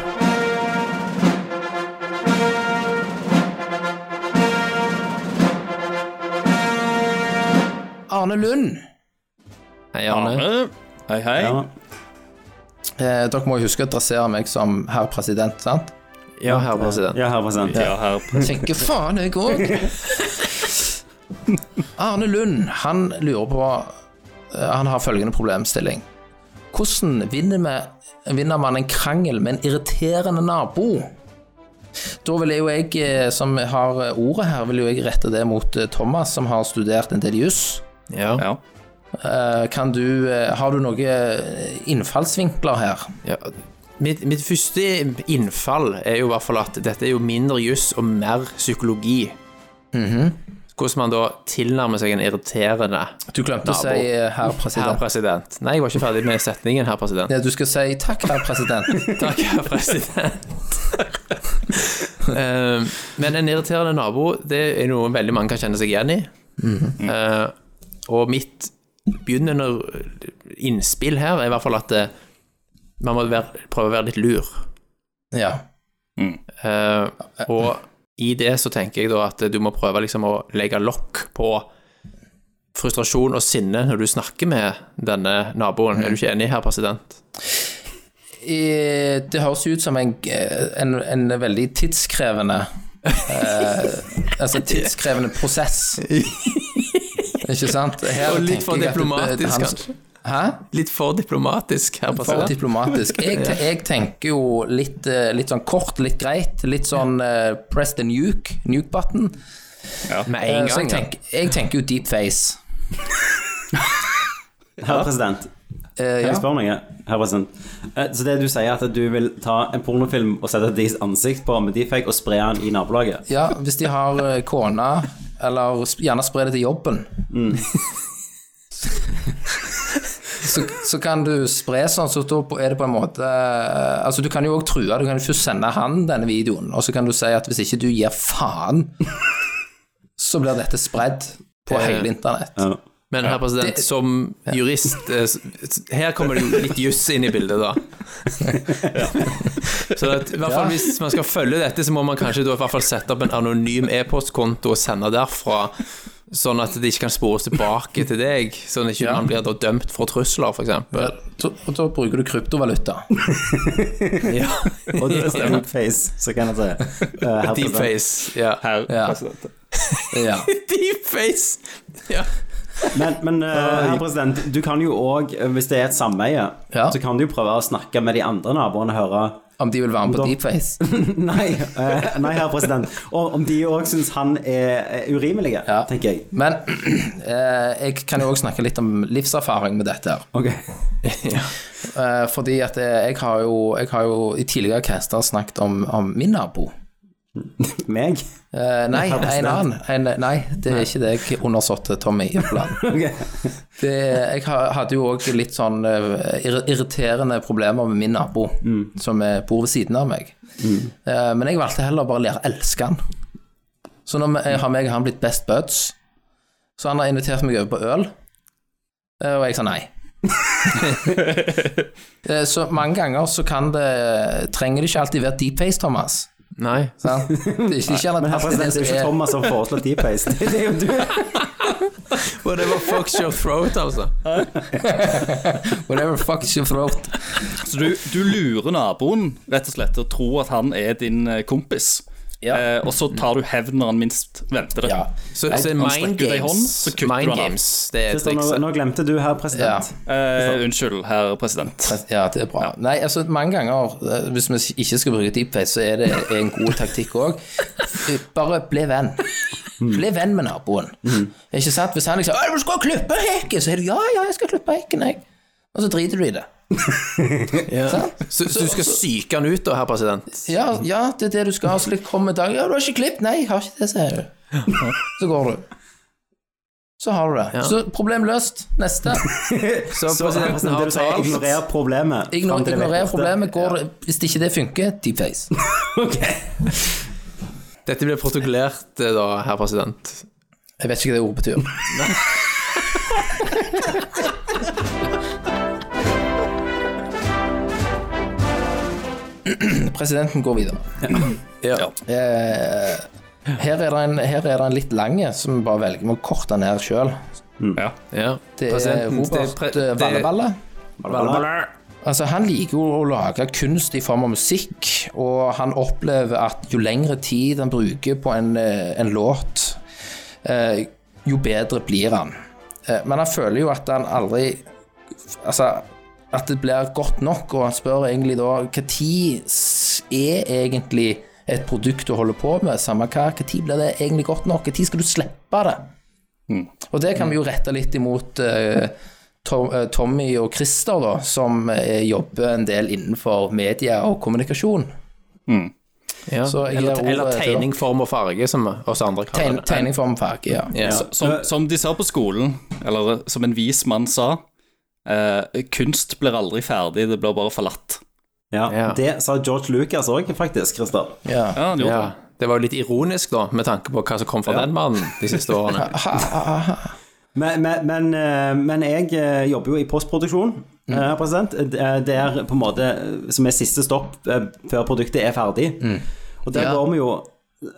F: Arne Lund.
H: Hei, Arne.
G: Arne. Hei, hei.
D: Ja.
F: Eh, dere må jo huske å dressere meg som herr president, sant?
H: Ja, herr president.
D: Ja, herr president.
G: Ja, her.
F: Tenker faen, jeg òg. Arne Lund, han lurer på eh, Han har følgende problemstilling. Hvordan vinner, vi, vinner man en krangel med en irriterende nabo? Da vil jo jeg, eh, som har ordet her, vil jo jeg rette det mot eh, Thomas, som har studert en del juss.
H: Ja.
G: Ja.
F: Eh, Kan du, eh, har du noen innfallsvinkler her?
H: Ja. Mitt, mitt første innfall er jo i hvert fall at dette er jo mindre juss og mer psykologi. Hvordan man da tilnærmer seg en irriterende
F: Du glemte å
H: Nabo.
F: si eh, herr
H: herr
F: president.
H: president. Nei, jeg var ikke ferdig med setningen, herr president.
F: Ja, du skal si takk, herr president.
H: Takk, herr president. Eh, men en irriterende nabo, det er noe veldig mange kan kjenne seg igjen i. Eh, og mitt begynnende innspill her er i hvert fall at eh, man må være, prøve å være litt lur.
F: Ja.
H: Eh, og i det så tenker jeg da at du må prøve liksom å legge lokk på frustrasjon og sinne når du snakker med denne naboen. Er du ikke enig, herr president?
F: I, det høres jo ut som en, en, en veldig tidskrevende eh, Altså tidskrevende prosess. Ikke sant? Her
H: Og litt
F: tenker
H: for
F: jeg at det-
H: diplomatisk,
F: han-
H: kanskje.
F: Hæ?
H: Litt for diplomatisk, herr
F: For
H: president.
F: diplomatisk. Jeg, te- jeg tenker jo litt, eh, litt sånn kort, litt greit. Litt sånn eh, press the nuke, nuke button.
H: Med
F: Eh,
H: en gang.
F: så jeg
H: ja.
F: tenker, jeg tenker jo deep face.
D: Herr president.
F: Eh,
D: Kan
F: ja.
D: jeg spørre noe? Herr president. Eh, Så det du sier, er at du vil ta en pornofilm og sette deres ansikt på med deepfake og spre den i nabolaget?
F: ja, hvis de har eh, kone, eller sp- gjerne spre det til jobben.
D: Mm.
F: så, så kan du spre sånn, så da er det på en måte eh, Altså, du kan jo òg true. Du kan jo først sende han denne videoen, og så kan du si at hvis ikke du gir faen, så blir dette spredd på hele internett.
D: Ja.
H: Men herr president,
F: Det-
H: som jurist eh, s- s- Her kommer det jo litt juss inn i bildet, da. Så at, i hvert fall hvis man skal følge dette, så må man kanskje da i hvert fall sette opp en anonym e-postkonto og sende derfra, sånn at det ikke kan spores tilbake til deg. Sånn at ikke man blir da dømt for trusler, f.eks.
F: Ja, da- Og da bruker du kryptovaluta.
H: Ja.
D: Og det er deepface, så kan jeg si. Eh, herr president.
H: Deepface. Ja.
G: Herr
F: Ja.
G: president.
F: Ja.
H: Deepface! Ja.
D: Men, men eh, herr president, du kan jo òg, hvis det er et sameie,
F: Ja.
D: så kan du jo prøve å snakke med de andre naboene og høre
F: Om de vil være med på
D: Da-
F: deepface.
D: Nei, eh, nei herr president. Og om de òg syns han er er urimelig,
F: Ja.
D: tenker jeg.
F: Men eh, jeg kan jo òg snakke litt om livserfaring med dette. her.
D: Ok.
F: Eh, fordi at eh, jeg har jo, jeg har jo i tidligere caster snakket om, om min nabo.
D: Meg?
F: Eh, nei, en annen. En, nei, det er ikke deg, undersåtte Tommy Jeppeland. Det- Jeg ha- hadde jo òg litt sånn eh, irri- irriterende problemer med min nabo,
D: Mm.
F: som eh, bor ved siden av meg. Eh, Men jeg valgte heller å bare lære å elske han. Så nå me- har meg og han blitt best buds. Så han har invitert meg over på øl, eh, og jeg sa nei. Eh, så mange ganger så kan det Trenger det ikke alltid være deep face, Thomas.
H: Nei.
F: Sant? Det er ikke ikke
D: Men
F: alltid
D: her president,
F: det
D: det er jo
F: som
D: ikke
F: er-
D: Thomas som foreslår deep face. Det er jo du.
H: Whatever fucks your throat, altså.
F: Whatever fucks your throat.
G: Så du, du lurer naboen rett og slett til å tro at han er din eh, kompis,
F: Ja.
G: eh, og så tar du hevn når han minst venter det.
F: Ja.
H: Så, så
G: han
H: mind
G: strekker deg i hånden,
H: games,
G: så kutter du
H: mind
G: han av.
H: games det er
D: Kristian, nå,
H: trikset.
D: nå glemte du her, president.
G: Eh, unnskyld, herr president.
F: ja, det er bra. Nei, altså mange ganger, eh, hvis vi ikke skal bruke deepface, så er det en god taktikk òg. Bare bli venn. Bli venn med naboen. Ikke sant? Hvis han liksom 'Å, du skal klippe hekken', så er du 'Ja, ja, jeg skal klippe hekken, jeg'. Og så driter du i det.
H: Så, så du skal psyke han ut da, herr president?
F: Ja, ja, det er det du skal ha. Så litt kommer dagen 'Ja, du har ikke klippet'. 'Nei, jeg har ikke det', sier du. Så går du. Så har du det. Så problem løst. Neste.
H: Så
D: Så presidenten
H: presidenten
D: det
H: har
D: du sier,
H: talt.
D: ignorer problemet.
F: Ignor-
D: Fram til det vet
F: Ignorer
D: beste.
F: problemet. Går, det- Hvis ikke det funker, deepface.
H: Dette blir protokollert eh, da, herr president.
F: Jeg vet ikke hva det ordet betyr. Presidenten går videre.
H: Ja.
F: Eh, her er det en, her er det en litt lang som vi bare velger. Vi må korte den her sjøl.
H: ja.
F: Det er
H: Presidenten- det er
F: Robert
H: pre-
F: eh,
H: det-
F: Vallevalle.
D: Blablabla.
F: Altså, han liker jo å lage kunst i form av musikk, og han opplever at jo lengre tid han bruker på en, eh, en låt, eh, jo bedre blir han. Eh, men han føler jo at han aldri Altså, at det blir godt nok, og han spør egentlig da hva tid s- er egentlig et produkt du holder på med, samme hva, hva tid blir det egentlig godt nok, hva tid skal du slippe det? Og det kan vi jo rette litt imot eh, Tom, eh, Tommy og Christer, da, som eh, jobber en del innenfor media og kommunikasjon.
H: Ja.
F: Så jeg
H: eller,
F: gir
H: eller
F: ordet til dere.
H: tegning, form og farge, som oss andre kaller
F: Tegn,
H: det.
F: tegning for omfag, ja.
H: Ja.
G: Som,
D: Eh.
G: som de sa på skolen, eller eh, som en vis mann sa, eh, kunst blir aldri ferdig, det blir bare forlatt.
D: Ja,
H: Ja.
D: det sa George Lucas òg, faktisk, Christer.
F: ja.
G: Ja, han gjorde
H: Ja.
G: det.
H: Det var jo litt ironisk, da, med tanke på hva som kom fra den mannen de siste årene.
D: Men, men, men, eh, men jeg eh, jobber jo i postproduksjon,
F: Mm.
D: eh, president. Eh, Det er på en måte eh, som er siste stopp eh, før produktet er ferdig. Og der
F: Mm. Ja.
D: går vi jo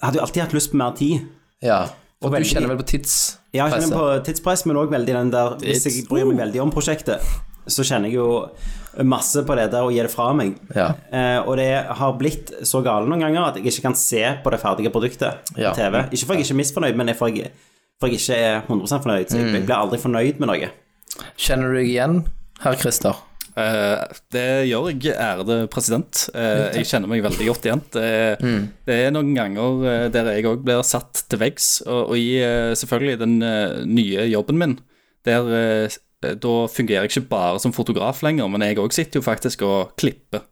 D: Hadde jo alltid hatt lyst på mer tid.
F: ja. Og du
D: veldig-
F: kjenner vel på tids...
D: Jeg har ikke den på
F: Presset. Uh.
D: tidspress, men òg veldig den der Hvis jeg bryr meg veldig om prosjektet, så kjenner jeg jo masse på det der og gir det fra meg.
F: Ja.
D: Eh, og det har blitt så gale noen ganger at jeg ikke kan se på det ferdige produktet
F: Ja.
D: på TV. Ikke for jeg ikke er misfornøyd, men jeg for jeg, for jeg ikke er 100 fornøyd. Så jeg
F: Mm.
D: blir aldri fornøyd med noe.
F: Kjenner du deg igjen, herr Christer?
G: Eh, det gjør jeg, ærede president. Eh, jeg kjenner meg veldig godt igjen. Det, er- det er noen ganger eh, der jeg òg blir satt til veggs, og, og i eh, selvfølgelig den eh, nye jobben min, der eh, da fungerer jeg ikke bare som fotograf lenger, men jeg òg sitter jo faktisk og klipper.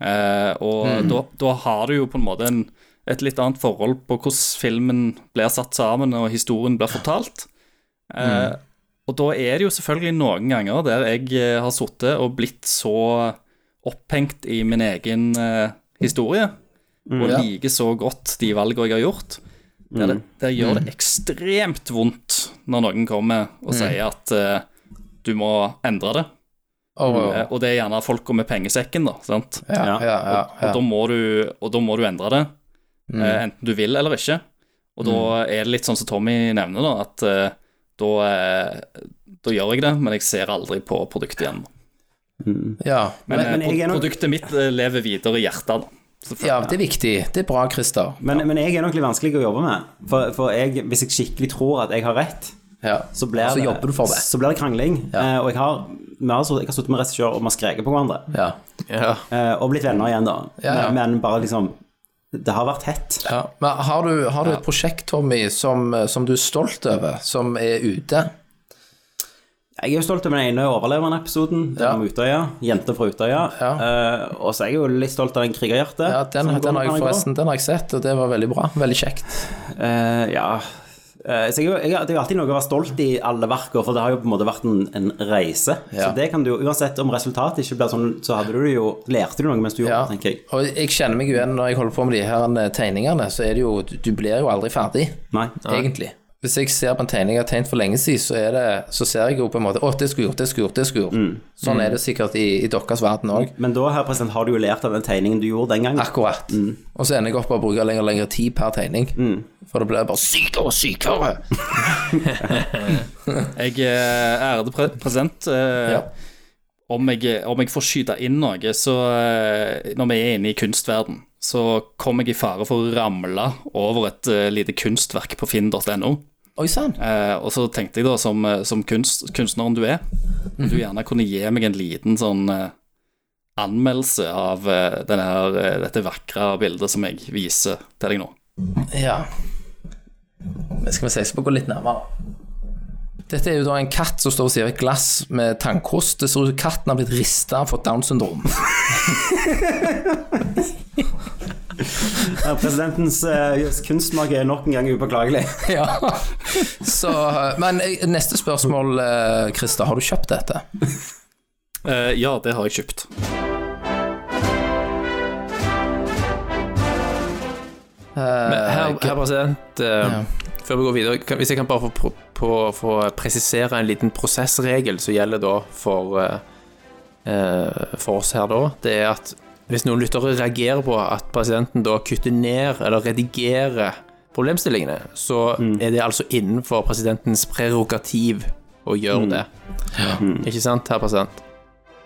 G: Eh, og da, da har du jo på en måte en, et litt annet forhold på hvordan filmen blir satt sammen, og historien blir fortalt. Eh, og da er det jo selvfølgelig noen ganger der jeg eh, har sittet og blitt så opphengt i min egen eh, historie, og
F: Ja.
G: liker så godt de valgene jeg har gjort, der, det, der gjør det ekstremt vondt når noen kommer og sier
D: Mm.
G: at eh, du må endre det.
F: Og,
G: Eh, og det er gjerne folka med pengesekken, da. sant?
F: ja, ja, ja,
G: Og, da må du, og da må du endre det,
D: Mm.
G: eh, enten du vil eller ikke. Og da er det litt sånn som Tommy nevner, da, at eh, da, eh, da gjør jeg det, men jeg ser aldri på produktet igjen.
F: ja.
G: Men,
D: Men- men
G: eh,
D: jeg er
G: pro
D: nok-
G: produktet mitt eh, lever videre i hjertet, da. Selvfølgelig.
F: ja, det er viktig. Det er bra, Christer.
D: Men, men jeg er nok litt vanskelig å jobbe med. For, for jeg, hvis jeg skikkelig tror at jeg har rett,
F: Ja.
D: så blir,
F: så jobber du for det.
D: så blir det krangling.
F: Ja.
D: Eh, og jeg har, vi har, så- jeg har sittet med regissør og vi har skreket på hverandre.
F: Ja.
H: Ja.
D: Eh, og blitt venner igjen, da.
F: Ja, ja.
D: Men, men bare liksom Det har vært hett.
F: ja. Men har du, har du eh, et prosjekt, Tommy, som, som du er stolt over, som er ute?
D: Jeg er jo stolt av den ene overlevende episoden
F: Ja.
D: om Utøya. Jenter fra Utøya. Eh, og så er jeg jo litt stolt av den krigerhjertet.
F: Ja, den,
D: som
F: den, har
D: går
F: jeg
D: når går.
F: forresten, den har jeg sett, og det var veldig bra. Veldig kjekt.
D: Eh, ja. Eh, så jeg, er jo- jeg, det er jo alltid noe å være stolt i alle verker, for det har jo på en måte vært en, en reise.
F: Ja.
D: Så det kan du jo, uansett om resultatet ikke blir sånn, så hadde du det jo, lærte du noe mens du gjorde
F: Ja.
D: det, tenker jeg.
F: Og jeg kjenner meg jo igjen når jeg holder på med de her eh, tegningene, så er det jo Du du blir jo aldri ferdig.
D: Nei.
F: egentlig. Hvis jeg ser på en tegning jeg har tegnet for lenge siden, så, er det, så ser jeg jo på en måte Å, det skulle jeg gjort, det skulle jeg gjort, det skulle jeg
D: Mm.
F: gjort. Sånn er det sikkert i, i deres verden òg.
D: Men da herr president, har du jo lært av den tegningen du gjorde den gangen.
F: Akkurat.
D: Mm.
F: Og så ender jeg opp med å bruke lenger og lengre tid per tegning. For det blir bare sykere og sykere.
G: Jeg, eh, ærede pre president, eh,
F: Ja.
G: om, jeg, om jeg får skyte inn noe, så eh, Når vi er inne i kunstverden, så kom jeg i fare for å ramle over et eh, lite kunstverk på finn.no.
F: Oi sann.
G: Eh, og så tenkte jeg da, som, eh, som kunst, kunstneren du er, om
F: Mhm.
G: du gjerne kunne gi meg en liten sånn eh, anmeldelse av eh, denne her, eh, dette vakre bildet som jeg viser til deg nå.
F: Ja. Men Skal vi se, jeg skal bare gå litt nærmere. Dette er jo da en katt som står og sier et glass med tannkost. Det ser ut som katten har blitt rista for Downs syndrom.
D: Herr presidentens eh, kunstmak er nok en gang upåklagelig.
F: Ja. Så, men eh, neste spørsmål, eh, Christer. Har du kjøpt dette?
G: Eh, ja, det har jeg kjøpt.
H: Men Herr herr president, eh, før vi går videre, kan, hvis jeg kan bare få, pro- på- få presisere en liten prosessregel som gjelder da for, eh, eh, for oss her da, det er at hvis noen lyttere reagerer på at presidenten da kutter ned eller redigerer problemstillingene, så er det altså innenfor presidentens prerogativ å gjøre det. Ikke sant, herr president?
F: Mm.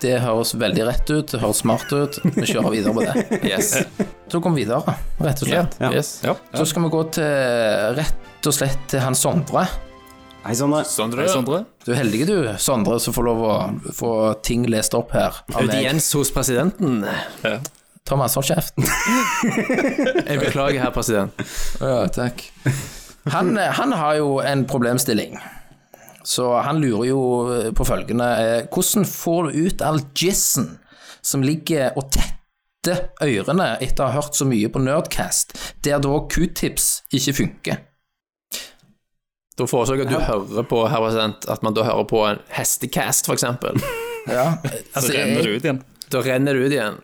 F: Det høres veldig rett ut, det høres smart ut. Vi kjører videre på det.
H: Yes.
F: Så kom vi videre, rett og slett.
H: yes.
F: Så skal vi gå til rett og slett til han Sondre.
D: Hei, Sondre.
H: Sondre,
G: Hei, Sondre.
F: Du er heldig du, Sondre, som får lov å få ting lest opp her. av meg.
H: audiens hos presidenten.
F: Thomas, hold kjeft.
H: Jeg beklager, herr president.
F: Ja,
D: Mm.
F: takk. Han, han har jo en problemstilling. Så han lurer jo på følgende eh, Hvordan får du ut all jizzen som ligger og tetter ørene etter å ha hørt så mye på Nerdcast, der da q-tips ikke funker?
H: Da foreslår jeg at du hører på herr president, at man da hører på en hestecast, for eksempel.
F: Ja,
G: Så
F: altså,
G: renner
F: jeg,
G: det ut igjen.
H: Da renner det ut igjen.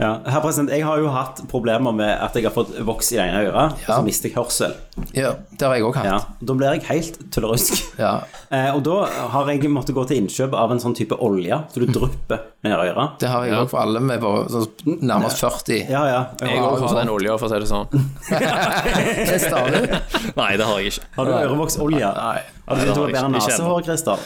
D: Ja. Herr president, jeg har jo hatt problemer med at jeg har fått voks i det ene øret, og
F: Ja.
D: så mister jeg hørsel.
F: ja, det har jeg òg
D: Ja.
F: hatt.
D: Da blir jeg helt tullerusk.
F: Ja.
D: Eh, og da har jeg måttet gå til innkjøp av en sånn type olje, så du drypper ned i øret.
F: Det har jeg òg for alle med på sånn nærmest 40.
D: Ja, ja.
H: Jeg òg har den olja, for å si det sånn.
F: Tester har du?
G: Nei, det har jeg ikke.
D: Har du ørevoksolje? Nei. Har du
G: det
D: begynt å
G: har
D: ha bedre
G: jeg ikke. Ikke
D: nesehår, Christer?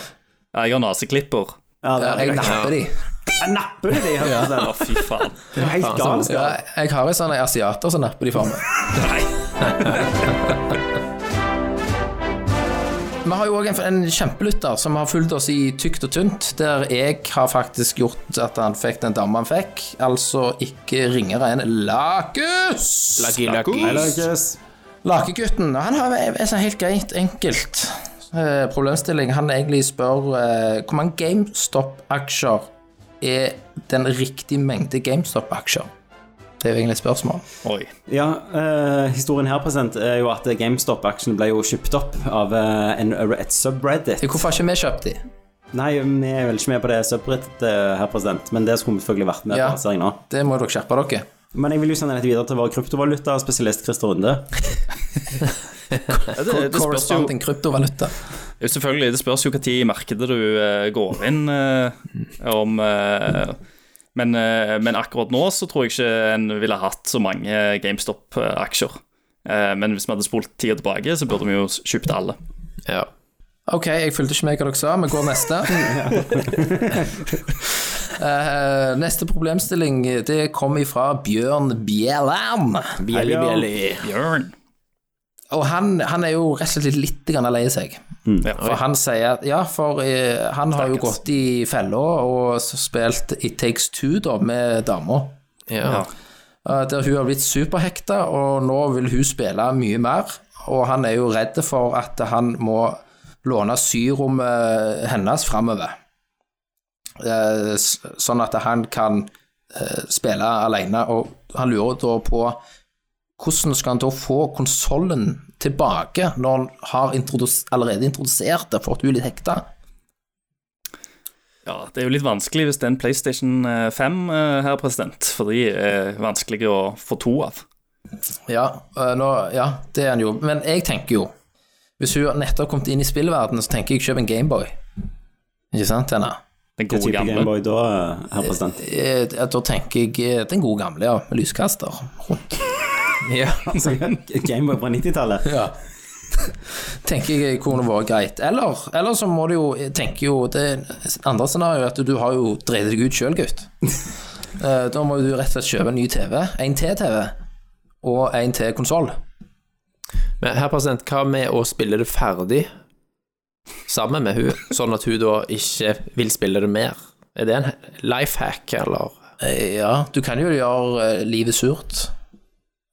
G: Jeg har naseklipper.
D: Ja, det er
F: Jeg napper de.
D: Jeg napper det, herr
G: Å,
D: president.
G: fy faen.
D: Det er jo helt galskap.
F: Ja, jeg har en sånn asiater som napper de for meg. Vi har jo òg en, en kjempelytter som har fulgt oss i tykt og tynt, der jeg har faktisk gjort at han fikk den dama han fikk. Altså ikke ringere enn Lakus!
H: Lucky, lucky.
D: Hei, Lucas.
F: Lakegutten han har en en sånn helt greit enkelt eh, problemstilling. Han egentlig spør eh, hvor mange GameStop-aksjer er den riktige mengde GameStop-aksjer? Det er jo egentlig et spørsmål.
G: Oi.
D: Ja, eh, historien her present, er jo at GameStop-aksjen ble jo kjøpt opp av eh, en, et subreddit.
F: Hvorfor har ikke vi kjøpt de?
D: Nei, vi er vel ikke med på det subredditet, eh, herr president, men det skulle vi selvfølgelig vært med
F: Ja.
D: på. ser jeg nå.
F: Det må dere skjerpe dere.
D: Men jeg vil jo sende dette videre til vår kryptovaluta-spesialist Christer Runde.
G: Ja, Det, det spørs jo
F: Korrespondent kryptovaluta.
G: jo Selvfølgelig, det spørs jo hva tid i markedet du eh, går inn eh, om eh, men, eh, men akkurat nå så tror jeg ikke en ville hatt så mange GameStop-aksjer. Eh, men hvis vi hadde spolt tida tilbake, så burde vi jo kjøpt alle.
H: Ja.
F: Ok, jeg fulgte ikke med hva dere sa, vi går neste. Eh, neste problemstilling det kommer ifra Bjørn Bjelland.
H: Bjelli, bjelli.
G: Bjørn.
F: Og han, han er jo rett og slett litt grann lei seg.
G: Ja,
F: For han sier at Ja, for eh, han har jo
G: Stakkars.
F: gått i fella og s- spilt It Takes Two da, med dama.
H: Ja.
F: Eh, Der hun har blitt superhekta, og nå vil hun spille mye mer. Og han er jo redd for at han må låne syrommet hennes framover. Eh, s- Sånn at han kan eh, spille alene, og han lurer da på hvordan skal han da få konsollen tilbake når han har introdus allerede introdusert det, fått henne litt hekta?
G: Ja, det er jo litt vanskelig hvis det er en PlayStation eh, 5 eh, her, president. For de er vanskelige å få to av.
F: Ja, øh, nå, ja, det er han jo. Men jeg tenker jo Hvis hun nettopp har kommet inn i spillverdenen, så tenker jeg kjøp en Gameboy. Ikke sant, Anna?
G: Den
D: Hva
G: gode
D: type
G: gamle.
D: Gameboy da, herr president?
F: Eh, Da tenker jeg eh, den gode gamle, ja. Med lyskaster rundt.
H: Ja.
D: Altså, Gameboy fra 90-tallet?
F: Ja. tenker jeg kunne vært greit. Eller, eller så må du jo jeg tenker jo Det andre scenarioet er at du har jo drevet deg ut sjøl, gutt. Eh, Da må du rett og slett kjøpe en ny TV. En til TV. Og en til konsoll.
H: Men herr president, hva med å spille det ferdig sammen med hun, sånn at hun da ikke vil spille det mer? Er det en life hack, eller?
F: Eh, Ja, du kan jo gjøre eh, livet surt.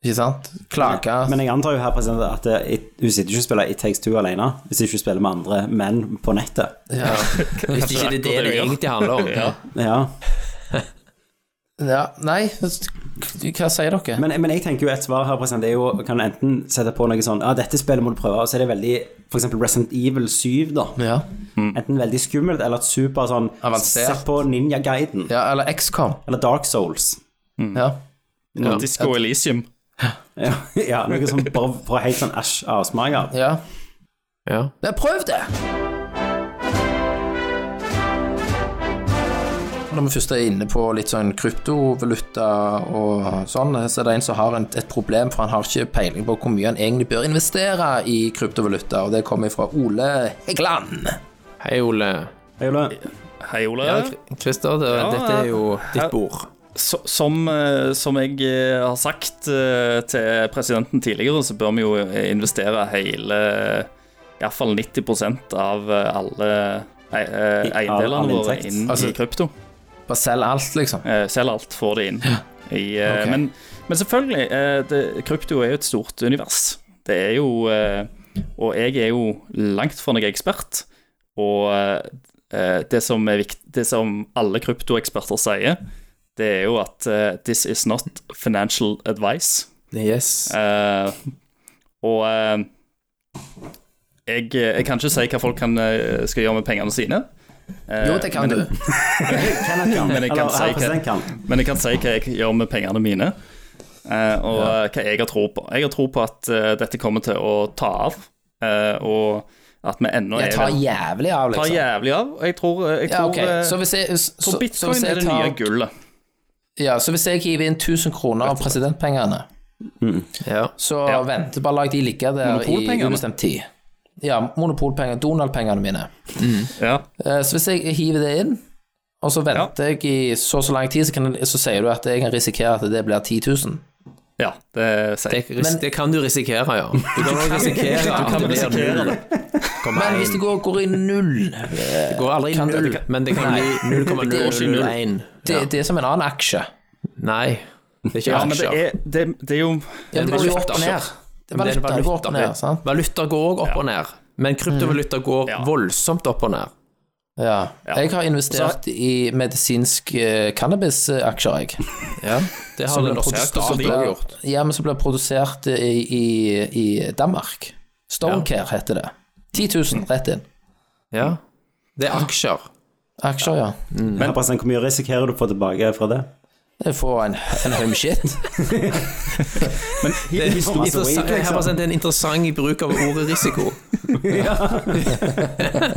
F: Ikke sant? Klage.
D: Men jeg antar jo herr president at det, it, hun sitter ikke og spiller It Takes Two alene, hvis ikke hun spiller med andre menn på nettet.
F: Ja.
H: Hvis ikke det er det det egentlig handler om.
D: Ja.
F: ja. Nei, hva sier dere?
D: Men, men jeg tenker jo et svar her president, er jo kan du enten sette på noe sånn Ja, dette spillet må du prøve, og så er det veldig F.eks. Resident Evil 7, da.
F: ja.
D: Enten veldig skummelt eller et super sånn
F: Avansert.
D: Se på Ninja Guiden.
F: ja, eller XCOM.
D: Eller Dark Souls.
F: Ja.
G: Disco Elysium.
D: Ja, ja noe sånn bare for helt sånn æsj avsmaker.
F: ja.
H: Ja.
F: Men prøv det! Når vi først er inne på litt sånn kryptovaluta og sånn, så er det en som har en, et problem, for han har ikke peiling på hvor mye han egentlig bør investere i kryptovaluta, og det kommer fra Ole Heggeland.
H: Hei, Ole.
D: Jeg vil,
G: Hei, Ole.
H: Ja, Christer, det,
G: Ja,
H: dette er jo
G: her-
H: ditt bord.
G: Så- Som, eh, som jeg eh, har sagt eh, til presidenten tidligere, så bør vi jo eh, investere hele Iallfall 90 av eh, alle
D: I-
G: ei- eh,
D: av all
G: eiendelene våre
D: inntekt.
G: inn
F: Altså-
G: i krypto.
F: Bare selg alt, liksom.
G: Eh, Selg alt, få det inn. I, eh,
F: Ok.
G: men, men selvfølgelig, eh, det, krypto er jo et stort univers. Det er jo eh, Og jeg er jo langt fra noen ekspert. Og eh, det som er vikt, Det som alle kryptoeksperter sier, det er jo at eh, this is not financial advice.
H: Yes.
G: Eh, og eh, jeg, eh, jeg kan ikke si hva folk kan, eh, skal gjøre med pengene sine. Eh,
F: Jo, det kan
G: men,
F: du.
G: Men jeg kan
D: eller
G: si
D: herr
G: hva
D: president kan.
G: men jeg kan si hva jeg gjør med pengene mine, eh, og eh, hva jeg har tro på. Jeg har tro på at eh, dette kommer til å ta av, eh, og at vi ennå
F: Jeg
G: er
F: tar jævlig av,
G: tar
F: liksom.
G: jævlig av. Og jeg tror, jeg
F: Ja,
G: tror,
F: ok.
G: eh,
F: Så hvis jeg, så,
G: tror
F: så
G: bitcoin
F: hvis jeg
G: er det
F: tar-
G: nye gullet.
F: Ja, så hvis jeg hiver inn 1000 kroner av presidentpengene,
H: Ja.
F: så
G: Ja.
F: venter bare lag de ligger der i
G: Monopolpengene.
F: ubestemt tid. Ja, monopolpenger, Donald-pengene mine.
G: Ja.
F: Eh, Så hvis jeg hiver det inn, og så venter jeg i så og så lang tid, så, kan, så sier du at jeg kan risikere at det blir 10 000.
G: ja, det sier
H: Det,
G: jeg.
H: ris det kan du risikere, ja. Du kan også risikere
G: Du
H: at
G: kan
H: det blir
G: risikere
H: null.
G: det.
F: Men hvis det går, går i null eh,
H: Det går aldri
F: Kan-
H: null,
F: det
H: men det kan bli 0,001.
F: det, det er som en annen aksje.
H: Nei, det er ikke
G: Ja, men det
H: aksjer.
G: er, det, det er jo
F: Ja, men det går jo
H: valuta.
F: opp og ned. Det er
H: Men det er
F: valuta, det går opp og
H: valuta.
F: ned, sant?
H: Valuta går òg opp og ned, men kryptovaluta går
G: Ja.
H: voldsomt opp og ned.
F: Ja. Jeg har investert i medisinsk eh, cannabisaksjer, jeg.
H: Ja, det har
F: Som
H: den
F: ble
H: norske
F: produsert-
H: stat også
F: som ble-
H: gjort.
F: Ja, men som ble produsert eh, i, i, i Danmark. Stonecare heter det. 10 000 rett inn.
H: Ja. Det er aksjer.
F: Aksjer, ja.
D: Herr president, hvor mye risikerer du å få tilbake fra det?
F: Jeg får en, en haug med shit.
H: Det er,
D: Masse weed,
H: interessant-
D: liksom.
H: her, prosent, det er en interessant bruk av ordet risiko.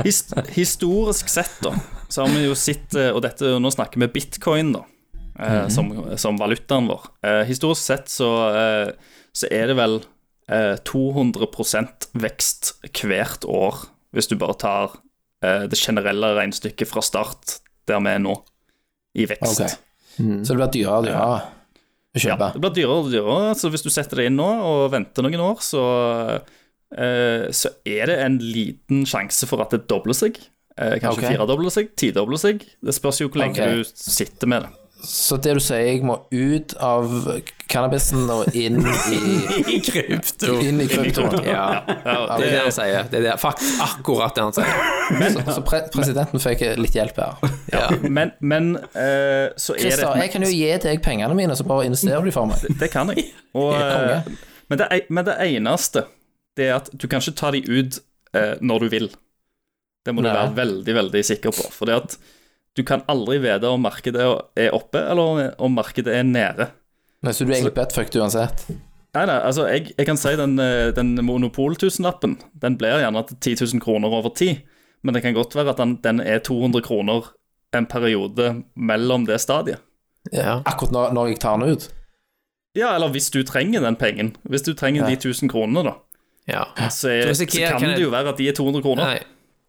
G: His, historisk sett, da, så har vi jo sett eh, Og dette, nå snakker vi bitcoin, da, eh, som, som valutaen vår. Eh, historisk sett så, eh, så er det vel eh, 200 vekst hvert år, hvis du bare tar eh, det generelle regnestykket fra start der vi er nå, i vekst.
F: Ok. Så det blir dyrere og dyrere å kjøpe.
G: Ja, det blir dyrere og dyrere, så hvis du setter det inn nå og venter noen år, så, eh, så er det en liten sjanse for at det dobler seg. Eh, kanskje
F: Ok.
G: firedobler seg, tidobler seg. Det spørs jo hvor lenge
F: Ok.
G: du sitter med det.
F: Så det du sier, jeg må ut av cannabisen og inn i,
H: I krypto.
F: inn i kryptoen.
H: Ja, det er det han sier. Det er det, faktisk akkurat det han sier.
F: Så, så pre presidenten fikk litt hjelp her.
H: Ja.
G: Men, men eh, så er
F: Christer,
G: det
F: jeg kan jo gi deg pengene mine, så bare investerer du de for meg.
G: Det kan jeg. Og,
F: Ja,
G: eh, men, det, e- men det eneste det er at du kan ikke ta de ut eh, når du vil. Det må du
F: Nei.
G: være veldig, veldig sikker på. For det at du kan aldri vite om markedet er oppe, eller om markedet er nede.
F: Men Så du er egentlig buttfucked uansett.
G: Nei, nei, altså, jeg, jeg kan si den, eh, den monopol-tusenlappen, den blir gjerne til 10 000 kroner over tid, men det kan godt være at den, den er 200 kroner en periode mellom det stadiet.
H: Ja.
F: Akkurat når, når jeg tar den ut.
G: Ja, eller hvis du trenger den pengen. Hvis du trenger de 1000 kronene, da,
H: ja.
G: så, er,
H: Så
G: så
H: risikerer-
G: kan
H: kan
G: det
H: jeg-
G: jo være at de er 200 kroner.
H: Nei,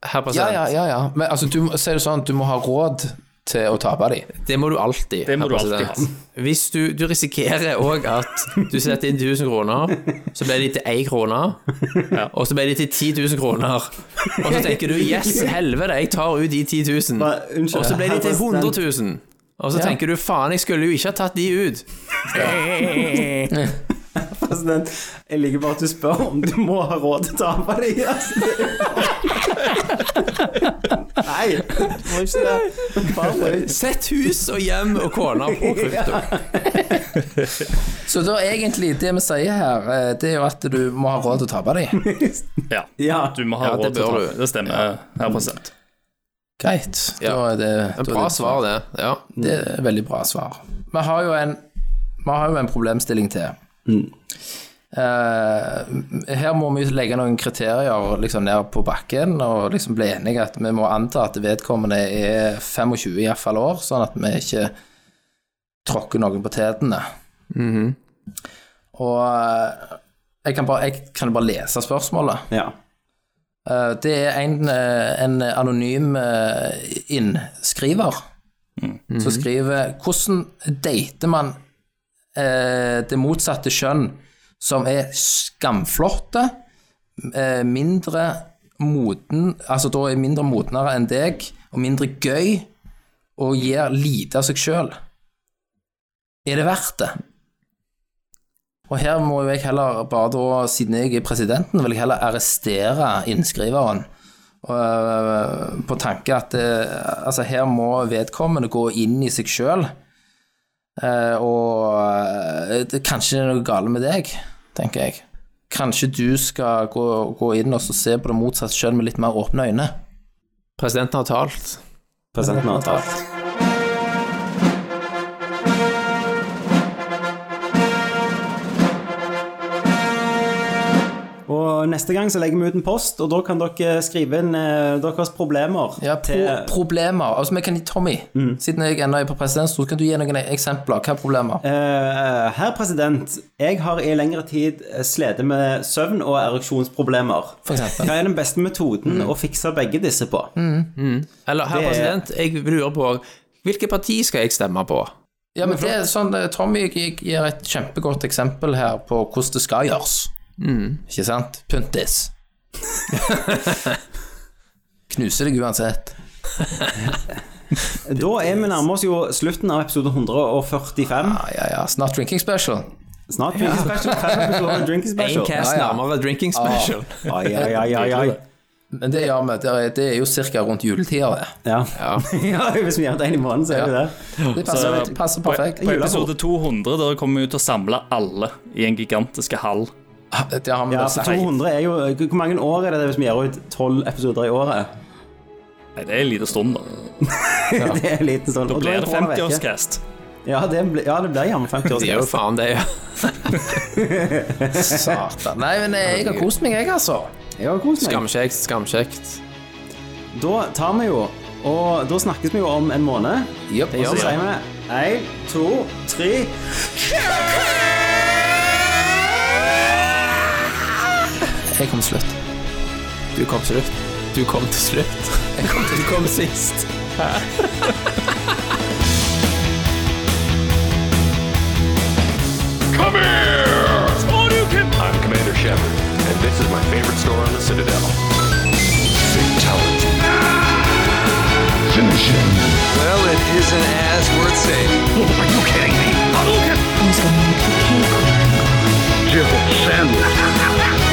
H: herr
F: Ja,
H: president.
F: ja, ja. ja. Men altså, du, må- sier du sånn, du må ha råd til å tape de.
H: Det må du alltid.
G: Det må
H: herr
G: du alltid
H: president. Hvis du, du risikerer òg at du setter inn 1000 kroner, så blir de til 1 krone, og så blir de til 10 000 kroner. Og så tenker du 'yes, helvete, jeg tar ut de 10 000',
D: unnskyld.
H: og så blir de til
D: Herr president.
H: 100 000. Og så
F: Ja.
H: tenker du 'faen, jeg skulle jo ikke ha tatt de ut'.
D: President, jeg liker bare at du spør om du må ha råd til å tape deg. Altså. Nei, du må ikke det. Bare bruk.
H: Sett hus og hjem og kone på krypto.
F: Så da egentlig, det vi sier her, eh, det er jo at du må ha råd til å tape de.
G: Ja.
D: Ja,
G: Du må ha
H: Ja, det
G: råd til å
H: bør
G: ta
H: du.
G: det. stemmer, herr president.
F: Greit. Da
H: Ja.
F: er det
H: En
F: da er
H: bra
F: det-
H: svar, det. Ja.
F: Det er et veldig bra svar. Vi har jo en, vi har jo en problemstilling til. Eh, her må vi legge noen kriterier liksom, ned på bakken og liksom bli enige at vi må anta at vedkommende er 25 i hvert fall år, sånn at vi ikke tråkker noen på tærne. Og eh, jeg kan, bare, jeg kan bare lese spørsmålet.
D: Ja.
F: Eh, Det er en, eh, en anonym eh, innskriver som skriver Hvordan dater man eh, det motsatte kjønn som er skamflotte, eh, mindre moden, altså da er mindre modnere enn deg, og mindre gøy, og gir lite av seg sjøl? Er det verdt det? Og her må jo jeg heller bare da, siden jeg er presidenten, vil jeg heller arrestere innskriveren øh, på tanke at øh, altså her må vedkommende gå inn i seg sjøl, og øh, det, kanskje det er noe galt med deg, tenker jeg. Kanskje du skal gå, gå inn og så se på det motsatte sjøl med litt mer åpne øyne.
H: Presidenten har talt.
D: Presidenten har talt. Og neste gang så legger vi ut en post, og da kan dere skrive inn eh, deres problemer
F: Ja, pro Problemer. Altså, vi kan gi Tommy, siden jeg ennå er på presidentstol, kan du gi noen eksempler? Hva er problemer?
D: Eh, herr president, jeg har i lengre tid slitt med søvn og ereksjonsproblemer.
F: For Mm. eksempel.
D: Hva er den beste metoden å fikse begge disse på?
H: Eller herr
D: Det er-
H: president, jeg lurer på Hvilket parti skal jeg stemme på?
F: Ja, men det er sånn, eh, Tommy g- gir et kjempegodt eksempel her på hvordan det skal gjøres.
G: Mm.
F: Ikke sant? Puntis. Knuser deg uansett.
D: Da er vi nærmer oss jo slutten av episode 145.
F: Ja, ja, ja. Snart drinking special.
D: Snart drinking special. Fem episoder med drinking
H: En
D: special.
H: cast
F: Ja, Ah. ja.
H: nærmere drinking special.
D: Ai, ai, ai, ai, ai.
F: Men det gjør vi. Det er, det er jo ca. rundt juletida, det.
D: Ja. ja, hvis vi gjør det en i måneden, så er det
F: Ja.
D: det.
F: Det passer,
G: Så-
F: det passer perfekt.
G: På episode 200 da kommer vi til å samle alle i en gigantiske hall.
F: Det har vi
D: Ja,
F: vel
D: for
F: sagt.
D: 200 er jo Hvor mange år er det hvis vi gir ut 12 episoder i året?
G: Nei, det er en liten stund, da.
D: Det er en liten sånn.
G: Da
D: og
G: blir
D: er
G: det
D: korona vekke.
G: 50-årscast.
D: Ja, det blir ja, det blir jammen 50
H: Det er jo
D: års
H: faen det, ja.
F: Satan. Nei, men eh, jeg har kost meg, jeg, altså.
D: Jeg har kost meg.
H: Skamkjekt, skamkjekt.
D: Da tar vi jo Og da snakkes vi jo om en måned.
F: Jep.
D: Og så sier vi én, to, tre
F: Jeg kom til slutt.
H: Du kom til slutt. Du kom til slutt. Du kom sist.
E: Come here! I'm Commander Shepard, and this is my favorite store on the Citadel. Fatality.
A: Well, it isn't as worth saying. Are you kidding me? Hadouken! Jibble sandwich.